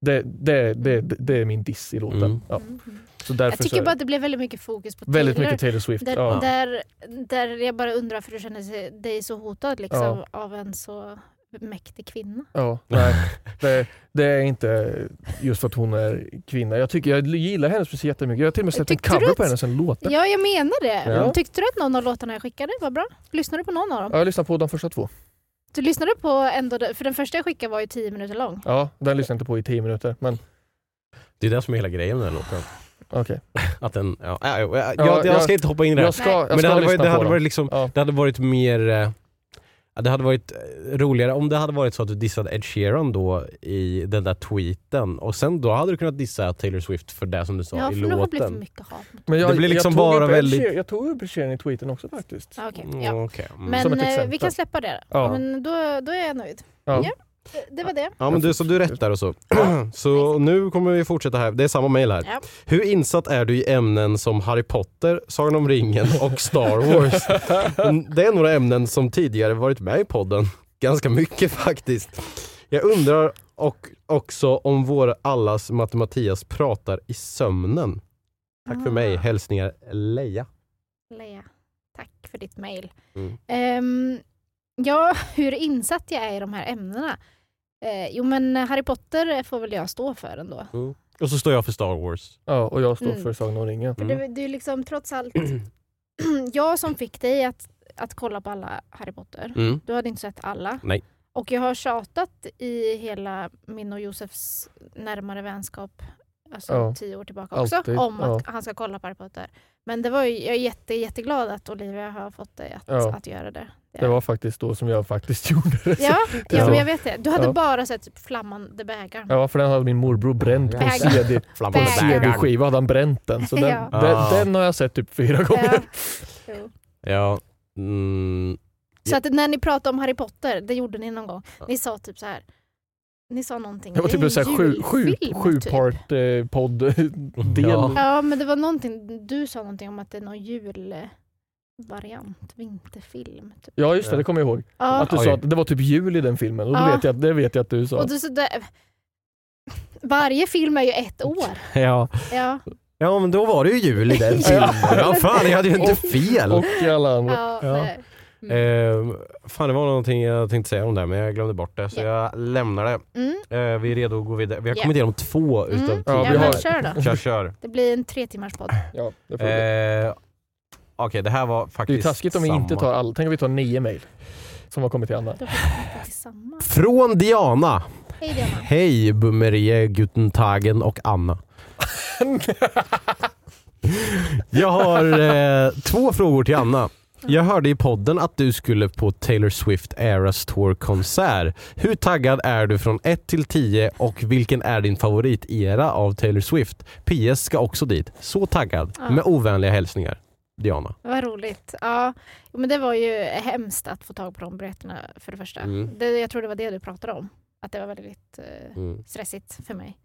[SPEAKER 5] Det, det, det, det är min diss i låten.
[SPEAKER 4] Mm.
[SPEAKER 5] Ja.
[SPEAKER 6] Mm. Mm.
[SPEAKER 5] Så därför
[SPEAKER 6] Jag
[SPEAKER 5] så är
[SPEAKER 6] tycker
[SPEAKER 5] det
[SPEAKER 6] bara att det blev väldigt mycket fokus på Taylor.
[SPEAKER 5] väldigt mycket Taylor Swift.
[SPEAKER 6] Där,
[SPEAKER 5] ja.
[SPEAKER 6] där, där jag bara undrar för du känner sig- dig så hotad liksom,
[SPEAKER 5] Ja.
[SPEAKER 6] av en så mäktig kvinna.
[SPEAKER 5] Ja, nej. Det, det är inte just för att hon är kvinna. Jag, tycker, jag gillar hennes musik jättemycket. Jag har till och med släppt en
[SPEAKER 6] Tyckte du
[SPEAKER 5] cover på
[SPEAKER 6] att-
[SPEAKER 5] hennes en låt. Ja,
[SPEAKER 6] Ja, jag menar det.
[SPEAKER 5] Ja.
[SPEAKER 6] Tyckte du att någon av låtarna jag skickade var bra? Lyssnade du på någon av dem?
[SPEAKER 5] jag lyssnade på de första två.
[SPEAKER 6] Du lyssnade på ändå, för den första jag skickade var ju tio minuter lång.
[SPEAKER 5] Ja, den lyssnade jag inte på i tio minuter. Men
[SPEAKER 4] Det är det som är hela grejen med den här låten.
[SPEAKER 5] okej.
[SPEAKER 4] Att den, ja, ja, jag, jag,
[SPEAKER 5] Ja,
[SPEAKER 4] jag
[SPEAKER 5] jag-
[SPEAKER 4] ska inte hoppa in i det här.
[SPEAKER 5] Jag ska, jag
[SPEAKER 4] Men det
[SPEAKER 5] ska
[SPEAKER 4] hade varit,
[SPEAKER 5] lyssna
[SPEAKER 4] det
[SPEAKER 5] på
[SPEAKER 4] hade
[SPEAKER 5] dem.
[SPEAKER 4] varit, liksom,
[SPEAKER 5] Ja.
[SPEAKER 4] det hade varit mer... eh, ja, Det hade varit eh, roligare om det hade varit så att du dissade Ed Sheeran då i den där tweeten och sen då hade du kunnat dissa Taylor Swift för det som du sa
[SPEAKER 6] Ja,
[SPEAKER 4] i
[SPEAKER 6] för nu har det blivit för
[SPEAKER 4] låten.
[SPEAKER 6] mycket hat.
[SPEAKER 5] Men jag,
[SPEAKER 4] Det blir liksom
[SPEAKER 5] jag tog
[SPEAKER 4] bara
[SPEAKER 5] upp Ed
[SPEAKER 4] väldigt-
[SPEAKER 5] Sheer- Jag tog upp Ed Sheeran i tweeten också faktiskt.
[SPEAKER 6] Ja, okej,
[SPEAKER 4] Mm,
[SPEAKER 6] ja.
[SPEAKER 4] okej. Mm.
[SPEAKER 5] Som
[SPEAKER 6] Men
[SPEAKER 5] ett
[SPEAKER 6] eh, vi
[SPEAKER 5] exempel.
[SPEAKER 6] kan släppa det.
[SPEAKER 5] Ja.
[SPEAKER 6] Men då, då är jag nöjd.
[SPEAKER 5] Ja.
[SPEAKER 6] Ja. Det- Det var det.
[SPEAKER 4] Ja men du, så du rättar och så. så nu kommer vi fortsätta här. Det är samma mejl här.
[SPEAKER 6] Ja.
[SPEAKER 4] Hur insatt är du i ämnen som Harry Potter, Sagan om ringen och Star Wars? Mm, Det är några ämnen som tidigare varit med i podden. Ganska mycket faktiskt. Jag undrar och också om vår allas Mattias pratar i sömnen. Tack för
[SPEAKER 6] Ah.
[SPEAKER 4] mig. Hälsningar Leia.
[SPEAKER 6] Leia, tack för ditt mejl.
[SPEAKER 4] Mm.
[SPEAKER 6] Ehm, ja, hur insatt jag är i de här ämnena? Eh, jo, men Harry Potter får väl jag stå för ändå.
[SPEAKER 4] Och så står jag för Star Wars.
[SPEAKER 5] Ja, och jag står
[SPEAKER 6] Mm.
[SPEAKER 5] för Sagan om ringen.
[SPEAKER 6] För det, det är ju liksom trots allt jag som fick dig att, att kolla på alla Harry Potter.
[SPEAKER 4] Mm.
[SPEAKER 6] Du hade inte sett alla.
[SPEAKER 4] Nej.
[SPEAKER 6] Och jag har tjatat i hela min och Josefs närmare vänskap, alltså
[SPEAKER 5] Ja.
[SPEAKER 6] tio år tillbaka också,
[SPEAKER 5] Alltid,
[SPEAKER 6] om att han ska kolla på Harry Potter. Men det var ju, jag är jätte, jätteglad att Olivia har fått dig att,
[SPEAKER 5] Ja.
[SPEAKER 6] att göra det.
[SPEAKER 5] Det var faktiskt då som jag faktiskt gjorde det.
[SPEAKER 6] Ja,
[SPEAKER 5] Det
[SPEAKER 6] ja
[SPEAKER 5] var-
[SPEAKER 6] men jag vet det. Du hade
[SPEAKER 5] Ja.
[SPEAKER 6] bara sett typ flammande bägaren.
[SPEAKER 5] Ja, för den hade min morbror bränt på
[SPEAKER 6] Bägaren.
[SPEAKER 5] CD. På
[SPEAKER 4] Flammande
[SPEAKER 6] Bägaren.
[SPEAKER 4] bägaren.
[SPEAKER 5] CD-skiva hade han bränt den. Så den,
[SPEAKER 6] Ja.
[SPEAKER 4] Ah.
[SPEAKER 5] den, den har jag sett typ fyra gånger.
[SPEAKER 6] Ja. Jo.
[SPEAKER 4] Ja. Mm.
[SPEAKER 6] Så att när ni pratade om Harry Potter, det gjorde ni någon gång. Ni sa typ så här. Ni sa någonting.
[SPEAKER 5] Det var typ en
[SPEAKER 6] är
[SPEAKER 5] sån här sju, sju,
[SPEAKER 6] julfilm, typ.
[SPEAKER 5] sjupart eh, podd-del.
[SPEAKER 4] Ja.
[SPEAKER 6] Ja, men det var någonting, du sa någonting om att det är någon julvariant, vinterfilm. Typ.
[SPEAKER 5] Ja just det,
[SPEAKER 4] Ja.
[SPEAKER 5] det kommer jag ihåg.
[SPEAKER 6] Ja,
[SPEAKER 5] Att du sa
[SPEAKER 4] Oj.
[SPEAKER 5] att det var typ jul i den filmen och då
[SPEAKER 6] Ja.
[SPEAKER 5] vet jag, att- det vet jag att du sa.
[SPEAKER 6] och du, så det, varje film är ju ett år.
[SPEAKER 4] Ja.
[SPEAKER 6] Ja,
[SPEAKER 4] Ja men då var det ju jul i den filmen. ja fan jag hade ju inte fel.
[SPEAKER 5] Och i alla andra.
[SPEAKER 6] ja,
[SPEAKER 4] Ja.
[SPEAKER 6] nej.
[SPEAKER 4] Eh, fan det var någonting jag tänkte säga om det här, men jag glömde bort det så jag lämnar det.
[SPEAKER 6] Mm.
[SPEAKER 4] Eh, vi är redo att gå vidare. Vi har
[SPEAKER 6] Ja.
[SPEAKER 4] kommit igenom två utav
[SPEAKER 6] Mm.
[SPEAKER 4] tio.
[SPEAKER 5] Ja,
[SPEAKER 6] Ja,
[SPEAKER 5] vi
[SPEAKER 6] men
[SPEAKER 5] har-
[SPEAKER 6] kör då.
[SPEAKER 4] Kör kör. Eh,
[SPEAKER 6] Det blir en tre timmars podd.
[SPEAKER 5] Ja, det, får vi.
[SPEAKER 4] Okej det här var
[SPEAKER 5] det är
[SPEAKER 4] faktiskt
[SPEAKER 5] ju taskigt om vi
[SPEAKER 4] samma.
[SPEAKER 5] inte tar alla. Tänk om vi tar nio mejl som har kommit till Anna.
[SPEAKER 6] Då får vi prata tillsammans.
[SPEAKER 4] Från Diana.
[SPEAKER 6] Hej Diana.
[SPEAKER 4] Hej Bumerie, Guten Tagen och Anna. Jag har eh, två frågor till Anna. Jag hörde i podden att du skulle på Taylor Swift Eras Tour-konsert. Hur taggad är du från 1 till 10 och vilken är din favoritera av Taylor Swift? PS ska också dit. Så taggad.
[SPEAKER 6] Ja.
[SPEAKER 4] Med ovänliga hälsningar. Diana.
[SPEAKER 6] Vad roligt. Ja, jo, men det var ju hemskt att få tag på de biljetterna för det första.
[SPEAKER 4] Mm.
[SPEAKER 6] Det, jag tror det var det du pratade om. Att det var väldigt eh, stressigt för mig.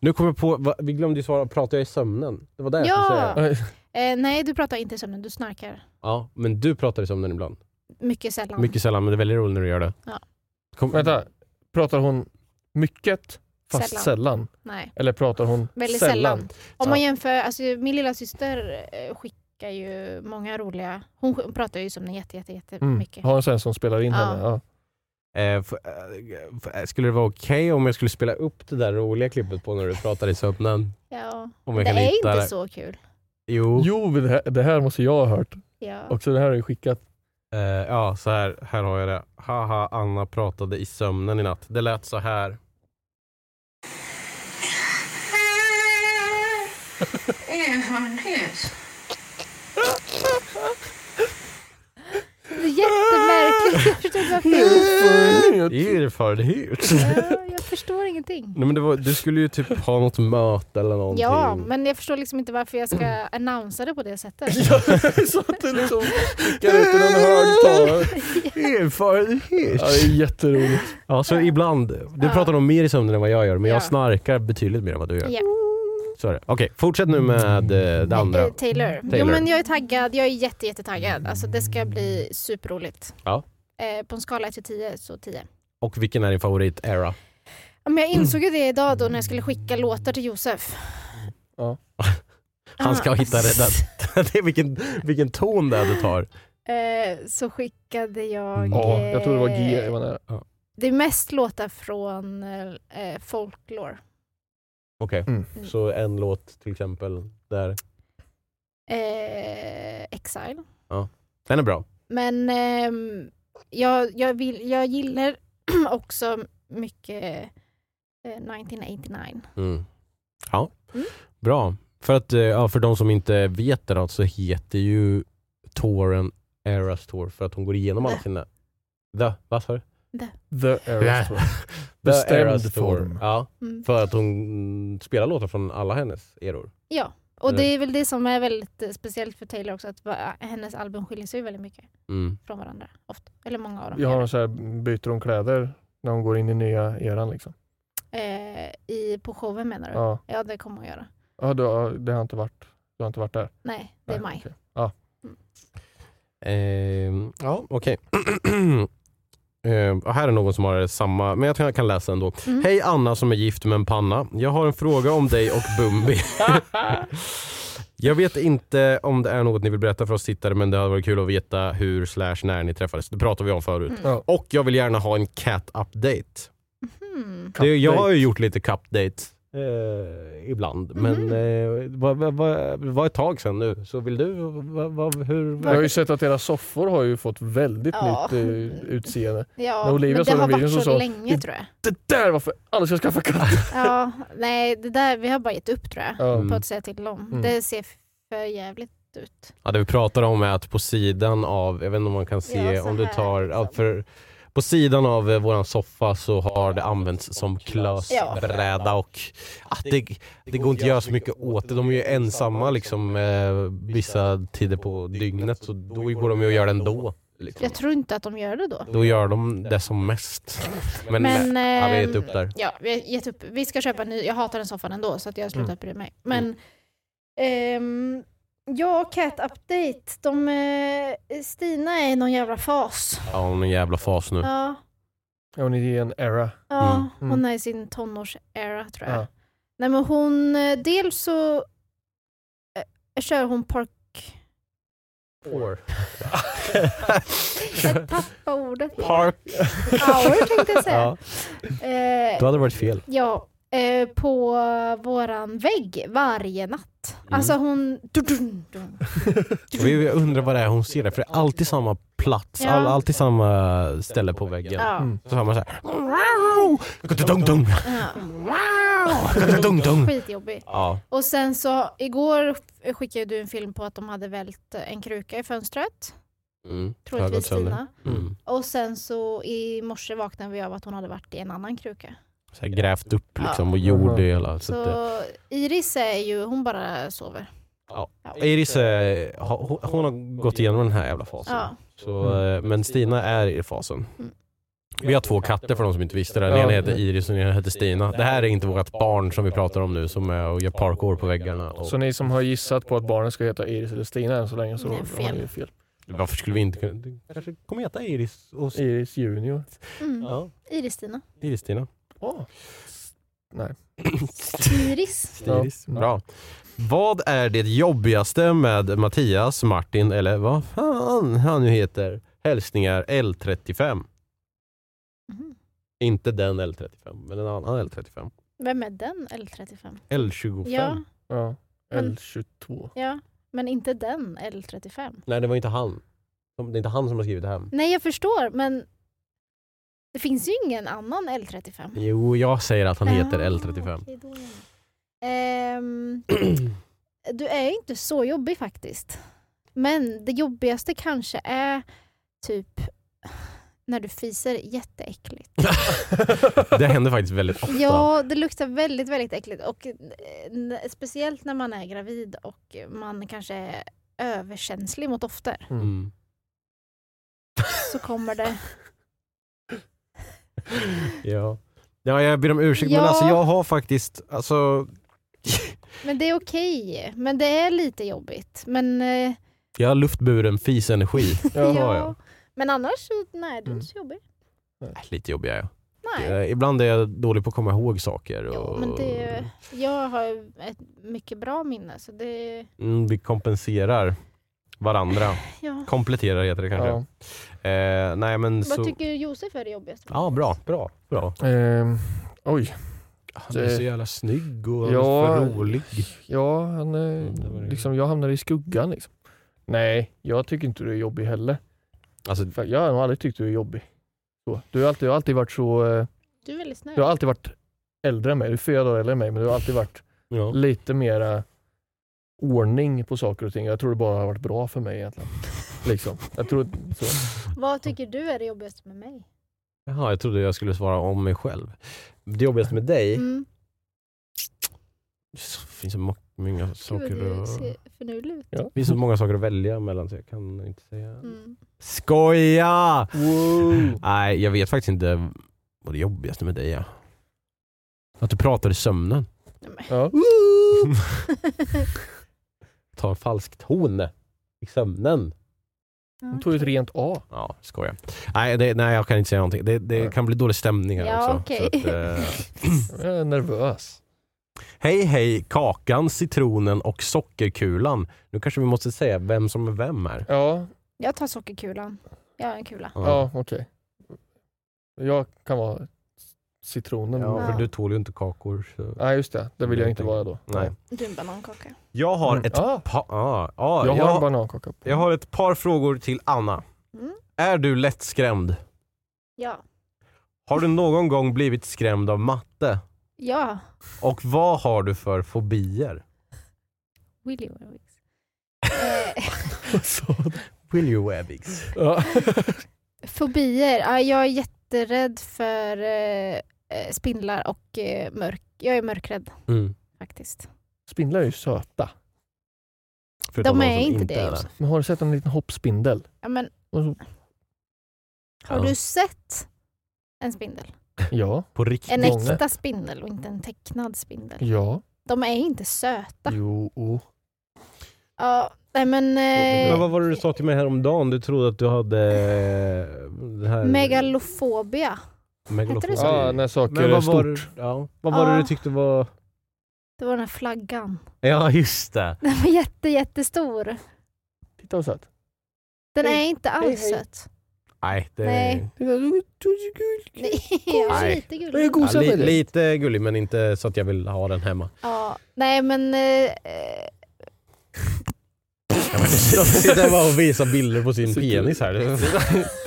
[SPEAKER 4] Nu kommer jag på, va, vi glömde ju svara, pratar jag i sömnen? Det var det jag skulle
[SPEAKER 6] Ja!
[SPEAKER 4] säga.
[SPEAKER 6] Eh, nej, du pratar inte i sömnen, du snarkar.
[SPEAKER 4] Ja, men du pratar i sömnen ibland.
[SPEAKER 6] Mycket sällan.
[SPEAKER 4] Mycket sällan, men det är väldigt roligt när du gör det.
[SPEAKER 6] Ja.
[SPEAKER 4] Kom,
[SPEAKER 5] Vänta, pratar hon mycket fast
[SPEAKER 6] Sällan.
[SPEAKER 5] sällan?
[SPEAKER 6] Nej,
[SPEAKER 5] Eller pratar hon
[SPEAKER 6] väldigt sällan. typ,
[SPEAKER 5] sällan?
[SPEAKER 6] Om man jämför, alltså, min lilla syster eh, skickar ju många roliga... Hon sk- pratar ju i sömnen jätte, jätte, jätte
[SPEAKER 5] Mm.
[SPEAKER 6] mycket.
[SPEAKER 5] Har en sån som spelar in
[SPEAKER 6] Ja.
[SPEAKER 5] henne? Ja.
[SPEAKER 4] Eh, f- eh, f- skulle det vara okej om jag skulle spela upp det där roliga klippet på när du pratar i sömnen?
[SPEAKER 6] Ja.
[SPEAKER 4] Om jag
[SPEAKER 6] Det
[SPEAKER 4] kan
[SPEAKER 6] är
[SPEAKER 4] hitta
[SPEAKER 6] inte
[SPEAKER 4] det.
[SPEAKER 6] så kul.
[SPEAKER 4] Jo.
[SPEAKER 5] Jo, det här, det här måste jag ha hört.
[SPEAKER 6] Ja.
[SPEAKER 5] Också det här har jag skickat.
[SPEAKER 4] Eh, ja, så här, här har jag det. Haha, Anna pratade i sömnen i natt. Det lät så här.
[SPEAKER 7] Erfarenhet.
[SPEAKER 6] Det är jättemärkligt. Jag förstår inte varför.
[SPEAKER 4] Erfarenhet.
[SPEAKER 6] Ja, jag förstår ingenting.
[SPEAKER 4] Nej, men det var, du skulle ju typ ha något möte eller någonting.
[SPEAKER 6] Ja, men jag förstår liksom inte varför jag ska annonsa det på det sättet.
[SPEAKER 5] så att det liksom skickar ut i någon högtalare.
[SPEAKER 4] Erfarenhet.
[SPEAKER 5] Ja, det är jätteroligt.
[SPEAKER 4] Ja, så ibland. Du
[SPEAKER 6] Ja.
[SPEAKER 4] pratar nog mer i sömnen än vad jag gör, men
[SPEAKER 6] Ja.
[SPEAKER 4] jag snarkar betydligt mer än vad du gör.
[SPEAKER 6] Ja.
[SPEAKER 4] Så är det. Okej, fortsätt nu med eh, det andra.
[SPEAKER 6] Eh, Taylor. Jo
[SPEAKER 4] Taylor.
[SPEAKER 6] men jag är taggad, jag är jätte, jättetaggad. Alltså det ska bli superroligt.
[SPEAKER 4] Ja.
[SPEAKER 6] Eh, på en skala 1 till 10 så 10.
[SPEAKER 4] Och vilken är din favorit-era?
[SPEAKER 6] Ja, Men jag insåg ju det idag då när jag skulle skicka låtar till Josef.
[SPEAKER 5] Ja.
[SPEAKER 4] Han ska
[SPEAKER 6] Ah.
[SPEAKER 4] hitta det där. det är vilken, vilken ton det är du tar.
[SPEAKER 6] Eh, så skickade jag... eh,
[SPEAKER 5] Ja, jag tror det var G jag var nära.
[SPEAKER 6] Det är mest låtar från eh, folklore.
[SPEAKER 4] Okej,
[SPEAKER 5] Mm.
[SPEAKER 4] så en låt till exempel där.
[SPEAKER 6] Mm. Eh, Exile.
[SPEAKER 4] Den är bra.
[SPEAKER 6] Men ehm, jag, jag, vill, jag gillar också mycket eh, 1989.
[SPEAKER 4] Mm. Ja,
[SPEAKER 6] Mm.
[SPEAKER 4] bra. För att eh, ja, för de som inte vet det då, så heter ju touren Eras Tour för att hon går igenom alla
[SPEAKER 6] The.
[SPEAKER 4] sina... The, vad sa du? Ja.
[SPEAKER 5] The Eras Tour.
[SPEAKER 4] The
[SPEAKER 5] Bestämd
[SPEAKER 4] Eras Tour.
[SPEAKER 5] form.
[SPEAKER 4] Ja,
[SPEAKER 6] Mm.
[SPEAKER 4] för att hon mm, spelar låtar från alla hennes eror.
[SPEAKER 6] Ja, och det är väl det som är väldigt eh, speciellt för Taylor också, att va- hennes album skiljer sig väldigt mycket
[SPEAKER 4] Mm.
[SPEAKER 6] från varandra. Ofta. Eller många av dem.
[SPEAKER 5] Jag
[SPEAKER 6] gör
[SPEAKER 5] har
[SPEAKER 6] det.
[SPEAKER 5] en så här, byter hon kläder när hon går in i nya eran liksom.
[SPEAKER 6] Eh, i, på showen menar du? Ja,
[SPEAKER 5] Ja,
[SPEAKER 6] det kommer hon göra.
[SPEAKER 5] ja det, har- det har inte varit. Du har inte varit där?
[SPEAKER 6] Nej, det är
[SPEAKER 5] Nej,
[SPEAKER 6] maj.
[SPEAKER 5] okej.
[SPEAKER 4] Ehm, ja, okej. Ehm, och här är någon som har samma, men jag tror jag kan läsa ändå.
[SPEAKER 6] Mm.
[SPEAKER 4] Hej Anna som är gift med en panna. Jag har en fråga om dig och Bumbi. jag vet inte om det är något ni vill berätta för oss tittare men det hade varit kul att veta hur slash när ni träffades. Det pratade vi om förut.
[SPEAKER 6] Mm.
[SPEAKER 5] Ja.
[SPEAKER 4] Och jag vill gärna ha en cat update.
[SPEAKER 6] Mhm.
[SPEAKER 4] Det, jag har
[SPEAKER 5] Update.
[SPEAKER 4] ju gjort lite cup date. Eh, ibland,
[SPEAKER 6] Mhm.
[SPEAKER 4] men eh, vad va, va, va ett tag sedan nu. Så vill du, va, va, hur?
[SPEAKER 5] Jag har ju sett att era soffor har ju fått väldigt
[SPEAKER 6] Ja.
[SPEAKER 5] nytt eh, utseende.
[SPEAKER 6] Ja,
[SPEAKER 5] När
[SPEAKER 6] men
[SPEAKER 5] Olivia
[SPEAKER 6] det
[SPEAKER 5] såg den
[SPEAKER 6] har
[SPEAKER 5] videon
[SPEAKER 6] varit så,
[SPEAKER 5] så sa-
[SPEAKER 6] länge tror jag.
[SPEAKER 5] Det där varför alla ska skaffa katt!
[SPEAKER 6] Ja, nej, det där, vi har bara gett upp tror jag.
[SPEAKER 5] Ja.
[SPEAKER 4] Mm.
[SPEAKER 6] På att säga till dem.
[SPEAKER 5] Mm.
[SPEAKER 6] Det ser för jävligt ut.
[SPEAKER 4] Ja, det vi pratar om är att på sidan av, jag vet inte om man kan se,
[SPEAKER 6] Ja, så
[SPEAKER 4] om du
[SPEAKER 6] här,
[SPEAKER 4] tar,
[SPEAKER 6] liksom.
[SPEAKER 4] ja, för, på sidan av eh, våran soffa så har det använts som
[SPEAKER 6] Ja.
[SPEAKER 4] klösbräda och ah, det, det går inte att göra så mycket åt det. De är ju ensamma liksom eh, vissa tider på dygnet så då går de ju och gör det ändå. Liksom.
[SPEAKER 6] Jag tror inte att de gör det då.
[SPEAKER 4] Då gör de det som mest. Men,
[SPEAKER 6] Men,
[SPEAKER 4] eh, ja, vi har gett
[SPEAKER 6] ehm,
[SPEAKER 4] upp där.
[SPEAKER 6] Ja, vi, har gett upp. vi ska köpa en ny. Jag hatar den soffan ändå så att jag har slutat
[SPEAKER 4] Mm.
[SPEAKER 6] bry mig. Men ehm, ja, Cat Update. De, eh, Stina är i någon jävla fas.
[SPEAKER 4] Ja, hon är en jävla fas nu.
[SPEAKER 6] Ja,
[SPEAKER 5] Ja, hon är i en era.
[SPEAKER 6] ja
[SPEAKER 4] Mm.
[SPEAKER 6] hon är i sin tonårs-era tror jag.
[SPEAKER 5] Ja.
[SPEAKER 6] Nej men hon, eh, dels så eh, kör hon park... Jag tappade ordet.
[SPEAKER 4] Park.
[SPEAKER 6] Hour tänkte jag säga.
[SPEAKER 4] Ja,
[SPEAKER 6] Eh,
[SPEAKER 4] då hade det varit fel.
[SPEAKER 6] Ja, eh, på våran vägg varje natt.
[SPEAKER 4] Mm.
[SPEAKER 6] Alltså hon... Dun, dun, dun.
[SPEAKER 4] Vi jag undrar vad det är hon ser där, för det är alltid samma plats,
[SPEAKER 6] Ja.
[SPEAKER 4] all, alltid samma ställe på väggen.
[SPEAKER 6] Ja.
[SPEAKER 5] Mm.
[SPEAKER 4] Så hör man så här. Wow! Dung-dung.
[SPEAKER 6] Ja,
[SPEAKER 4] Mm. Dung-dung.
[SPEAKER 6] skitjobbig.
[SPEAKER 4] Ja.
[SPEAKER 6] Och sen så, igår skickade du en film på att de hade vält en kruka i fönstret.
[SPEAKER 4] Mm.
[SPEAKER 6] Troligtvis Stina.
[SPEAKER 4] Mm.
[SPEAKER 6] Och sen så i morse vaknade vi av att hon hade varit i en annan kruka.
[SPEAKER 4] Så här grävt upp liksom
[SPEAKER 6] Ja.
[SPEAKER 4] och gjort det hela. Så
[SPEAKER 6] Så,
[SPEAKER 4] att, eh,
[SPEAKER 6] Iris är ju, hon bara sover.
[SPEAKER 4] Iris eh, ha- hon, hon har gått igenom den här jävla fasen.
[SPEAKER 6] Ja.
[SPEAKER 4] Så, eh, men Stina är i fasen.
[SPEAKER 6] Mm.
[SPEAKER 4] Vi har två katter för de som inte visste det. Den
[SPEAKER 5] Ja.
[SPEAKER 4] ena heter Iris och den ena heter Stina. Det här är inte vårt barn som vi pratar om nu som är och gör parkour på väggarna. Och,
[SPEAKER 5] Så ni som har gissat på att barnen ska heta Iris eller Stina än så länge så
[SPEAKER 6] Det är
[SPEAKER 5] har ni ju fel.
[SPEAKER 4] varför skulle vi inte kunna... Det kanske kommer heta Iris och... S-
[SPEAKER 5] Iris Junior.
[SPEAKER 6] Mm.
[SPEAKER 4] Ja,
[SPEAKER 6] Iris-Stina.
[SPEAKER 4] Iris-Stina.
[SPEAKER 5] Oh.
[SPEAKER 6] Iris.
[SPEAKER 4] Iris. mm.
[SPEAKER 5] Ja. Mm.
[SPEAKER 4] Bra. Vad är det jobbigaste med Mattias, Martin eller vad fan han nu heter? Hälsningar L35.
[SPEAKER 6] Mhm.
[SPEAKER 4] Inte den L35, men en annan L35.
[SPEAKER 6] Vem är den L35?
[SPEAKER 4] L25.
[SPEAKER 6] Ja,
[SPEAKER 5] Ja.
[SPEAKER 6] Men-
[SPEAKER 5] L22.
[SPEAKER 6] ja, men inte den L35.
[SPEAKER 4] Nej, det var inte han. Det är inte han som har skrivit det här.
[SPEAKER 6] Nej, jag förstår, men det finns ju ingen annan L35.
[SPEAKER 4] Jo, jag säger att han heter
[SPEAKER 6] Ah,
[SPEAKER 4] L35.
[SPEAKER 6] okej, då är det. Ehm, du är inte så jobbig faktiskt. Men det jobbigaste kanske är typ när du fiser jätteäckligt.
[SPEAKER 4] det händer faktiskt väldigt ofta.
[SPEAKER 6] Ja, det luktar väldigt, väldigt äckligt. Och eh, n- speciellt när man är gravid och man kanske är överkänslig mot dofter
[SPEAKER 4] Mm.
[SPEAKER 6] så kommer det...
[SPEAKER 4] ja. ja, jag ber om ursäkt, men
[SPEAKER 6] Ja.
[SPEAKER 4] alltså jag har faktiskt... Alltså,
[SPEAKER 6] Men det är okej. Men det är lite jobbigt. Men, eh,
[SPEAKER 4] jag har luftburen fisenergi.
[SPEAKER 5] Jaha,
[SPEAKER 4] ja.
[SPEAKER 6] men annars så, nej, du är
[SPEAKER 5] Mm.
[SPEAKER 6] inte så jobbig.
[SPEAKER 4] Äh, Lite jobbig är jag.
[SPEAKER 6] Nej.
[SPEAKER 4] Eh, Ibland är jag dålig på att komma ihåg saker. Och...
[SPEAKER 6] Jo, men det, jag har ju ett mycket bra minne så det...
[SPEAKER 4] mm, vi kompenserar varandra.
[SPEAKER 6] Ja.
[SPEAKER 4] Kompletterar heter det kanske.
[SPEAKER 5] Ja.
[SPEAKER 4] Eh, nej, men
[SPEAKER 6] Vad
[SPEAKER 4] så...
[SPEAKER 6] tycker Josef är det jobbigaste?
[SPEAKER 4] Ja, bra. bra, bra.
[SPEAKER 5] Ehm, oj.
[SPEAKER 4] Han är
[SPEAKER 5] Det-
[SPEAKER 4] så jävla snygg och
[SPEAKER 5] Ja.
[SPEAKER 4] för rolig.
[SPEAKER 5] Ja, han eh,
[SPEAKER 4] Mm, det var det.
[SPEAKER 5] liksom, jag hamnade i skuggan liksom. Nej, jag tycker inte du är jobbig heller.
[SPEAKER 4] Alltså,
[SPEAKER 5] För Jag har nog aldrig tyckt du är jobbig. Så. Du, har alltid, du har alltid varit så... eh,
[SPEAKER 6] Du är väldigt snäll.
[SPEAKER 5] Du har alltid varit äldre än mig. Du är fyra dagar äldre än mig, men du har alltid varit
[SPEAKER 4] ja.
[SPEAKER 5] lite mera ordning på saker och ting. Jag tror det bara har varit bra för mig egentligen. Liksom. Jag tror, så.
[SPEAKER 6] Vad tycker du är det jobbigaste med mig?
[SPEAKER 4] Jaha, jag trodde jag skulle svara om mig själv. Det jobbigaste med dig?
[SPEAKER 6] Mm.
[SPEAKER 4] Det finns så mo- många saker,
[SPEAKER 6] Gud, vad du
[SPEAKER 4] att...
[SPEAKER 6] ser finurlig ut.
[SPEAKER 4] det finns så många saker att välja mellan så jag kan inte säga.
[SPEAKER 6] Mm.
[SPEAKER 4] Skoja!
[SPEAKER 5] Wow.
[SPEAKER 4] Nej, jag vet faktiskt inte vad det jobbigaste med dig är. Att du pratar i sömnen.
[SPEAKER 5] Ja.
[SPEAKER 4] Ta en falsk ton i sömnen.
[SPEAKER 5] Hon tog ett rent A.
[SPEAKER 4] Ja, skoja. Nej, det, nej jag kan inte säga någonting. Det, det kan bli dålig stämning här
[SPEAKER 6] Ja,
[SPEAKER 4] också.
[SPEAKER 6] okej.
[SPEAKER 4] Så att, eh,
[SPEAKER 5] Jag är nervös.
[SPEAKER 4] hej hej, kakan, citronen och sockerkulan. Nu kanske vi måste säga vem som är vem här.
[SPEAKER 5] Ja,
[SPEAKER 6] Jag tar sockerkulan. Jag har en kula.
[SPEAKER 5] ja okej. Jag kan vara citronen.
[SPEAKER 4] Ja,
[SPEAKER 6] Ja.
[SPEAKER 4] för du tål ju inte kakor. Så.
[SPEAKER 5] Nej, just det. Det vill jag inte vara då.
[SPEAKER 4] Nej.
[SPEAKER 6] Du är en banankaka.
[SPEAKER 4] Jag har
[SPEAKER 5] Mm.
[SPEAKER 4] ett
[SPEAKER 5] Ah,
[SPEAKER 4] par... Ah, ah,
[SPEAKER 5] jag
[SPEAKER 4] jag,
[SPEAKER 5] har en
[SPEAKER 4] jag,
[SPEAKER 5] banankaka på.
[SPEAKER 4] har ett par frågor till Anna.
[SPEAKER 6] Mm.
[SPEAKER 4] Är du lättskrämd?
[SPEAKER 6] Ja.
[SPEAKER 4] Har du någon gång blivit skrämd av matte?
[SPEAKER 6] Ja.
[SPEAKER 4] Och vad har du för fobier?
[SPEAKER 6] Willy Warwicks. Eh,
[SPEAKER 4] Will you Webbix?
[SPEAKER 5] Ja.
[SPEAKER 6] Fobier. Ja, jag är jätterädd för eh, eh, spindlar och eh, mörk. Jag är mörkrädd
[SPEAKER 4] Mm.
[SPEAKER 6] faktiskt.
[SPEAKER 5] Spindlar är ju söta.
[SPEAKER 4] Förutom
[SPEAKER 6] De
[SPEAKER 4] någon
[SPEAKER 6] är
[SPEAKER 4] som
[SPEAKER 6] inte det,
[SPEAKER 4] är
[SPEAKER 6] Josef.
[SPEAKER 5] Men har du sett en liten hoppspindel?
[SPEAKER 6] Ja, men,
[SPEAKER 5] Och så-
[SPEAKER 6] har
[SPEAKER 4] Ja.
[SPEAKER 6] du sett en spindel?
[SPEAKER 5] Ja.
[SPEAKER 4] På riktigt?
[SPEAKER 6] En
[SPEAKER 5] Gånger.
[SPEAKER 6] äkta spindel och inte en tecknad spindel.
[SPEAKER 5] Ja.
[SPEAKER 6] De är inte söta.
[SPEAKER 5] Jo. oh.
[SPEAKER 6] Ja, nej men...
[SPEAKER 4] Men
[SPEAKER 6] Eh,
[SPEAKER 4] vad var det du sa till mig häromdagen? Du trodde att du hade... eh, Det här...
[SPEAKER 6] megalofobia.
[SPEAKER 4] Megalofobi.
[SPEAKER 6] Heter det så?
[SPEAKER 5] Ja, när saker
[SPEAKER 4] Men
[SPEAKER 5] är
[SPEAKER 4] vad var,
[SPEAKER 5] stort.
[SPEAKER 4] det- ja, vad var det
[SPEAKER 6] Ja.
[SPEAKER 4] du tyckte var...
[SPEAKER 6] Det var den här flaggan.
[SPEAKER 4] Ja, just det.
[SPEAKER 6] Den var jätte, jättestor.
[SPEAKER 5] Titta vad söt.
[SPEAKER 6] Den är inte
[SPEAKER 5] hej,
[SPEAKER 6] alls
[SPEAKER 5] hej.
[SPEAKER 6] söt.
[SPEAKER 4] Nej, det
[SPEAKER 6] Nej. Nej, jag är
[SPEAKER 4] Nej.
[SPEAKER 6] lite
[SPEAKER 5] Jag är
[SPEAKER 6] gullig.
[SPEAKER 5] god.
[SPEAKER 4] Ja,
[SPEAKER 5] Gosar
[SPEAKER 4] li,
[SPEAKER 5] med dig.
[SPEAKER 4] lite gullig men inte så att jag vill ha den hemma.
[SPEAKER 6] Ja, nej men... eh, eh,
[SPEAKER 4] Sitter bara och visar bilder på sin
[SPEAKER 5] Sitter-
[SPEAKER 4] penis här.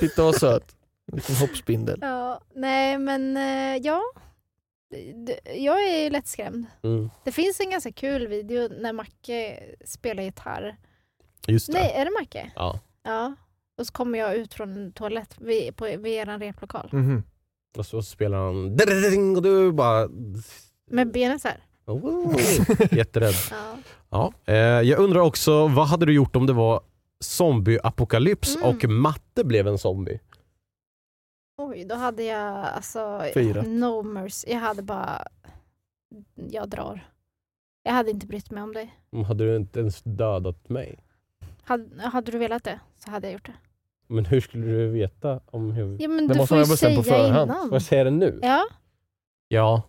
[SPEAKER 5] Titta vad söt. En liten hoppspindel.
[SPEAKER 6] Ja, nej men eh, ja. D- Jag är lättskrämd.
[SPEAKER 4] Mm.
[SPEAKER 6] Det finns en ganska kul video när Macke spelar gitarr.
[SPEAKER 4] Just det.
[SPEAKER 6] Nej, är det Macke?
[SPEAKER 4] Ja.
[SPEAKER 6] Ja. Och så kommer jag ut från en toalett vid, på, vid er replokal.
[SPEAKER 5] Mhm.
[SPEAKER 4] Och så spelar han "Drrrring" och du bara...
[SPEAKER 5] Mm.
[SPEAKER 6] Med benen så här.
[SPEAKER 4] Oh, jätterädd.
[SPEAKER 6] Ja.
[SPEAKER 4] Ja. Eh, jag undrar också, vad hade du gjort om det var zombieapokalyps
[SPEAKER 6] Mm.
[SPEAKER 4] och matte blev en zombie?
[SPEAKER 6] Oj, då hade jag alltså
[SPEAKER 5] Fyra.
[SPEAKER 6] no mercy. Jag hade bara... Jag drar. Jag hade inte brytt mig om dig.
[SPEAKER 4] Mm, Hade du inte ens dödat mig?
[SPEAKER 6] Hade, hade du velat det så hade jag gjort det.
[SPEAKER 4] Men hur skulle du veta om hur...
[SPEAKER 6] Ja, men
[SPEAKER 5] Det
[SPEAKER 6] du
[SPEAKER 5] måste
[SPEAKER 6] får
[SPEAKER 5] man
[SPEAKER 6] ju
[SPEAKER 5] ha bestämt på
[SPEAKER 6] säga
[SPEAKER 5] förhand.
[SPEAKER 6] innan.
[SPEAKER 4] Får jag säga det nu?
[SPEAKER 6] Ja,
[SPEAKER 4] Ja.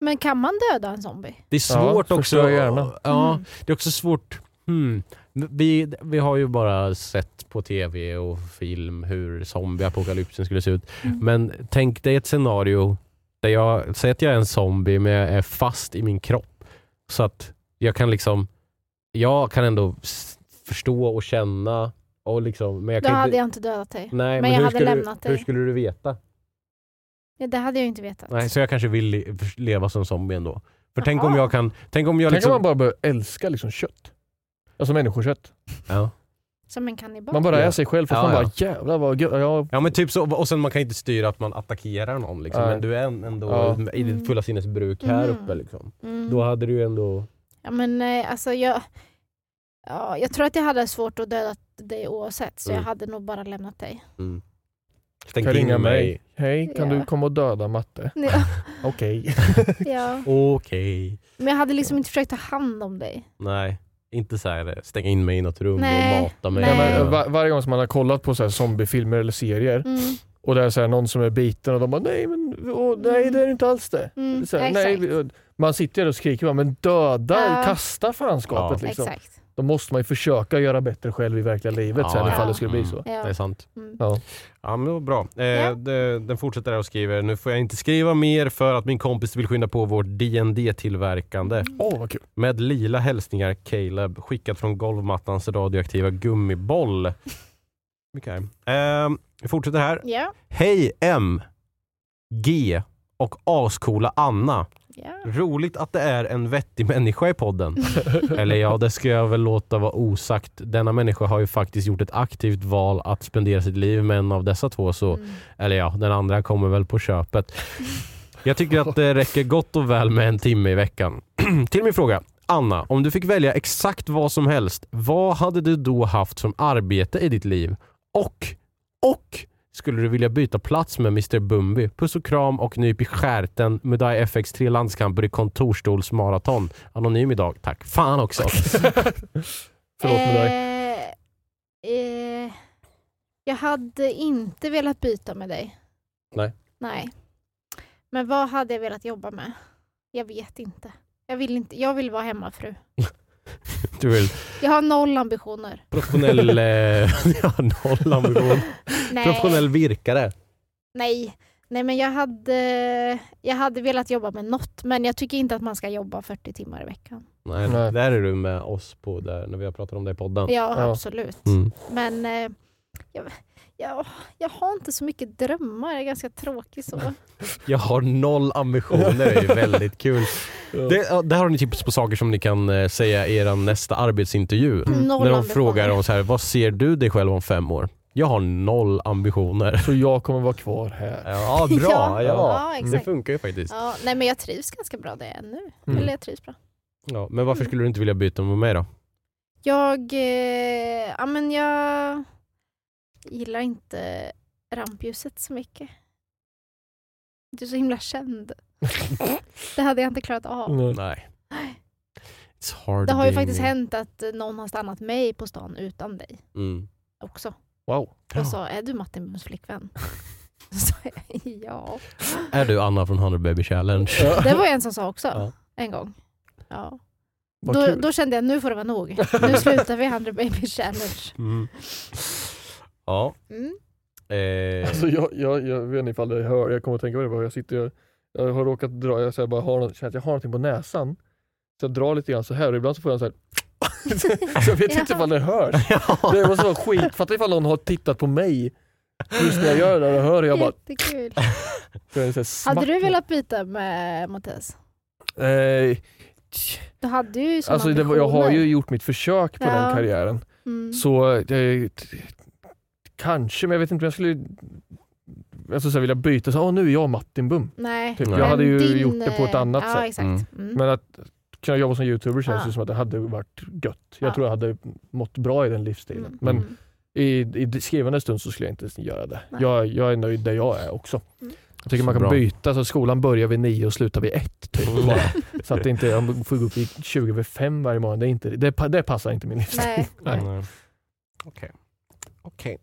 [SPEAKER 6] men kan man döda en zombie?
[SPEAKER 4] Det är svårt
[SPEAKER 5] Ja,
[SPEAKER 4] också.
[SPEAKER 5] förstår jag gärna.
[SPEAKER 4] Ja,
[SPEAKER 6] Mm.
[SPEAKER 4] Det är också svårt. Hmm. Vi, vi har ju bara sett på tv och film hur zombieapokalypsen skulle se ut.
[SPEAKER 6] Mm.
[SPEAKER 4] Men tänk dig ett scenario där jag, säg att jag är en zombie men jag är fast i min kropp. Så att jag kan liksom, jag kan ändå s- förstå och känna och liksom, men jag
[SPEAKER 6] Då
[SPEAKER 4] kan
[SPEAKER 6] hade
[SPEAKER 4] inte,
[SPEAKER 6] jag inte dödat dig.
[SPEAKER 4] nej,
[SPEAKER 6] men jag
[SPEAKER 4] hur
[SPEAKER 6] hade
[SPEAKER 4] skulle
[SPEAKER 6] lämnat
[SPEAKER 4] du,
[SPEAKER 6] dig.
[SPEAKER 4] Hur skulle du veta?
[SPEAKER 6] Ja, det hade jag ju inte vetat.
[SPEAKER 4] Nej, så jag kanske vill le- leva som zombie ändå. För tänk om
[SPEAKER 6] Jaha.
[SPEAKER 4] jag kan, tänk om jag
[SPEAKER 5] Tänk
[SPEAKER 4] liksom...
[SPEAKER 5] om man bara börjar älska liksom kött. Alltså människokött.
[SPEAKER 4] ja.
[SPEAKER 6] Som en kannibal.
[SPEAKER 5] Man bara
[SPEAKER 4] Ja.
[SPEAKER 5] är sig själv fast
[SPEAKER 4] Ja,
[SPEAKER 5] man bara
[SPEAKER 4] ja.
[SPEAKER 5] jävlar vad gött. Ja,
[SPEAKER 4] Ja men typ så, och sen man kan inte styra att man attackerar någon liksom.
[SPEAKER 5] Nej.
[SPEAKER 4] Men du är en- ändå
[SPEAKER 5] Ja.
[SPEAKER 4] i ditt fulla sinnesbruk här
[SPEAKER 6] Mm.
[SPEAKER 4] uppe liksom.
[SPEAKER 6] Mm.
[SPEAKER 4] Då hade du ju ändå...
[SPEAKER 6] Ja, men eh, alltså jag... Ja, jag tror att jag hade svårt att döda dig oavsett, så
[SPEAKER 4] Mm.
[SPEAKER 6] jag hade nog bara lämnat dig.
[SPEAKER 4] Stängt
[SPEAKER 5] kan
[SPEAKER 4] in
[SPEAKER 5] ringa mig. Hej, kan
[SPEAKER 6] Ja.
[SPEAKER 5] du komma och döda matte?
[SPEAKER 6] Ja,
[SPEAKER 5] Okej.
[SPEAKER 6] ja.
[SPEAKER 4] Okej.
[SPEAKER 6] Men jag hade liksom inte försökt ta hand om dig.
[SPEAKER 4] Nej, inte så här stänga in mig i något rum
[SPEAKER 6] Nej,
[SPEAKER 4] och mata mig.
[SPEAKER 5] Ja,
[SPEAKER 6] Nej.
[SPEAKER 5] men var, varje gång som man har kollat på så här zombiefilmer eller serier
[SPEAKER 6] Mm.
[SPEAKER 5] och det är så här någon som är biten och de bara nej, men, åh, nej det är inte alls det.
[SPEAKER 6] Mm.
[SPEAKER 5] Så här,
[SPEAKER 6] ja,
[SPEAKER 5] nej,
[SPEAKER 6] exakt.
[SPEAKER 5] vi- man sitter ju där och skriker bara, men döda,
[SPEAKER 6] Ja.
[SPEAKER 5] kasta fanskapet
[SPEAKER 4] Ja.
[SPEAKER 5] liksom.
[SPEAKER 6] Exakt.
[SPEAKER 5] Då måste man ju försöka göra bättre själv i verkliga livet
[SPEAKER 4] Ja,
[SPEAKER 5] sen
[SPEAKER 4] ja.
[SPEAKER 5] ifall det skulle bli så.
[SPEAKER 4] Det är
[SPEAKER 6] Ja.
[SPEAKER 4] sant.
[SPEAKER 6] Mm.
[SPEAKER 5] Ja.
[SPEAKER 4] Ja men det var bra. Eh,
[SPEAKER 6] Ja.
[SPEAKER 4] det- Den fortsätter där och skriver, nu får jag inte skriva mer för att min kompis vill skynda på vårt dd tillverkande
[SPEAKER 5] Åh vad kul.
[SPEAKER 4] Med lila hälsningar Caleb, skickat från golvmattans radioaktiva gummiboll. Okej. Eh, vi fortsätter här.
[SPEAKER 6] Ja.
[SPEAKER 4] Hej M, G och ascoola Anna.
[SPEAKER 6] Ja.
[SPEAKER 4] Roligt att det är en vettig människa i podden. Eller ja, det ska jag väl låta vara osagt. Denna människa har ju faktiskt gjort ett aktivt val att spendera sitt liv med en av dessa två. Så,
[SPEAKER 6] Mm.
[SPEAKER 4] Eller ja, den andra kommer väl på köpet. Jag tycker att det räcker gott och väl med en timme i veckan. Till min fråga. Anna, om du fick välja exakt vad som helst, vad hade du då haft som arbete i ditt liv? Och, och skulle du vilja byta plats med Mr Bumby? Puss och kram och nyp i stjärten. Mudai FX3 landskamper i kontorstolsmaraton. Anonym idag. Tack. Fan också.
[SPEAKER 5] Förlåt med dig.
[SPEAKER 6] Eh, eh, jag hade inte velat byta med dig.
[SPEAKER 4] Nej.
[SPEAKER 6] Nej. Men vad hade jag velat jobba med? Jag vet inte. Jag vill, inte, jag vill vara hemmafru.
[SPEAKER 4] Du vill
[SPEAKER 6] Jag har noll ambitioner.
[SPEAKER 4] professionell... eh, ja, noll ambition.
[SPEAKER 6] Nej.
[SPEAKER 4] Professionell virkare.
[SPEAKER 6] Nej. Nej men jag hade, jag hade velat jobba med något men jag tycker inte att man ska jobba 40 timmar i veckan.
[SPEAKER 4] Nej,
[SPEAKER 5] Nej.
[SPEAKER 4] där är du med oss på där, när vi har pratat om det i podden.
[SPEAKER 6] Ja,
[SPEAKER 5] Ja.
[SPEAKER 6] absolut.
[SPEAKER 4] Mm.
[SPEAKER 6] Men eh, jag, jag, jag har inte så mycket drömmar, jag är ganska tråkig så.
[SPEAKER 4] Mm. Jag har noll ambitioner, det är ju väldigt kul. Det, ja, där har ni tips på saker som ni kan eh, säga i er nästa arbetsintervju.
[SPEAKER 6] Noll
[SPEAKER 4] när de
[SPEAKER 6] ambitioner.
[SPEAKER 4] frågar om så här, vad ser du dig själv om fem år? Jag har noll ambitioner.
[SPEAKER 5] Så jag kommer vara kvar här.
[SPEAKER 4] Ja, bra. ja,
[SPEAKER 6] ja,
[SPEAKER 4] Det
[SPEAKER 6] exakt.
[SPEAKER 4] funkar ju faktiskt.
[SPEAKER 6] Ja, nej men jag trivs ganska bra där jag är nu.
[SPEAKER 5] Mm.
[SPEAKER 6] Eller jag trivs bra.
[SPEAKER 4] Ja, men varför skulle du inte vilja byta med mig då?
[SPEAKER 6] Jag, eh, ja men jag gillar inte rampljuset så mycket. Du är så himla känd. Det hade jag inte klarat av.
[SPEAKER 5] Mm.
[SPEAKER 4] Nej. It's hard
[SPEAKER 6] Det har ju
[SPEAKER 4] being
[SPEAKER 6] faktiskt
[SPEAKER 4] me.
[SPEAKER 6] hänt att någon har stannat mig på stan utan dig
[SPEAKER 4] Mm.
[SPEAKER 6] också.
[SPEAKER 5] Wow.
[SPEAKER 6] Och sa, är du Martin Bums flickvän? Så jag, ja.
[SPEAKER 4] Är du Anna från 100 Baby Challenge?
[SPEAKER 6] Det var ju en som sa också
[SPEAKER 4] Ja.
[SPEAKER 6] en gång. Ja.
[SPEAKER 5] Vad
[SPEAKER 6] Då,
[SPEAKER 5] kul.
[SPEAKER 6] då kände jag nu får det vara nog. Nu slutar vi 100 baby challenge.
[SPEAKER 4] Mm. Ja.
[SPEAKER 6] Mm.
[SPEAKER 4] Eh,
[SPEAKER 5] Alltså jag, jag, jag vet inte ifall det hör, jag kommer att tänka på det bara. Jag sitter jag, jag har råkat dra, jag så här bara har, något- känner att jag har någonting på näsan. Så jag drar lite grann så här och ibland så får jag en så här. så jag vet inte
[SPEAKER 6] Ja.
[SPEAKER 5] ifall det hörs.
[SPEAKER 4] ja.
[SPEAKER 5] Det måste vara skit, fatta ifall någon har tittat på mig Just när jag gör det där och hör jag bara...
[SPEAKER 6] Jättekul.
[SPEAKER 5] får en sån här
[SPEAKER 6] Hade du
[SPEAKER 5] smack.
[SPEAKER 6] velat byta med Mattias?
[SPEAKER 5] Eh,
[SPEAKER 6] Du hade ju såna
[SPEAKER 5] alltså det, var- jag har ju
[SPEAKER 6] ambitioner.
[SPEAKER 5] gjort mitt försök på
[SPEAKER 6] Ja.
[SPEAKER 5] den karriären.
[SPEAKER 6] Mm.
[SPEAKER 5] Så eh, t- kanske, men jag vet inte om jag skulle alltså, så här, vilja byta. Så, "Åh, nu är jag Martin Bum.
[SPEAKER 6] Nej.
[SPEAKER 5] Typ.
[SPEAKER 4] Nej.
[SPEAKER 5] Jag hade ju
[SPEAKER 6] Men din,
[SPEAKER 5] gjort det på ett
[SPEAKER 6] eh,
[SPEAKER 5] annat
[SPEAKER 6] ja,
[SPEAKER 5] sätt.
[SPEAKER 6] Exakt.
[SPEAKER 4] Mm.
[SPEAKER 6] Mm.
[SPEAKER 5] Men att kunna jobba som youtuber känns
[SPEAKER 6] Ja.
[SPEAKER 5] ju som att det hade varit gött. Jag
[SPEAKER 6] Ja.
[SPEAKER 5] tror jag hade mått bra i den livsstilen.
[SPEAKER 6] Mm.
[SPEAKER 5] Men
[SPEAKER 6] Mm.
[SPEAKER 5] i, i skrivande stund så skulle jag inte göra det.
[SPEAKER 6] Nej.
[SPEAKER 5] Jag, jag är nöjd där jag är också.
[SPEAKER 6] Mm.
[SPEAKER 5] Jag tycker
[SPEAKER 4] Så
[SPEAKER 5] man kan
[SPEAKER 4] bra.
[SPEAKER 5] byta, så skolan börjar vid nio och slutar vid ett. Typ, bara. Så att det inte, jag får gå upp vid 20 över fem varje morgon. Det, är inte, det, pa- det passar inte min livsstil.
[SPEAKER 6] Nej. Mm.
[SPEAKER 5] Nej.
[SPEAKER 4] Nej. Okej. Okej.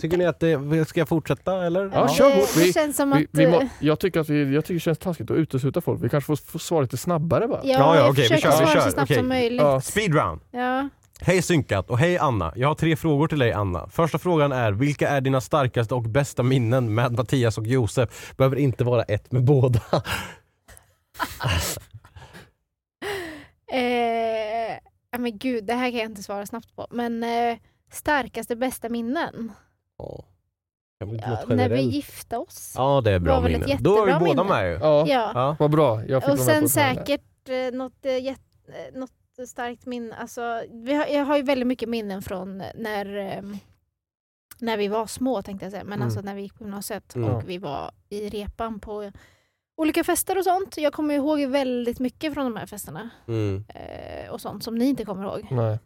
[SPEAKER 4] Tycker ni att det, ska jag fortsätta eller?
[SPEAKER 5] Ja, kör hårt.
[SPEAKER 6] Det
[SPEAKER 5] Vi-
[SPEAKER 6] känns som att...
[SPEAKER 5] Vi, vi må,
[SPEAKER 6] eh,
[SPEAKER 5] jag, tycker att vi, jag tycker det känns taskigt att utesluta folk. Vi kanske får, får svara lite snabbare bara.
[SPEAKER 6] Ja,
[SPEAKER 4] ja,
[SPEAKER 6] jag
[SPEAKER 4] okej, vi
[SPEAKER 6] försöker
[SPEAKER 4] kör, vi
[SPEAKER 6] svara
[SPEAKER 4] kör.
[SPEAKER 6] så snabbt
[SPEAKER 4] Okej.
[SPEAKER 6] som möjligt.
[SPEAKER 5] Ja.
[SPEAKER 4] Speed round.
[SPEAKER 6] Ja.
[SPEAKER 4] Hej Synkat och hej Anna. Jag har tre frågor till dig Anna. Första frågan är, vilka är dina starkaste och bästa minnen med Mattias och Josef? Behöver inte vara ett med båda.
[SPEAKER 6] Eh, ja, men gud, det här kan jag inte svara snabbt på. Men eh, starkaste, bästa minnen?
[SPEAKER 4] Ja. Kan vi inte
[SPEAKER 6] Ja,
[SPEAKER 4] något
[SPEAKER 6] när vi
[SPEAKER 4] generellt?
[SPEAKER 6] gifte oss.
[SPEAKER 4] Ja, det är bra
[SPEAKER 6] var väl ett
[SPEAKER 4] minnen. Då är vi
[SPEAKER 6] jättebra
[SPEAKER 4] båda
[SPEAKER 6] minne.
[SPEAKER 4] med ju.
[SPEAKER 5] Ja,
[SPEAKER 6] Ja.
[SPEAKER 4] Ja.
[SPEAKER 5] vad bra. Jag fick
[SPEAKER 6] Och
[SPEAKER 5] vara med på
[SPEAKER 6] sen
[SPEAKER 5] ett hörn där.
[SPEAKER 6] säkert eh, något, eh, jätt, eh, något starkt minne. Alltså, vi har, jag har ju väldigt mycket minnen från när, eh, när vi var små, tänkte jag säga. Men
[SPEAKER 5] Mm.
[SPEAKER 6] alltså när vi gick på gymnasiet
[SPEAKER 4] Mm.
[SPEAKER 6] och vi var i repan på olika fester och sånt. Jag kommer ihåg väldigt mycket från de här festerna
[SPEAKER 4] Mm.
[SPEAKER 6] eh, och sånt som ni inte kommer ihåg. Eh,
[SPEAKER 5] Nej,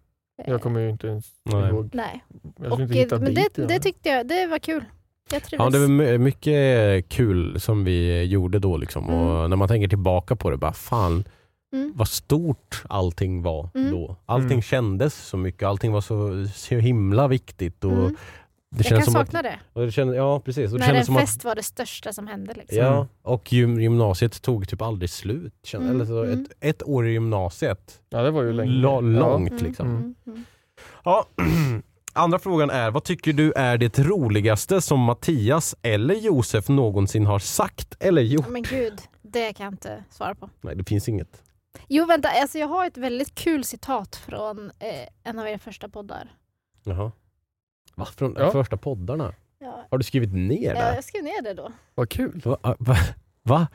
[SPEAKER 5] jag kommer ju inte ens
[SPEAKER 4] Nej.
[SPEAKER 5] ihåg.
[SPEAKER 6] Nej.
[SPEAKER 5] Jag
[SPEAKER 6] Och,
[SPEAKER 5] skulle inte
[SPEAKER 6] eh,
[SPEAKER 5] hitta
[SPEAKER 6] men
[SPEAKER 5] dit.
[SPEAKER 6] det, det tyckte jag, det var kul. Jag
[SPEAKER 4] Ja,
[SPEAKER 6] trivdes.
[SPEAKER 4] det var my- mycket kul som vi gjorde då liksom. Och
[SPEAKER 6] Mm.
[SPEAKER 4] när man tänker tillbaka på det, bara fan
[SPEAKER 6] Mm.
[SPEAKER 4] vad stort allting var
[SPEAKER 6] Mm.
[SPEAKER 4] då. Allting
[SPEAKER 5] Mm.
[SPEAKER 4] kändes så mycket, allting var så, så himla viktigt. Och
[SPEAKER 6] Mm.
[SPEAKER 4] det
[SPEAKER 6] Jag kan
[SPEAKER 4] som
[SPEAKER 6] sakna
[SPEAKER 4] att,
[SPEAKER 6] det.
[SPEAKER 4] och det. Kändes, ja, precis. Och det
[SPEAKER 6] När en
[SPEAKER 4] kändes som
[SPEAKER 6] fest
[SPEAKER 4] att,
[SPEAKER 6] var det största som hände. Liksom.
[SPEAKER 4] ja, och gym, gymnasiet tog typ aldrig slut. Kändes,
[SPEAKER 6] Mm,
[SPEAKER 4] eller så,
[SPEAKER 6] mm.
[SPEAKER 4] ett, ett år i gymnasiet,
[SPEAKER 5] Ja, det var ju länge.
[SPEAKER 4] la, långt
[SPEAKER 6] Mm,
[SPEAKER 4] liksom.
[SPEAKER 6] mm, mm.
[SPEAKER 4] Ja. Andra frågan är, vad tycker du är det roligaste som Mattias eller Josef någonsin har sagt eller gjort?
[SPEAKER 6] Ja, Men gud, det kan jag inte svara på.
[SPEAKER 4] Nej, det finns inget.
[SPEAKER 6] Jo vänta, alltså jag har ett väldigt kul citat från eh, en av era första poddar.
[SPEAKER 4] Jaha. Va? Från
[SPEAKER 5] Ja.
[SPEAKER 4] första poddarna?
[SPEAKER 6] Ja.
[SPEAKER 4] Har du skrivit ner
[SPEAKER 6] Ja,
[SPEAKER 4] det?
[SPEAKER 6] jag skrev ner det då.
[SPEAKER 5] Vad kul.
[SPEAKER 6] Eh.
[SPEAKER 4] Va? Ah, Va? Va?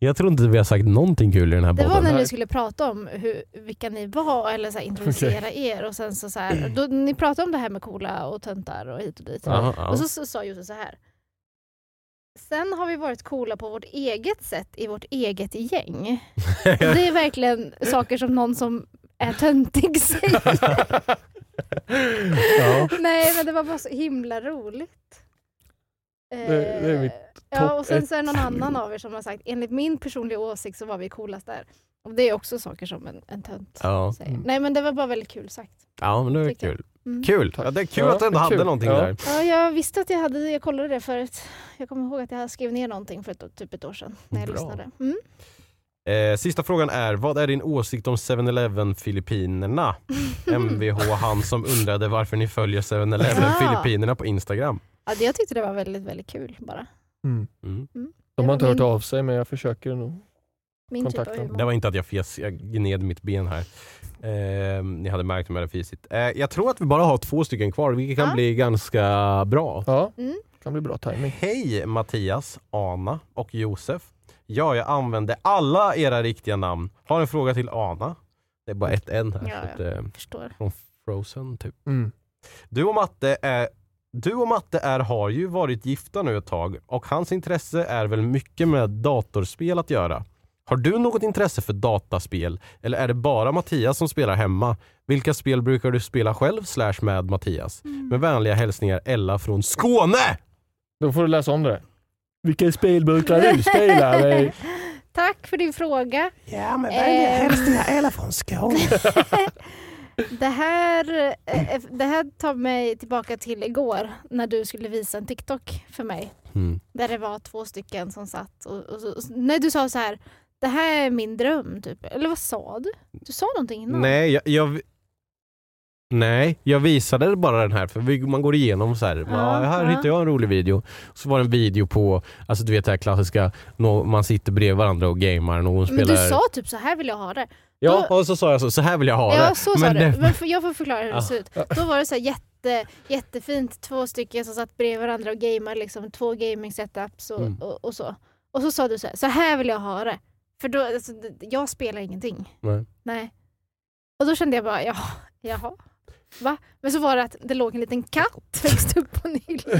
[SPEAKER 4] Jag tror inte vi har sagt någonting kul i den här
[SPEAKER 6] Det var
[SPEAKER 4] podden.
[SPEAKER 6] när
[SPEAKER 5] här.
[SPEAKER 6] ni skulle prata om hur, vilka ni var eller så här, introducera er. Och sen så, så här, då, ni pratade om det här med coola och töntar och hit och dit.
[SPEAKER 4] Jaha, ja.
[SPEAKER 6] Och så, så sa Josef så här. Sen har vi varit coola på vårt eget sätt i vårt eget gäng. Och det är verkligen saker som någon som är töntig säger.
[SPEAKER 4] ja.
[SPEAKER 6] Nej men det var bara så himla roligt.
[SPEAKER 5] Det- det är mitt
[SPEAKER 6] Eh, Ja
[SPEAKER 5] topp
[SPEAKER 6] och sen
[SPEAKER 5] ett.
[SPEAKER 6] så är det någon annan av er som har sagt enligt min personliga åsikt så var vi coolast där. Och det är också saker som en, en tönt
[SPEAKER 4] Ja.
[SPEAKER 6] säger.
[SPEAKER 5] Mm.
[SPEAKER 6] Nej men det var bara väldigt kul sagt.
[SPEAKER 4] ja, men det var
[SPEAKER 6] Tyckte jag.
[SPEAKER 4] kul.
[SPEAKER 6] Mm.
[SPEAKER 4] Kul!
[SPEAKER 5] Tack.
[SPEAKER 4] Ja, det är kul
[SPEAKER 5] Ja,
[SPEAKER 4] att du ändå
[SPEAKER 5] det är
[SPEAKER 4] hade
[SPEAKER 5] kul.
[SPEAKER 4] någonting
[SPEAKER 5] Ja.
[SPEAKER 4] där.
[SPEAKER 6] Ja, jag visste att jag hade, jag kollade det förut. Jag kommer ihåg att jag skrev ner någonting för ett, typ ett år sedan när jag
[SPEAKER 4] Bra.
[SPEAKER 6] lyssnade. Mm.
[SPEAKER 4] Eh, sista frågan är, vad är din åsikt om 7-Eleven Filippinerna?
[SPEAKER 5] Mm.
[SPEAKER 4] Mvh han som undrade varför ni följer 7-Eleven
[SPEAKER 6] Ja.
[SPEAKER 4] Filippinerna på Instagram.
[SPEAKER 6] Ja, det- jag tyckte det var väldigt, väldigt kul bara.
[SPEAKER 5] Mm.
[SPEAKER 4] Mm.
[SPEAKER 5] De har inte
[SPEAKER 6] Det var
[SPEAKER 5] hört av sig men jag försöker nog.
[SPEAKER 6] Min typ av
[SPEAKER 5] kontakten.
[SPEAKER 6] humor.
[SPEAKER 4] Det var inte att jag fes, jag gned mitt ben här. Eh, ni hade märkt om jag hade fisit. Eh, jag tror att vi bara har två stycken kvar, vilket kan
[SPEAKER 6] Ja.
[SPEAKER 4] bli ganska bra.
[SPEAKER 5] Ja,
[SPEAKER 6] Mm.
[SPEAKER 5] kan bli bra timing.
[SPEAKER 4] Hej Mattias, Anna och Josef. Ja, jag använde alla era riktiga namn. Har en fråga till Anna. Det är bara ett N här.
[SPEAKER 6] Ja,
[SPEAKER 4] så att, eh,
[SPEAKER 6] Förstår.
[SPEAKER 4] från Frozen typ.
[SPEAKER 5] Mm.
[SPEAKER 4] Du och Matte är du och Matte är, har ju varit gifta nu ett tag och hans intresse är väl mycket med datorspel att göra. Har du något intresse för dataspel eller är det bara Mattias som spelar hemma? Vilka spel brukar du spela själv slash med Mattias? Med vänliga hälsningar Ella från Skåne!
[SPEAKER 5] Då får du läsa om det där. Vilken spelbukar du spelar med?
[SPEAKER 6] Tack för din fråga.
[SPEAKER 4] Ja, med
[SPEAKER 6] vänliga Ehm. hälsningar,
[SPEAKER 4] Ella från Skåne.
[SPEAKER 6] Det här, eh, det här tar mig tillbaka till igår när du skulle visa en TikTok för mig.
[SPEAKER 4] Mm.
[SPEAKER 6] Där det var två stycken som satt och, och, så- och nej, du sa så här. Det här är min dröm, typ. Eller vad sa du? Du sa någonting innan.
[SPEAKER 4] Nej, jag, jag... Nej, jag visade bara den här för vi, man går igenom så här. Ja, här
[SPEAKER 6] ja.
[SPEAKER 4] hittade jag en rolig video. Så var det en video på, alltså du vet det här klassiska, nå- man sitter bredvid varandra och gamar. Någon
[SPEAKER 6] Men
[SPEAKER 4] spelar...
[SPEAKER 6] du sa typ så här vill jag ha det.
[SPEAKER 4] ja, och så sa jag så, så här vill jag ha
[SPEAKER 6] Ja,
[SPEAKER 4] det.
[SPEAKER 6] så sa
[SPEAKER 4] Men
[SPEAKER 6] du.
[SPEAKER 4] det-
[SPEAKER 6] Men för, jag får förklara hur det ser ut. Då var det så här jätte jätte, jättefint. Två stycken som satt bredvid varandra och gameade. Liksom, två gaming setups och,
[SPEAKER 4] Mm.
[SPEAKER 6] och, och så. Och så sa du så här, så här vill jag ha det. För då, alltså, d- jag spelar ingenting.
[SPEAKER 4] Nej.
[SPEAKER 6] Nej. Och då kände jag bara, ja, jaha. Va? Men så var det att det låg en liten katt högst upp på en hylla.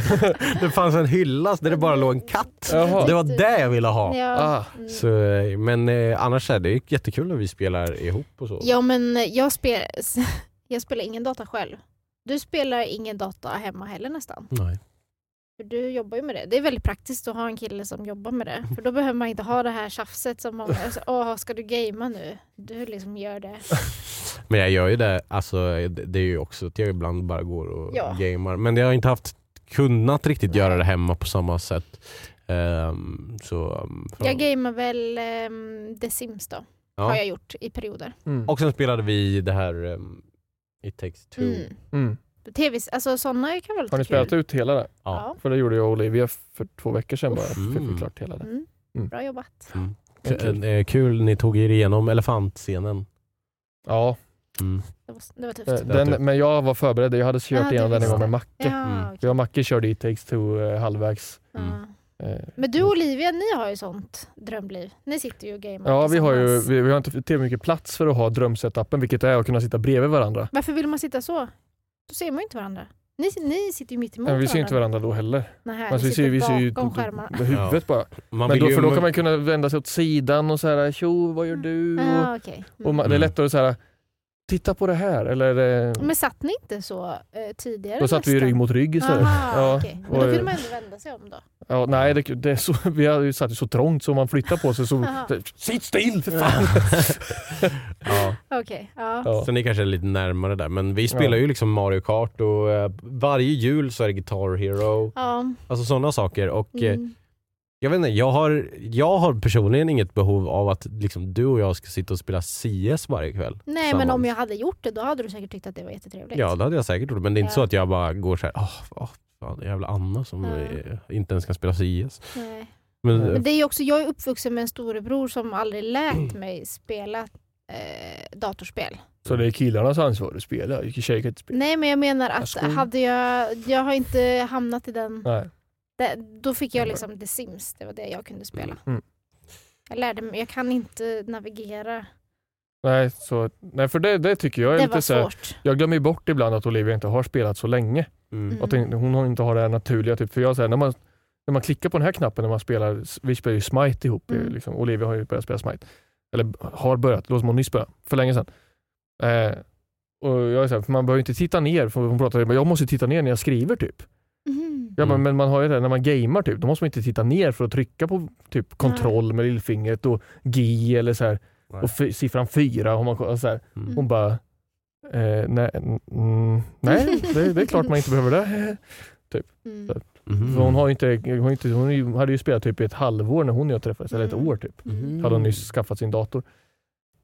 [SPEAKER 4] Det fanns en hylla där det bara låg en katt.
[SPEAKER 5] Jaha.
[SPEAKER 4] Det var det jag ville ha.
[SPEAKER 6] Ja.
[SPEAKER 5] Ah,
[SPEAKER 6] Mm.
[SPEAKER 4] Så, eh, men eh, annars är det ju jättekul när vi spelar ihop och så.
[SPEAKER 6] Ja men jag, spel, jag spelar ingen data själv. Du spelar ingen data hemma heller nästan.
[SPEAKER 4] Nej.
[SPEAKER 6] För du jobbar ju med det. Det är väldigt praktiskt att ha en kille som jobbar med det. För då behöver man inte ha det här tjafset som många alltså, Åh, ska du gamea nu? Du liksom gör det.
[SPEAKER 4] Men jag gör ju det, alltså, det det är ju också att jag ibland bara går och
[SPEAKER 6] Ja.
[SPEAKER 4] gamer. Men jag har inte haft kunnat riktigt göra det hemma på samma sätt. Ehm, så, um, för-
[SPEAKER 6] Jag gamear väl um, The Sims då. Har
[SPEAKER 4] ja.
[SPEAKER 6] jag gjort i perioder.
[SPEAKER 5] mm,
[SPEAKER 4] Och sen spelade vi det här um, It takes two.
[SPEAKER 6] Mm.
[SPEAKER 5] mm.
[SPEAKER 6] TV, alltså sådana kan väl
[SPEAKER 5] Har ni
[SPEAKER 6] vara
[SPEAKER 5] spelat
[SPEAKER 6] kul.
[SPEAKER 5] ut hela det?
[SPEAKER 4] Ja.
[SPEAKER 6] Ja.
[SPEAKER 5] För det gjorde jag och Olivia för två veckor sedan bara.
[SPEAKER 4] Mm.
[SPEAKER 5] Fick vi klart hela det.
[SPEAKER 6] Mm.
[SPEAKER 5] Mm.
[SPEAKER 6] Bra jobbat.
[SPEAKER 4] K- eh, kul ni tog er igenom elefantscenen.
[SPEAKER 5] Ja,
[SPEAKER 4] Mm.
[SPEAKER 6] Det var, det var tufft.
[SPEAKER 5] eh, den, men jag var förberedd. Jag hade kört
[SPEAKER 6] Ja,
[SPEAKER 5] igenom
[SPEAKER 6] du
[SPEAKER 5] den en gång
[SPEAKER 6] visste.
[SPEAKER 5] med Macke.
[SPEAKER 6] Ja, okej.
[SPEAKER 5] Jag och Macke körde i Takes Two eh, halvvägs.
[SPEAKER 4] Mm.
[SPEAKER 6] ja.
[SPEAKER 5] Eh,
[SPEAKER 6] Men du och Olivia, ni har ju sånt drömliv. Ni sitter ju och gamear
[SPEAKER 5] Ja, vi har ju
[SPEAKER 6] tillsammans.
[SPEAKER 5] vi, vi har inte tillräckligt mycket plats för att ha drömsetupen, vilket är att kunna sitta bredvid varandra.
[SPEAKER 6] Varför vill man sitta så? Då ser man ju inte varandra. Ni, ni sitter ju mitt emot
[SPEAKER 5] Men vi ser ju inte varandra då heller.
[SPEAKER 6] Mm. Nej,
[SPEAKER 5] Alltså,
[SPEAKER 6] ni
[SPEAKER 5] vi ser, vi ser ju
[SPEAKER 6] bakom skärmarna.
[SPEAKER 5] med huvudet bara.
[SPEAKER 4] Man
[SPEAKER 5] Men
[SPEAKER 4] vill
[SPEAKER 5] då,
[SPEAKER 4] ju-
[SPEAKER 5] för då kan man kunna vända sig åt sidan och så här, tjo, vad gör du? Och,
[SPEAKER 6] Ah, okej.
[SPEAKER 5] och
[SPEAKER 6] mm.
[SPEAKER 5] man, det är
[SPEAKER 4] Mm.
[SPEAKER 5] lättare att så här, titta på det här. Eller, eh,
[SPEAKER 6] Men satt ni inte så eh, tidigare?
[SPEAKER 5] då satt vi ju rygg mot rygg istället.
[SPEAKER 6] Aha,
[SPEAKER 5] Ja,
[SPEAKER 6] okej. Men
[SPEAKER 5] och-
[SPEAKER 6] då kunde man ändå vända sig om då.
[SPEAKER 5] Ja, nej, det, det är så, vi har ju satt ju så trångt så om man flyttar på sig så...
[SPEAKER 6] Aha.
[SPEAKER 5] Sitt still för fan!
[SPEAKER 4] ja.
[SPEAKER 6] Okej, ja.
[SPEAKER 5] Ja.
[SPEAKER 4] Så ni kanske är lite närmare där. Men vi spelar ju liksom Mario Kart och eh, varje jul så är det Guitar Hero.
[SPEAKER 6] ja.
[SPEAKER 4] Alltså sådana saker. Och eh,
[SPEAKER 6] Mm.
[SPEAKER 4] jag vet inte, jag har, jag har personligen inget behov av att liksom, du och jag ska sitta och spela CS varje kväll.
[SPEAKER 6] Nej, men
[SPEAKER 4] tillsammans.
[SPEAKER 6] om jag hade gjort det då hade du säkert tyckt att det var jättetrevligt.
[SPEAKER 4] Ja, det hade jag säkert gjort. Men det är inte
[SPEAKER 6] Ja.
[SPEAKER 4] så att jag bara går så här, åh, åh fan, jävla Anna som
[SPEAKER 6] Ja.
[SPEAKER 4] eh, inte ens kan spela CS.
[SPEAKER 6] Nej.
[SPEAKER 4] Men,
[SPEAKER 5] Nej.
[SPEAKER 4] eh,
[SPEAKER 6] Men det är ju också, jag är uppvuxen med en storebror som aldrig lät mig spela eh, datorspel.
[SPEAKER 5] Så det är killarnas ansvar att spela, tjejer kan inte spela.
[SPEAKER 6] Nej men jag menar att
[SPEAKER 5] Varsågod.
[SPEAKER 6] hade jag, jag har inte hamnat i den,
[SPEAKER 5] Nej.
[SPEAKER 6] det, då fick jag liksom The Sims, det var det jag kunde spela.
[SPEAKER 5] Mm.
[SPEAKER 6] Jag lärde mig, jag kan inte navigera.
[SPEAKER 5] Nej, så, nej för det, det tycker jag är
[SPEAKER 6] Det
[SPEAKER 5] lite
[SPEAKER 6] var
[SPEAKER 5] så här,
[SPEAKER 6] svårt.
[SPEAKER 5] Jag glömmer ju bort ibland att Olivia inte har spelat så länge.
[SPEAKER 4] mm.
[SPEAKER 5] Att hon- hon har inte har det här naturliga. Typ. För jag, så här, när, man, när man klickar på den här knappen när man spelar, vi spelar ju Smite ihop.
[SPEAKER 6] Mm.
[SPEAKER 5] Liksom. Olivia har ju börjat spela Smite. Eller har börjat, det låter som hon nyss började, för länge sedan. Eh, och jag är så här, för man behöver ju inte titta ner, för hon pratar om jag måste titta ner när jag skriver typ.
[SPEAKER 6] Mhm.
[SPEAKER 5] Ja,
[SPEAKER 4] Mm.
[SPEAKER 5] men, men man har ju det här, när man gamer typ, då måste man inte titta ner för att trycka på typ kontroll med lillfingret och G eller så här.
[SPEAKER 4] Nej.
[SPEAKER 5] Och fy- siffran fyra har man kollat så här.
[SPEAKER 4] Mm.
[SPEAKER 5] Hon bara, eh, nej, mm, nej det, det är klart man inte behöver det.
[SPEAKER 6] Mm.
[SPEAKER 4] Mhm.
[SPEAKER 5] För hon, har ju inte, hon, har inte, hon har ju- hade ju spelat typ i ett halvår när hon och jag träffades, eller ett
[SPEAKER 6] Mm.
[SPEAKER 5] år typ.
[SPEAKER 4] Mhm.
[SPEAKER 5] Hade hon nyss skaffat sin dator.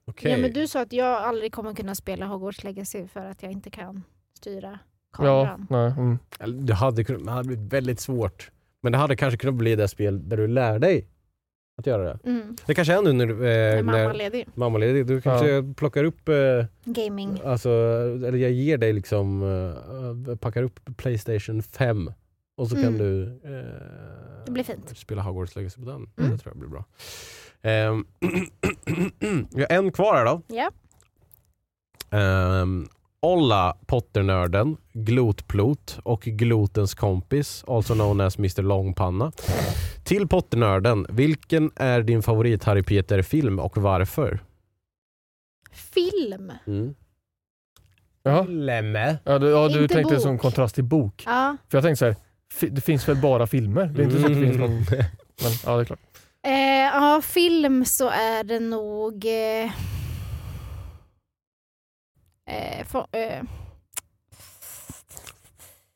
[SPEAKER 4] Okej.
[SPEAKER 6] Ja, men du sa att jag aldrig kommer kunna spela Hogwarts Legacy för att jag inte kan styra kameran.
[SPEAKER 5] Ja, nej, mm.
[SPEAKER 4] Eller, Det hade, kunnat, det hade blivit väldigt svårt. Men det hade kanske kunnat bli det spel där du lär dig att göra det.
[SPEAKER 6] Mm.
[SPEAKER 4] Det kanske är nu när, du, eh,
[SPEAKER 6] Är mamma
[SPEAKER 4] när
[SPEAKER 6] ledig?
[SPEAKER 4] mammaledig. Du kanske plockar upp, eh,
[SPEAKER 6] Gaming.
[SPEAKER 4] alltså, eller jag ger dig liksom, eh, packar upp Playstation 5 och så kan
[SPEAKER 6] Mm.
[SPEAKER 4] du eh,
[SPEAKER 6] Det blir fint.
[SPEAKER 4] spela Hogwarts Legacy på den.
[SPEAKER 6] Mm.
[SPEAKER 4] Det tror jag blir bra. Ehm, vi har en kvar här då.
[SPEAKER 6] Ja.
[SPEAKER 4] Ehm, Olla Potternörden, Glotplot och Glotens kompis, also known as Mr Långpanna. Till Potternörden, vilken är din favorit Harry Peter-film och varför?
[SPEAKER 6] Film.
[SPEAKER 4] Mm.
[SPEAKER 5] Jaha.
[SPEAKER 4] Lemme.
[SPEAKER 5] Ja, du, ja, du
[SPEAKER 6] Inte
[SPEAKER 5] tänkte
[SPEAKER 6] bok.
[SPEAKER 5] som kontrast till bok.
[SPEAKER 6] Ja.
[SPEAKER 5] För jag tänkte så här, fi- det finns väl bara filmer? Det är inte så att det finns någon, men ja det är klart.
[SPEAKER 6] Eh, ja, film så är det nog... Eh, eh, få- eh,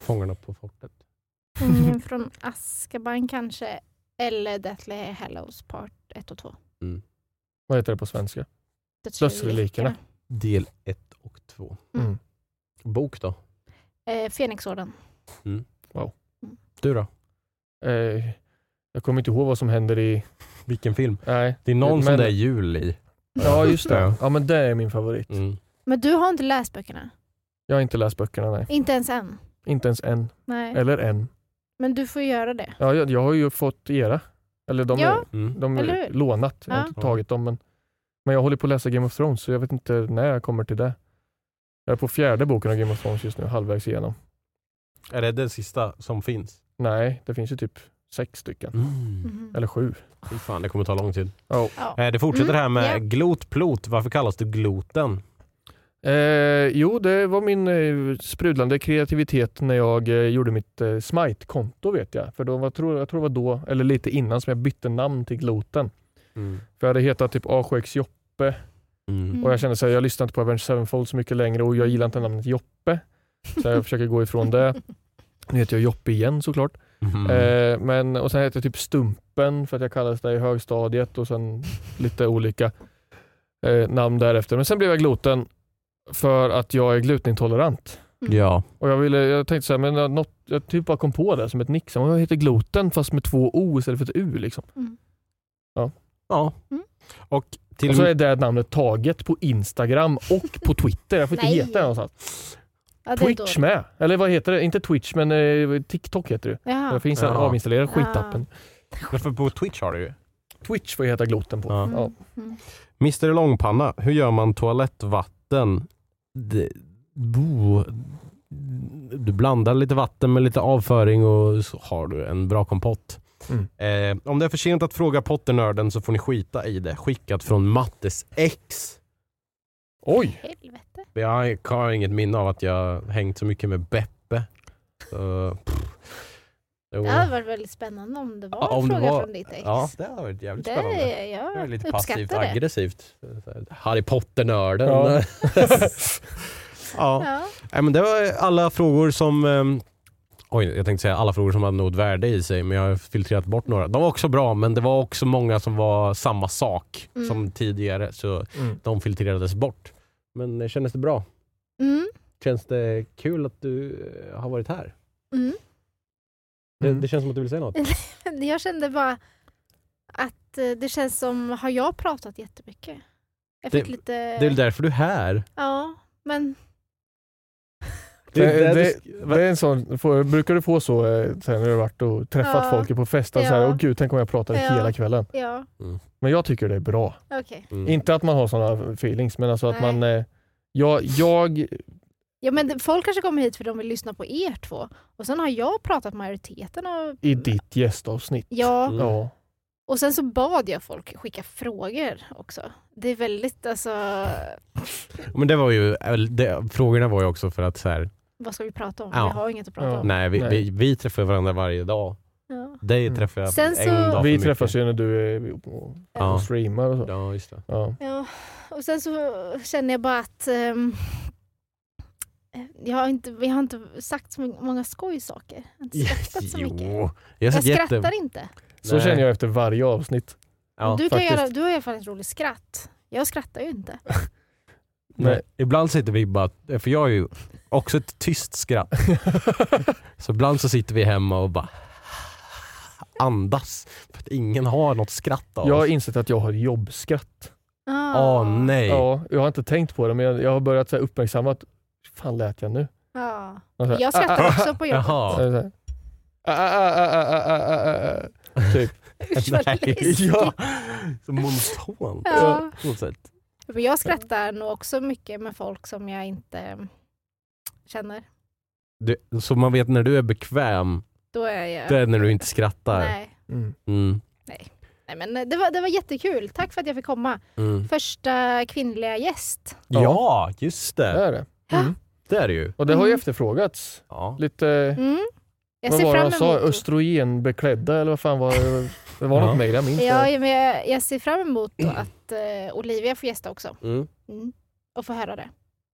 [SPEAKER 4] Fångarna på fortet.
[SPEAKER 6] Fången mm, från Azkaban kanske. Eller Deathly Hallows Part 1 och 2.
[SPEAKER 5] Vad heter det på svenska?
[SPEAKER 6] Dödsrelikerna.
[SPEAKER 5] Dödsrelikerna.
[SPEAKER 4] Del 1 och 2.
[SPEAKER 5] Mm.
[SPEAKER 4] Bok då?
[SPEAKER 6] Eh, Fenixorden.
[SPEAKER 4] Du då?
[SPEAKER 5] Eh, jag kommer inte ihåg vad som händer i...
[SPEAKER 4] Vilken film?
[SPEAKER 5] Nej.
[SPEAKER 4] Det är någon som
[SPEAKER 5] Men-
[SPEAKER 4] det är jul i.
[SPEAKER 5] Ja just det.
[SPEAKER 4] Ja.
[SPEAKER 5] Ja men det är min favorit.
[SPEAKER 4] Mm.
[SPEAKER 6] Men du har inte läst böckerna?
[SPEAKER 5] Jag har inte läst böckerna nej.
[SPEAKER 6] Inte ens än?
[SPEAKER 5] Inte ens en.
[SPEAKER 6] Nej.
[SPEAKER 5] Eller en.
[SPEAKER 6] Men du får göra det.
[SPEAKER 5] Ja, jag, jag har ju fått era. Eller de,
[SPEAKER 6] Ja.
[SPEAKER 5] är,
[SPEAKER 4] Mm.
[SPEAKER 5] de
[SPEAKER 6] Eller
[SPEAKER 5] är
[SPEAKER 6] hur?
[SPEAKER 5] lånat. Jag har
[SPEAKER 6] Ja.
[SPEAKER 5] inte tagit dem. Men, men jag håller på att läsa Game of Thrones så jag vet inte när jag kommer till det. Jag är på fjärde boken av Game of Thrones just nu, halvvägs igenom.
[SPEAKER 4] Är det den sista som finns?
[SPEAKER 5] Nej, det finns ju typ sex stycken.
[SPEAKER 6] Mhm.
[SPEAKER 5] Mm. Eller sju.
[SPEAKER 4] Mm. Fy fan, det kommer ta lång tid.
[SPEAKER 5] Ja.
[SPEAKER 6] Ja.
[SPEAKER 4] Eh, Det fortsätter
[SPEAKER 6] Mm,
[SPEAKER 4] här med
[SPEAKER 6] ja.
[SPEAKER 4] glotplot. Varför kallas det gloten?
[SPEAKER 5] Eh, jo, det var min eh, sprudlande kreativitet när jag eh, gjorde mitt eh, Smite-konto vet jag. För då var, tror, jag tror det var då, eller lite innan, som jag bytte namn till Gloten. För jag hade hetat typ AKX Joppe
[SPEAKER 4] Mm.
[SPEAKER 5] och jag kände att jag lyssnar inte på Avenged Sevenfold så mycket längre och jag gillar inte namnet Joppe. Så jag försöker gå ifrån det.
[SPEAKER 6] Mm.
[SPEAKER 5] Nu heter jag Joppe igen såklart.
[SPEAKER 4] Mm.
[SPEAKER 5] Eh, men, och sen hette jag typ Stumpen för att jag kallades det i högstadiet och sen lite olika eh, namn därefter. Men sen blev jag Gloten för att jag är glutenintolerant.
[SPEAKER 6] Mm.
[SPEAKER 4] Ja.
[SPEAKER 5] Och jag, ville, jag tänkte så här, men jag- något, jag typ bara kom på det som ett nick. Så Jag heter Gloten fast med två O istället för ett U. Liksom.
[SPEAKER 6] Mm.
[SPEAKER 4] ja.
[SPEAKER 6] Mm.
[SPEAKER 4] Och till
[SPEAKER 5] Och så är det namnet taget på Instagram och på Twitter. Jag får inte
[SPEAKER 6] Nej.
[SPEAKER 5] heta det någonstans.
[SPEAKER 6] Ja, det är
[SPEAKER 5] Twitch
[SPEAKER 6] dåligt.
[SPEAKER 5] med. Eller vad heter det? Inte Twitch men eh, TikTok heter det.
[SPEAKER 6] Jaha.
[SPEAKER 5] Jag finns
[SPEAKER 4] Ja.
[SPEAKER 5] avinstallerad
[SPEAKER 6] Ja.
[SPEAKER 5] skitappen.
[SPEAKER 4] För på Twitch har du ju.
[SPEAKER 5] Twitch får jag heta Gloten på.
[SPEAKER 4] Ja.
[SPEAKER 5] Ja.
[SPEAKER 6] Mm. Mm.
[SPEAKER 4] Mr Långpanna, hur gör man toalettvatten? D- bo. Du blandar lite vatten med lite avföring och så har du en bra kompott.
[SPEAKER 5] Mm.
[SPEAKER 4] Eh, om det är för sent att fråga potternörden så får ni skita i det. Skickat från Mattes ex.
[SPEAKER 5] Oj!
[SPEAKER 6] Helvete.
[SPEAKER 4] Jag har inget minne av att jag hängt så mycket med Beppe. Så, pff. Jo.
[SPEAKER 6] Det hade varit väldigt spännande om det var
[SPEAKER 4] Ja,
[SPEAKER 6] en
[SPEAKER 4] om det
[SPEAKER 6] fråga
[SPEAKER 4] var-
[SPEAKER 6] från ditt ex.
[SPEAKER 4] Ja, det har varit jävligt
[SPEAKER 6] det
[SPEAKER 4] spännande.
[SPEAKER 6] är jag
[SPEAKER 4] Det är lite
[SPEAKER 6] uppskattar
[SPEAKER 4] passivt
[SPEAKER 6] det.
[SPEAKER 4] aggressivt. Harry Potter-nörden.
[SPEAKER 5] Ja.
[SPEAKER 4] Ja. ja.
[SPEAKER 6] Ja.
[SPEAKER 4] Nej, men det var alla frågor som... ehm, Oj, jag tänkte säga alla frågor som hade något värde i sig, men jag har filtrerat bort några. De var också bra, men det var också många som var samma sak
[SPEAKER 6] Mm.
[SPEAKER 4] som tidigare, så
[SPEAKER 5] Mm.
[SPEAKER 4] de filtrerades bort. Men eh, kändes det bra?
[SPEAKER 6] Mm.
[SPEAKER 4] Känns det kul att du eh, har varit här?
[SPEAKER 6] Mm.
[SPEAKER 4] Det, det känns som att du vill säga något.
[SPEAKER 6] Jag kände bara att eh, det känns som, har jag pratat jättemycket? Jag
[SPEAKER 4] Det-
[SPEAKER 6] fick lite...
[SPEAKER 4] Det är väl därför du är här?
[SPEAKER 6] Ja, men
[SPEAKER 5] Det, det,
[SPEAKER 4] är där
[SPEAKER 5] det,
[SPEAKER 4] du sk-
[SPEAKER 5] är en sån, får, brukar du få så eh, sen när du har varit och träffat
[SPEAKER 6] Ja.
[SPEAKER 5] folk på festen, så här,
[SPEAKER 6] Ja.
[SPEAKER 5] åh gud tänk om jag pratar
[SPEAKER 6] Ja.
[SPEAKER 5] hela kvällen.
[SPEAKER 6] ja,
[SPEAKER 5] Men jag tycker det är bra.
[SPEAKER 6] okej.
[SPEAKER 4] Mm.
[SPEAKER 5] Inte att man har sådana feelings men alltså att
[SPEAKER 6] Nej.
[SPEAKER 5] man, eh, jag, jag,
[SPEAKER 6] Ja, men det- folk kanske kommer hit för de vill lyssna på er två. Och sen har jag pratat majoriteten av...
[SPEAKER 5] i ditt gästavsnitt.
[SPEAKER 6] Ja,
[SPEAKER 4] Mm.
[SPEAKER 5] Ja.
[SPEAKER 6] och sen så bad jag folk skicka frågor också. Det är väldigt, alltså,
[SPEAKER 4] Men det var ju, eh, det, frågorna var ju också för att så här,
[SPEAKER 6] vad ska vi prata om?
[SPEAKER 4] Ja.
[SPEAKER 6] Vi har inget att prata
[SPEAKER 5] Ja.
[SPEAKER 6] om.
[SPEAKER 4] nej, vi,
[SPEAKER 5] Nej.
[SPEAKER 4] Vi, vi träffar varandra varje dag.
[SPEAKER 6] Ja.
[SPEAKER 4] Dig
[SPEAKER 5] Mm.
[SPEAKER 4] träffar jag
[SPEAKER 6] Sen
[SPEAKER 4] en
[SPEAKER 6] så-
[SPEAKER 4] dag för
[SPEAKER 5] Vi
[SPEAKER 4] mycket.
[SPEAKER 5] träffas ju när du är och,
[SPEAKER 4] Ja.
[SPEAKER 5] och streamar och så.
[SPEAKER 4] Ja, just det.
[SPEAKER 5] Ja.
[SPEAKER 6] Ja, och sen så känner jag bara att ehm, jag, har inte, jag har inte sagt så många skojsaker. Jag har inte skrattat så mycket.
[SPEAKER 4] Jo, jag
[SPEAKER 6] Jag
[SPEAKER 4] satt jätte...
[SPEAKER 6] skrattar inte.
[SPEAKER 5] Så
[SPEAKER 4] Nej.
[SPEAKER 5] känner jag efter varje avsnitt.
[SPEAKER 4] Ja,
[SPEAKER 6] du, kan
[SPEAKER 5] faktiskt.
[SPEAKER 6] göra, du har i alla fall ett roligt skratt. Jag skrattar ju inte.
[SPEAKER 4] Nej. Ibland sitter vi bara, för jag är ju också ett tyst skratt. så ibland så sitter vi hemma och bara andas. För att ingen har något skratt av
[SPEAKER 5] Jag har
[SPEAKER 4] oss.
[SPEAKER 5] insett att jag har jobbskratt.
[SPEAKER 4] Åh nej.
[SPEAKER 5] Ja, jag har inte tänkt på det men jag, jag har börjat så här, uppmärksamma att fan lät jag nu? Alltså, ah,
[SPEAKER 6] Ja.
[SPEAKER 5] Och så här,
[SPEAKER 6] Jag skrattar också på jobbet.
[SPEAKER 4] Jaha.
[SPEAKER 5] Så är det så här, "Ah, ah, ah, ah, ah, ah, ah, ah, ah."
[SPEAKER 6] Usch, vad
[SPEAKER 4] Nej.
[SPEAKER 6] läskigt.
[SPEAKER 4] Ja. Så monotont.
[SPEAKER 6] Ja.
[SPEAKER 4] På något sätt.
[SPEAKER 6] Men jag skrattar nog också mycket med folk som jag inte mm, känner.
[SPEAKER 4] Du, så man vet när du är bekväm,
[SPEAKER 6] Då är jag...
[SPEAKER 4] det är när du inte skrattar.
[SPEAKER 6] Nej.
[SPEAKER 5] Mm.
[SPEAKER 4] Mm.
[SPEAKER 6] Nej, men eh, det, var, det var jättekul. Tack för att jag fick komma.
[SPEAKER 4] Mm.
[SPEAKER 6] Första kvinnliga gäst.
[SPEAKER 4] Ja, just
[SPEAKER 5] Det
[SPEAKER 4] det.
[SPEAKER 5] är det.
[SPEAKER 6] Ja.
[SPEAKER 5] Mm.
[SPEAKER 4] Det är det ju.
[SPEAKER 5] Och det har ju
[SPEAKER 6] Mm.
[SPEAKER 5] efterfrågats.
[SPEAKER 4] Ja.
[SPEAKER 5] Lite,
[SPEAKER 6] Mm. Jag
[SPEAKER 5] vad
[SPEAKER 6] ser
[SPEAKER 5] var det
[SPEAKER 6] fram
[SPEAKER 5] han sa?
[SPEAKER 6] emot...
[SPEAKER 5] Östrogenbeklädda eller vad fan var det? Det var
[SPEAKER 4] Ja.
[SPEAKER 5] något mer, jag minns det.
[SPEAKER 6] Ja, men jag, jag ser fram emot då att eh, Olivia får gästa också.
[SPEAKER 4] Mm.
[SPEAKER 6] Mm. Och få höra det.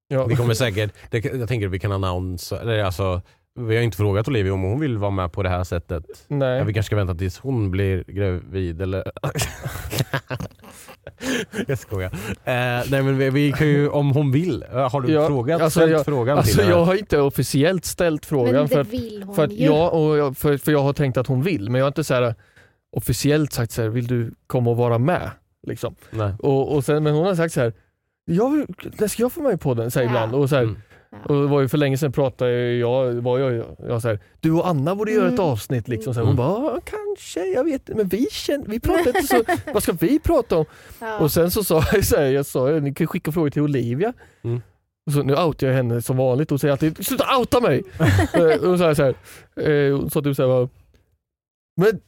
[SPEAKER 5] Ja.
[SPEAKER 4] Vi kommer säkert, det, jag tänker att vi kan annonsa, eller alltså, vi har inte frågat Olivia om hon vill vara med på det här sättet. Ja, vi
[SPEAKER 5] Nej.
[SPEAKER 4] kanske ska vänta tills hon blir gravid eller... jag skojar. Eh, nej men vi, vi kan ju, om hon vill. Eh, Har du
[SPEAKER 5] Ja,
[SPEAKER 4] frågat,
[SPEAKER 5] alltså
[SPEAKER 4] ställt
[SPEAKER 5] jag-
[SPEAKER 4] frågan
[SPEAKER 5] Alltså
[SPEAKER 4] till
[SPEAKER 5] jag
[SPEAKER 4] henne?
[SPEAKER 5] har inte officiellt ställt
[SPEAKER 6] Men
[SPEAKER 5] frågan för
[SPEAKER 6] det
[SPEAKER 5] att,
[SPEAKER 6] vill hon
[SPEAKER 5] för, att
[SPEAKER 6] ju.
[SPEAKER 5] jag, och jag, för, för jag har tänkt att hon vill men jag har inte så här, eh, officiellt sagt så här, vill du komma och vara med? Liksom.
[SPEAKER 4] Nej.
[SPEAKER 5] Och, och sen, men hon har sagt så här, jag vill, det ska jag få med i podden så här
[SPEAKER 6] Ja.
[SPEAKER 5] ibland. Och så här,
[SPEAKER 4] Mm.
[SPEAKER 6] Ja.
[SPEAKER 5] Och det var ju för länge sedan pratade ju jag, var jag, jag så här, du och Anna borde göra ett
[SPEAKER 6] Mm.
[SPEAKER 5] avsnitt liksom. Så här,
[SPEAKER 4] Mm.
[SPEAKER 5] hon bara, "Ja, kanske, jag vet inte, men vi känner, vi pratar inte så, vad ska vi prata om?
[SPEAKER 6] Ja.
[SPEAKER 5] Och sen så sa jag, så här, jag sa, ni kan skicka frågor till Olivia.
[SPEAKER 4] Mm.
[SPEAKER 5] Och så, nu outar jag henne som vanligt, hon säger alltid, sluta outa mig! Eh, och så här, så här, eh, hon sa typ såhär, men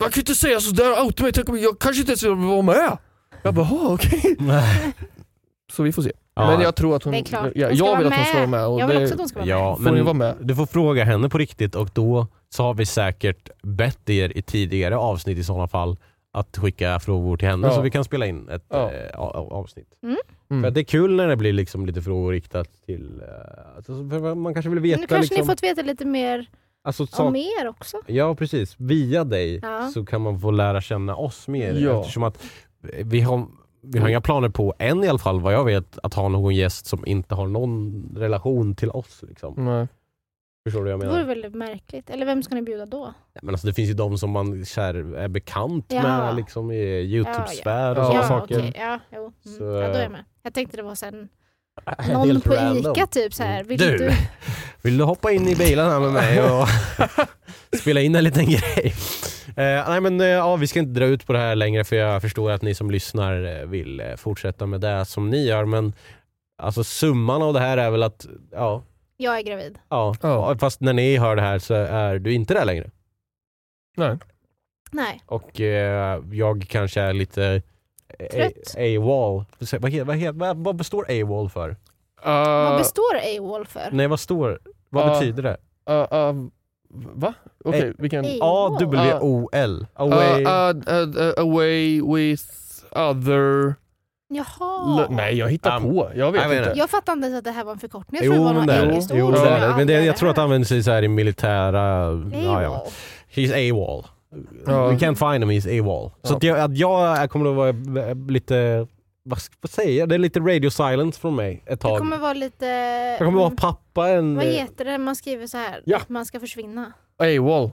[SPEAKER 5] man kan ju inte säga sådär, outa mig, tänk om jag kanske inte ens vill vara med! Jag bara, "Jaha, okej. Så vi får se.
[SPEAKER 4] Ja.
[SPEAKER 5] Men jag tror att hon,
[SPEAKER 6] Det är klart.
[SPEAKER 5] Ja,
[SPEAKER 6] Hon ska
[SPEAKER 5] jag vill
[SPEAKER 6] vara
[SPEAKER 5] att hon ska vara med. Och
[SPEAKER 6] Jag vill
[SPEAKER 5] det,
[SPEAKER 6] också att hon ska vara med.
[SPEAKER 4] Ja,
[SPEAKER 5] Får ni vara
[SPEAKER 4] men
[SPEAKER 5] med?
[SPEAKER 4] du får fråga henne på riktigt och då så har vi säkert bett er i tidigare avsnitt i sådana fall att skicka frågor till henne
[SPEAKER 5] Ja.
[SPEAKER 4] så vi kan spela in ett
[SPEAKER 5] Ja.
[SPEAKER 4] eh, a- a- avsnitt.
[SPEAKER 5] Mm.
[SPEAKER 4] För att det är kul när det blir liksom lite frågor riktat till... eh, Alltså för man kanske vill veta...
[SPEAKER 6] Nu kanske
[SPEAKER 4] liksom,
[SPEAKER 6] ni fått veta lite mer
[SPEAKER 4] alltså, sak-
[SPEAKER 6] om er också.
[SPEAKER 4] Ja precis, via dig
[SPEAKER 6] Ja.
[SPEAKER 4] så kan man få lära känna oss mer
[SPEAKER 5] Ja.
[SPEAKER 4] eftersom att vi har, vi har inga planer på, än i alla fall vad jag vet, att ha någon gäst som inte har någon relation till oss. Liksom.
[SPEAKER 6] Mm.
[SPEAKER 5] Nej.
[SPEAKER 4] Förstår du vad jag
[SPEAKER 6] Det
[SPEAKER 4] menar?
[SPEAKER 6] vore väldigt märkligt. Eller vem ska ni bjuda då?
[SPEAKER 4] Nej, Men alltså, det finns ju de som man kär, är bekant
[SPEAKER 6] Ja.
[SPEAKER 4] med liksom, i Youtube-sfär och
[SPEAKER 5] Ja,
[SPEAKER 4] sådana
[SPEAKER 5] ja,
[SPEAKER 4] saker.
[SPEAKER 6] okej. Ja, jo. Mm.
[SPEAKER 4] Så,
[SPEAKER 6] ja, då är jag med. Jag tänkte det var sen
[SPEAKER 4] Äh,
[SPEAKER 6] någon
[SPEAKER 4] helt
[SPEAKER 6] på
[SPEAKER 4] random.
[SPEAKER 6] ICA typ så här. Vill
[SPEAKER 4] Du.
[SPEAKER 6] du?
[SPEAKER 4] Vill du hoppa in i bilen här med mig och spela in en liten grej? Eh, nej men eh, ja, vi ska inte dra ut på det här längre för jag förstår att ni som lyssnar eh, vill eh, fortsätta med det som ni gör men alltså summan av det här är väl att ja,
[SPEAKER 6] Jag är gravid.
[SPEAKER 4] ja,
[SPEAKER 5] Ja.
[SPEAKER 4] fast när ni hör det här så är du inte där längre
[SPEAKER 5] Nej.
[SPEAKER 6] Nej.
[SPEAKER 4] och eh, jag kanske är lite eh,
[SPEAKER 6] Trött.
[SPEAKER 4] AWOL. Vad, heter- vad, heter- vad, vad består AWOL för?
[SPEAKER 6] Vad
[SPEAKER 5] Uh,
[SPEAKER 6] består AWOL för?
[SPEAKER 4] Nej vad står, vad
[SPEAKER 5] Ja.
[SPEAKER 4] betyder det?
[SPEAKER 5] uh, uh, va? Okej,
[SPEAKER 6] Eh,
[SPEAKER 5] vi kan...
[SPEAKER 6] Ej.
[SPEAKER 4] A-W-O-L.
[SPEAKER 5] Uh,
[SPEAKER 4] Away.
[SPEAKER 5] uh, uh, uh, away with other...
[SPEAKER 6] Jaha.
[SPEAKER 5] L- Nej, jag hittar
[SPEAKER 4] Um,
[SPEAKER 5] på. Jag vet
[SPEAKER 4] jag vet
[SPEAKER 5] inte.
[SPEAKER 4] inte.
[SPEAKER 6] Jag fattade inte ens att det här var en förkortning. Jag
[SPEAKER 4] Jo,
[SPEAKER 6] trodde det var
[SPEAKER 4] men det är
[SPEAKER 6] något
[SPEAKER 4] det.
[SPEAKER 6] engelskt
[SPEAKER 4] Jo,
[SPEAKER 6] ord
[SPEAKER 4] det
[SPEAKER 6] som
[SPEAKER 4] är det. Men det, jag
[SPEAKER 6] aldrig
[SPEAKER 4] tror att det
[SPEAKER 6] hört.
[SPEAKER 4] används i, så här, i militära... Ja, ja.
[SPEAKER 6] AWOL.
[SPEAKER 4] He's AWOL.
[SPEAKER 5] Ja.
[SPEAKER 4] We can't find him, he's AWOL. Så
[SPEAKER 5] Ja.
[SPEAKER 4] att jag, att jag är- kommer att vara eh, lite... Vad ska jag säga? Det är lite radio silence från mig ett
[SPEAKER 6] Det
[SPEAKER 4] tag.
[SPEAKER 6] kommer vara lite...
[SPEAKER 4] Jag kommer vara pappa en...
[SPEAKER 6] Vad heter det när man skriver så här?
[SPEAKER 5] Ja.
[SPEAKER 6] Att man ska försvinna.
[SPEAKER 5] AWOL.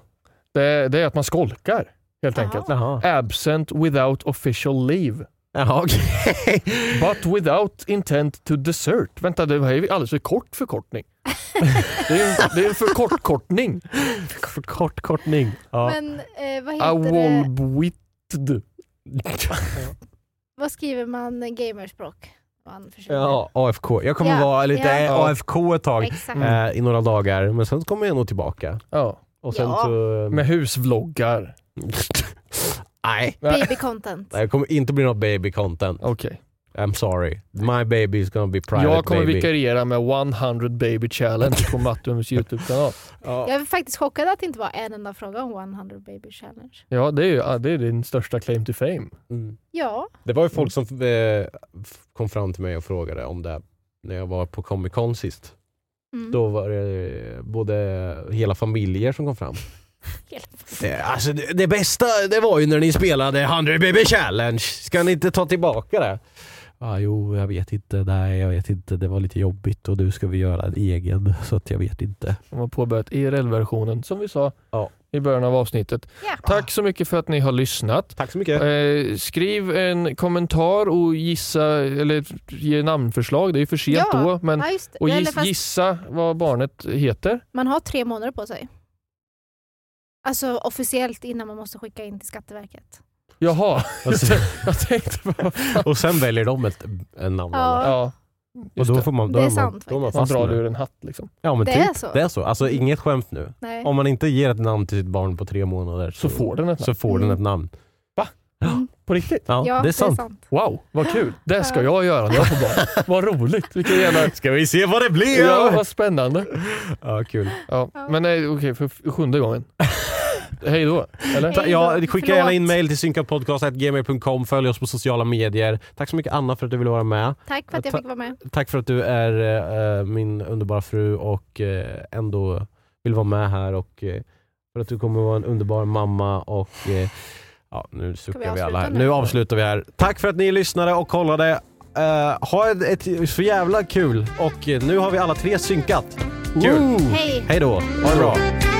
[SPEAKER 5] Det, det är att man skolkar, helt
[SPEAKER 6] Jaha.
[SPEAKER 5] enkelt.
[SPEAKER 4] Jaha.
[SPEAKER 5] Absent without official leave.
[SPEAKER 4] Jaha, okej.
[SPEAKER 5] But without intent to desert. Vänta, det här är ju alldeles för kort förkortning. det, är, en- det är en förkortkortning.
[SPEAKER 4] Förkortning. Ja.
[SPEAKER 6] Men eh, vad heter det?
[SPEAKER 5] Awolbwitd.
[SPEAKER 6] Vad skriver man gamerspråk? Man försvinner.
[SPEAKER 4] ja, AFK. Jag kommer
[SPEAKER 6] Ja,
[SPEAKER 4] vara lite
[SPEAKER 6] ja. Mm.
[SPEAKER 4] eh, AFK ett tag.
[SPEAKER 6] Exakt.
[SPEAKER 4] Eh, I några dagar. Men sen kommer jag nog tillbaka.
[SPEAKER 5] Ja.
[SPEAKER 4] Och sen
[SPEAKER 6] Ja.
[SPEAKER 4] så...
[SPEAKER 5] Med husvloggar.
[SPEAKER 4] Nej.
[SPEAKER 6] Baby content.
[SPEAKER 4] Det kommer inte bli något baby content.
[SPEAKER 5] Okej.
[SPEAKER 4] I'm sorry. My baby is gonna be private
[SPEAKER 5] Jag kommer
[SPEAKER 4] baby.
[SPEAKER 5] vikariera med 100 baby challenge på Mattums YouTube-kanal.
[SPEAKER 4] Ja.
[SPEAKER 6] Jag är faktiskt chockad att det inte var en enda fråga om 100 baby challenge.
[SPEAKER 5] Ja, det är, ju, ja, det är din största claim to fame.
[SPEAKER 4] Mm.
[SPEAKER 6] Ja,
[SPEAKER 4] Det var ju folk som eh, f- kom fram till mig och frågade om det när jag var på Comic Con sist.
[SPEAKER 6] Mm.
[SPEAKER 4] Då var det eh, både hela familjer som kom fram. Det, alltså, det, det bästa det var ju när ni spelade 100 baby challenge. Ska ni inte ta tillbaka det? Ah, jo, jag vet inte. Nej, jag vet inte. Det var lite jobbigt och du ska vi göra en egen så att jag vet inte.
[SPEAKER 5] De har påbörjat IRL-versionen, som vi sa
[SPEAKER 4] Ja.
[SPEAKER 5] i början av avsnittet.
[SPEAKER 6] Ja.
[SPEAKER 5] Tack så mycket för att ni har lyssnat.
[SPEAKER 4] Tack så mycket.
[SPEAKER 5] Eh, skriv en kommentar och gissa, eller ge namnförslag. Det är ju för sent
[SPEAKER 6] Ja.
[SPEAKER 5] då. Men,
[SPEAKER 6] ja just det.
[SPEAKER 5] och
[SPEAKER 6] Eller
[SPEAKER 5] giss,
[SPEAKER 6] fast
[SPEAKER 5] gissa vad barnet heter.
[SPEAKER 6] Man har tre månader på sig. Alltså officiellt innan man måste skicka in till Skatteverket.
[SPEAKER 5] Jaha,
[SPEAKER 4] Och sen,
[SPEAKER 5] jag tänkte bara...
[SPEAKER 4] och sen väljer de ett, en namn.
[SPEAKER 6] Ja.
[SPEAKER 5] Ja,
[SPEAKER 4] Och
[SPEAKER 5] just
[SPEAKER 4] då
[SPEAKER 5] det.
[SPEAKER 4] får man, då
[SPEAKER 6] Det är
[SPEAKER 4] är man,
[SPEAKER 6] sant
[SPEAKER 4] då är man
[SPEAKER 5] Man
[SPEAKER 4] fast
[SPEAKER 5] drar det
[SPEAKER 4] med.
[SPEAKER 5] ur en hatt liksom.
[SPEAKER 4] Ja, men
[SPEAKER 6] Det
[SPEAKER 4] typ.
[SPEAKER 6] är så.
[SPEAKER 4] Det är så. Alltså inget skämt nu.
[SPEAKER 6] Nej.
[SPEAKER 4] Om man inte ger ett namn till sitt barn på tre månader
[SPEAKER 5] Så får den ett namn.
[SPEAKER 4] så får den
[SPEAKER 6] Mm.
[SPEAKER 4] ett namn.
[SPEAKER 5] På riktigt?
[SPEAKER 4] Ja, det är sant.
[SPEAKER 5] Wow, vad kul. Det ska jag göra när jag får barn. vad roligt. Vilken jävla...
[SPEAKER 4] Ska vi se vad det blir?
[SPEAKER 5] Ja,
[SPEAKER 4] Ja,
[SPEAKER 5] vad spännande.
[SPEAKER 4] kul.
[SPEAKER 5] Ja.
[SPEAKER 6] Ja.
[SPEAKER 5] Men nej, okej, för f- sjunde gången. Hej då, eller?
[SPEAKER 4] Ta, ja, skicka
[SPEAKER 6] Förlåt.
[SPEAKER 4] gärna in mail till synkadpodcast.gmail.com. Följ oss på sociala medier. Tack så mycket Anna för att du ville vara med.
[SPEAKER 6] Tack för att jag fick vara med.
[SPEAKER 4] Tack för att du är eh, min underbara fru och eh, ändå vill vara med här och eh, för att du kommer vara en underbar mamma och eh, ja, nu
[SPEAKER 6] vi
[SPEAKER 4] suckar vi alla
[SPEAKER 6] avsluta
[SPEAKER 4] här.
[SPEAKER 6] nu?
[SPEAKER 4] Nu avslutar vi här. Tack för att ni lyssnade och kollade. Eh, ha ett, ett så jävla kul och eh, nu har vi alla tre synkat. Kul!
[SPEAKER 5] Woo!
[SPEAKER 6] Hej!
[SPEAKER 4] Hej då! Ha det bra!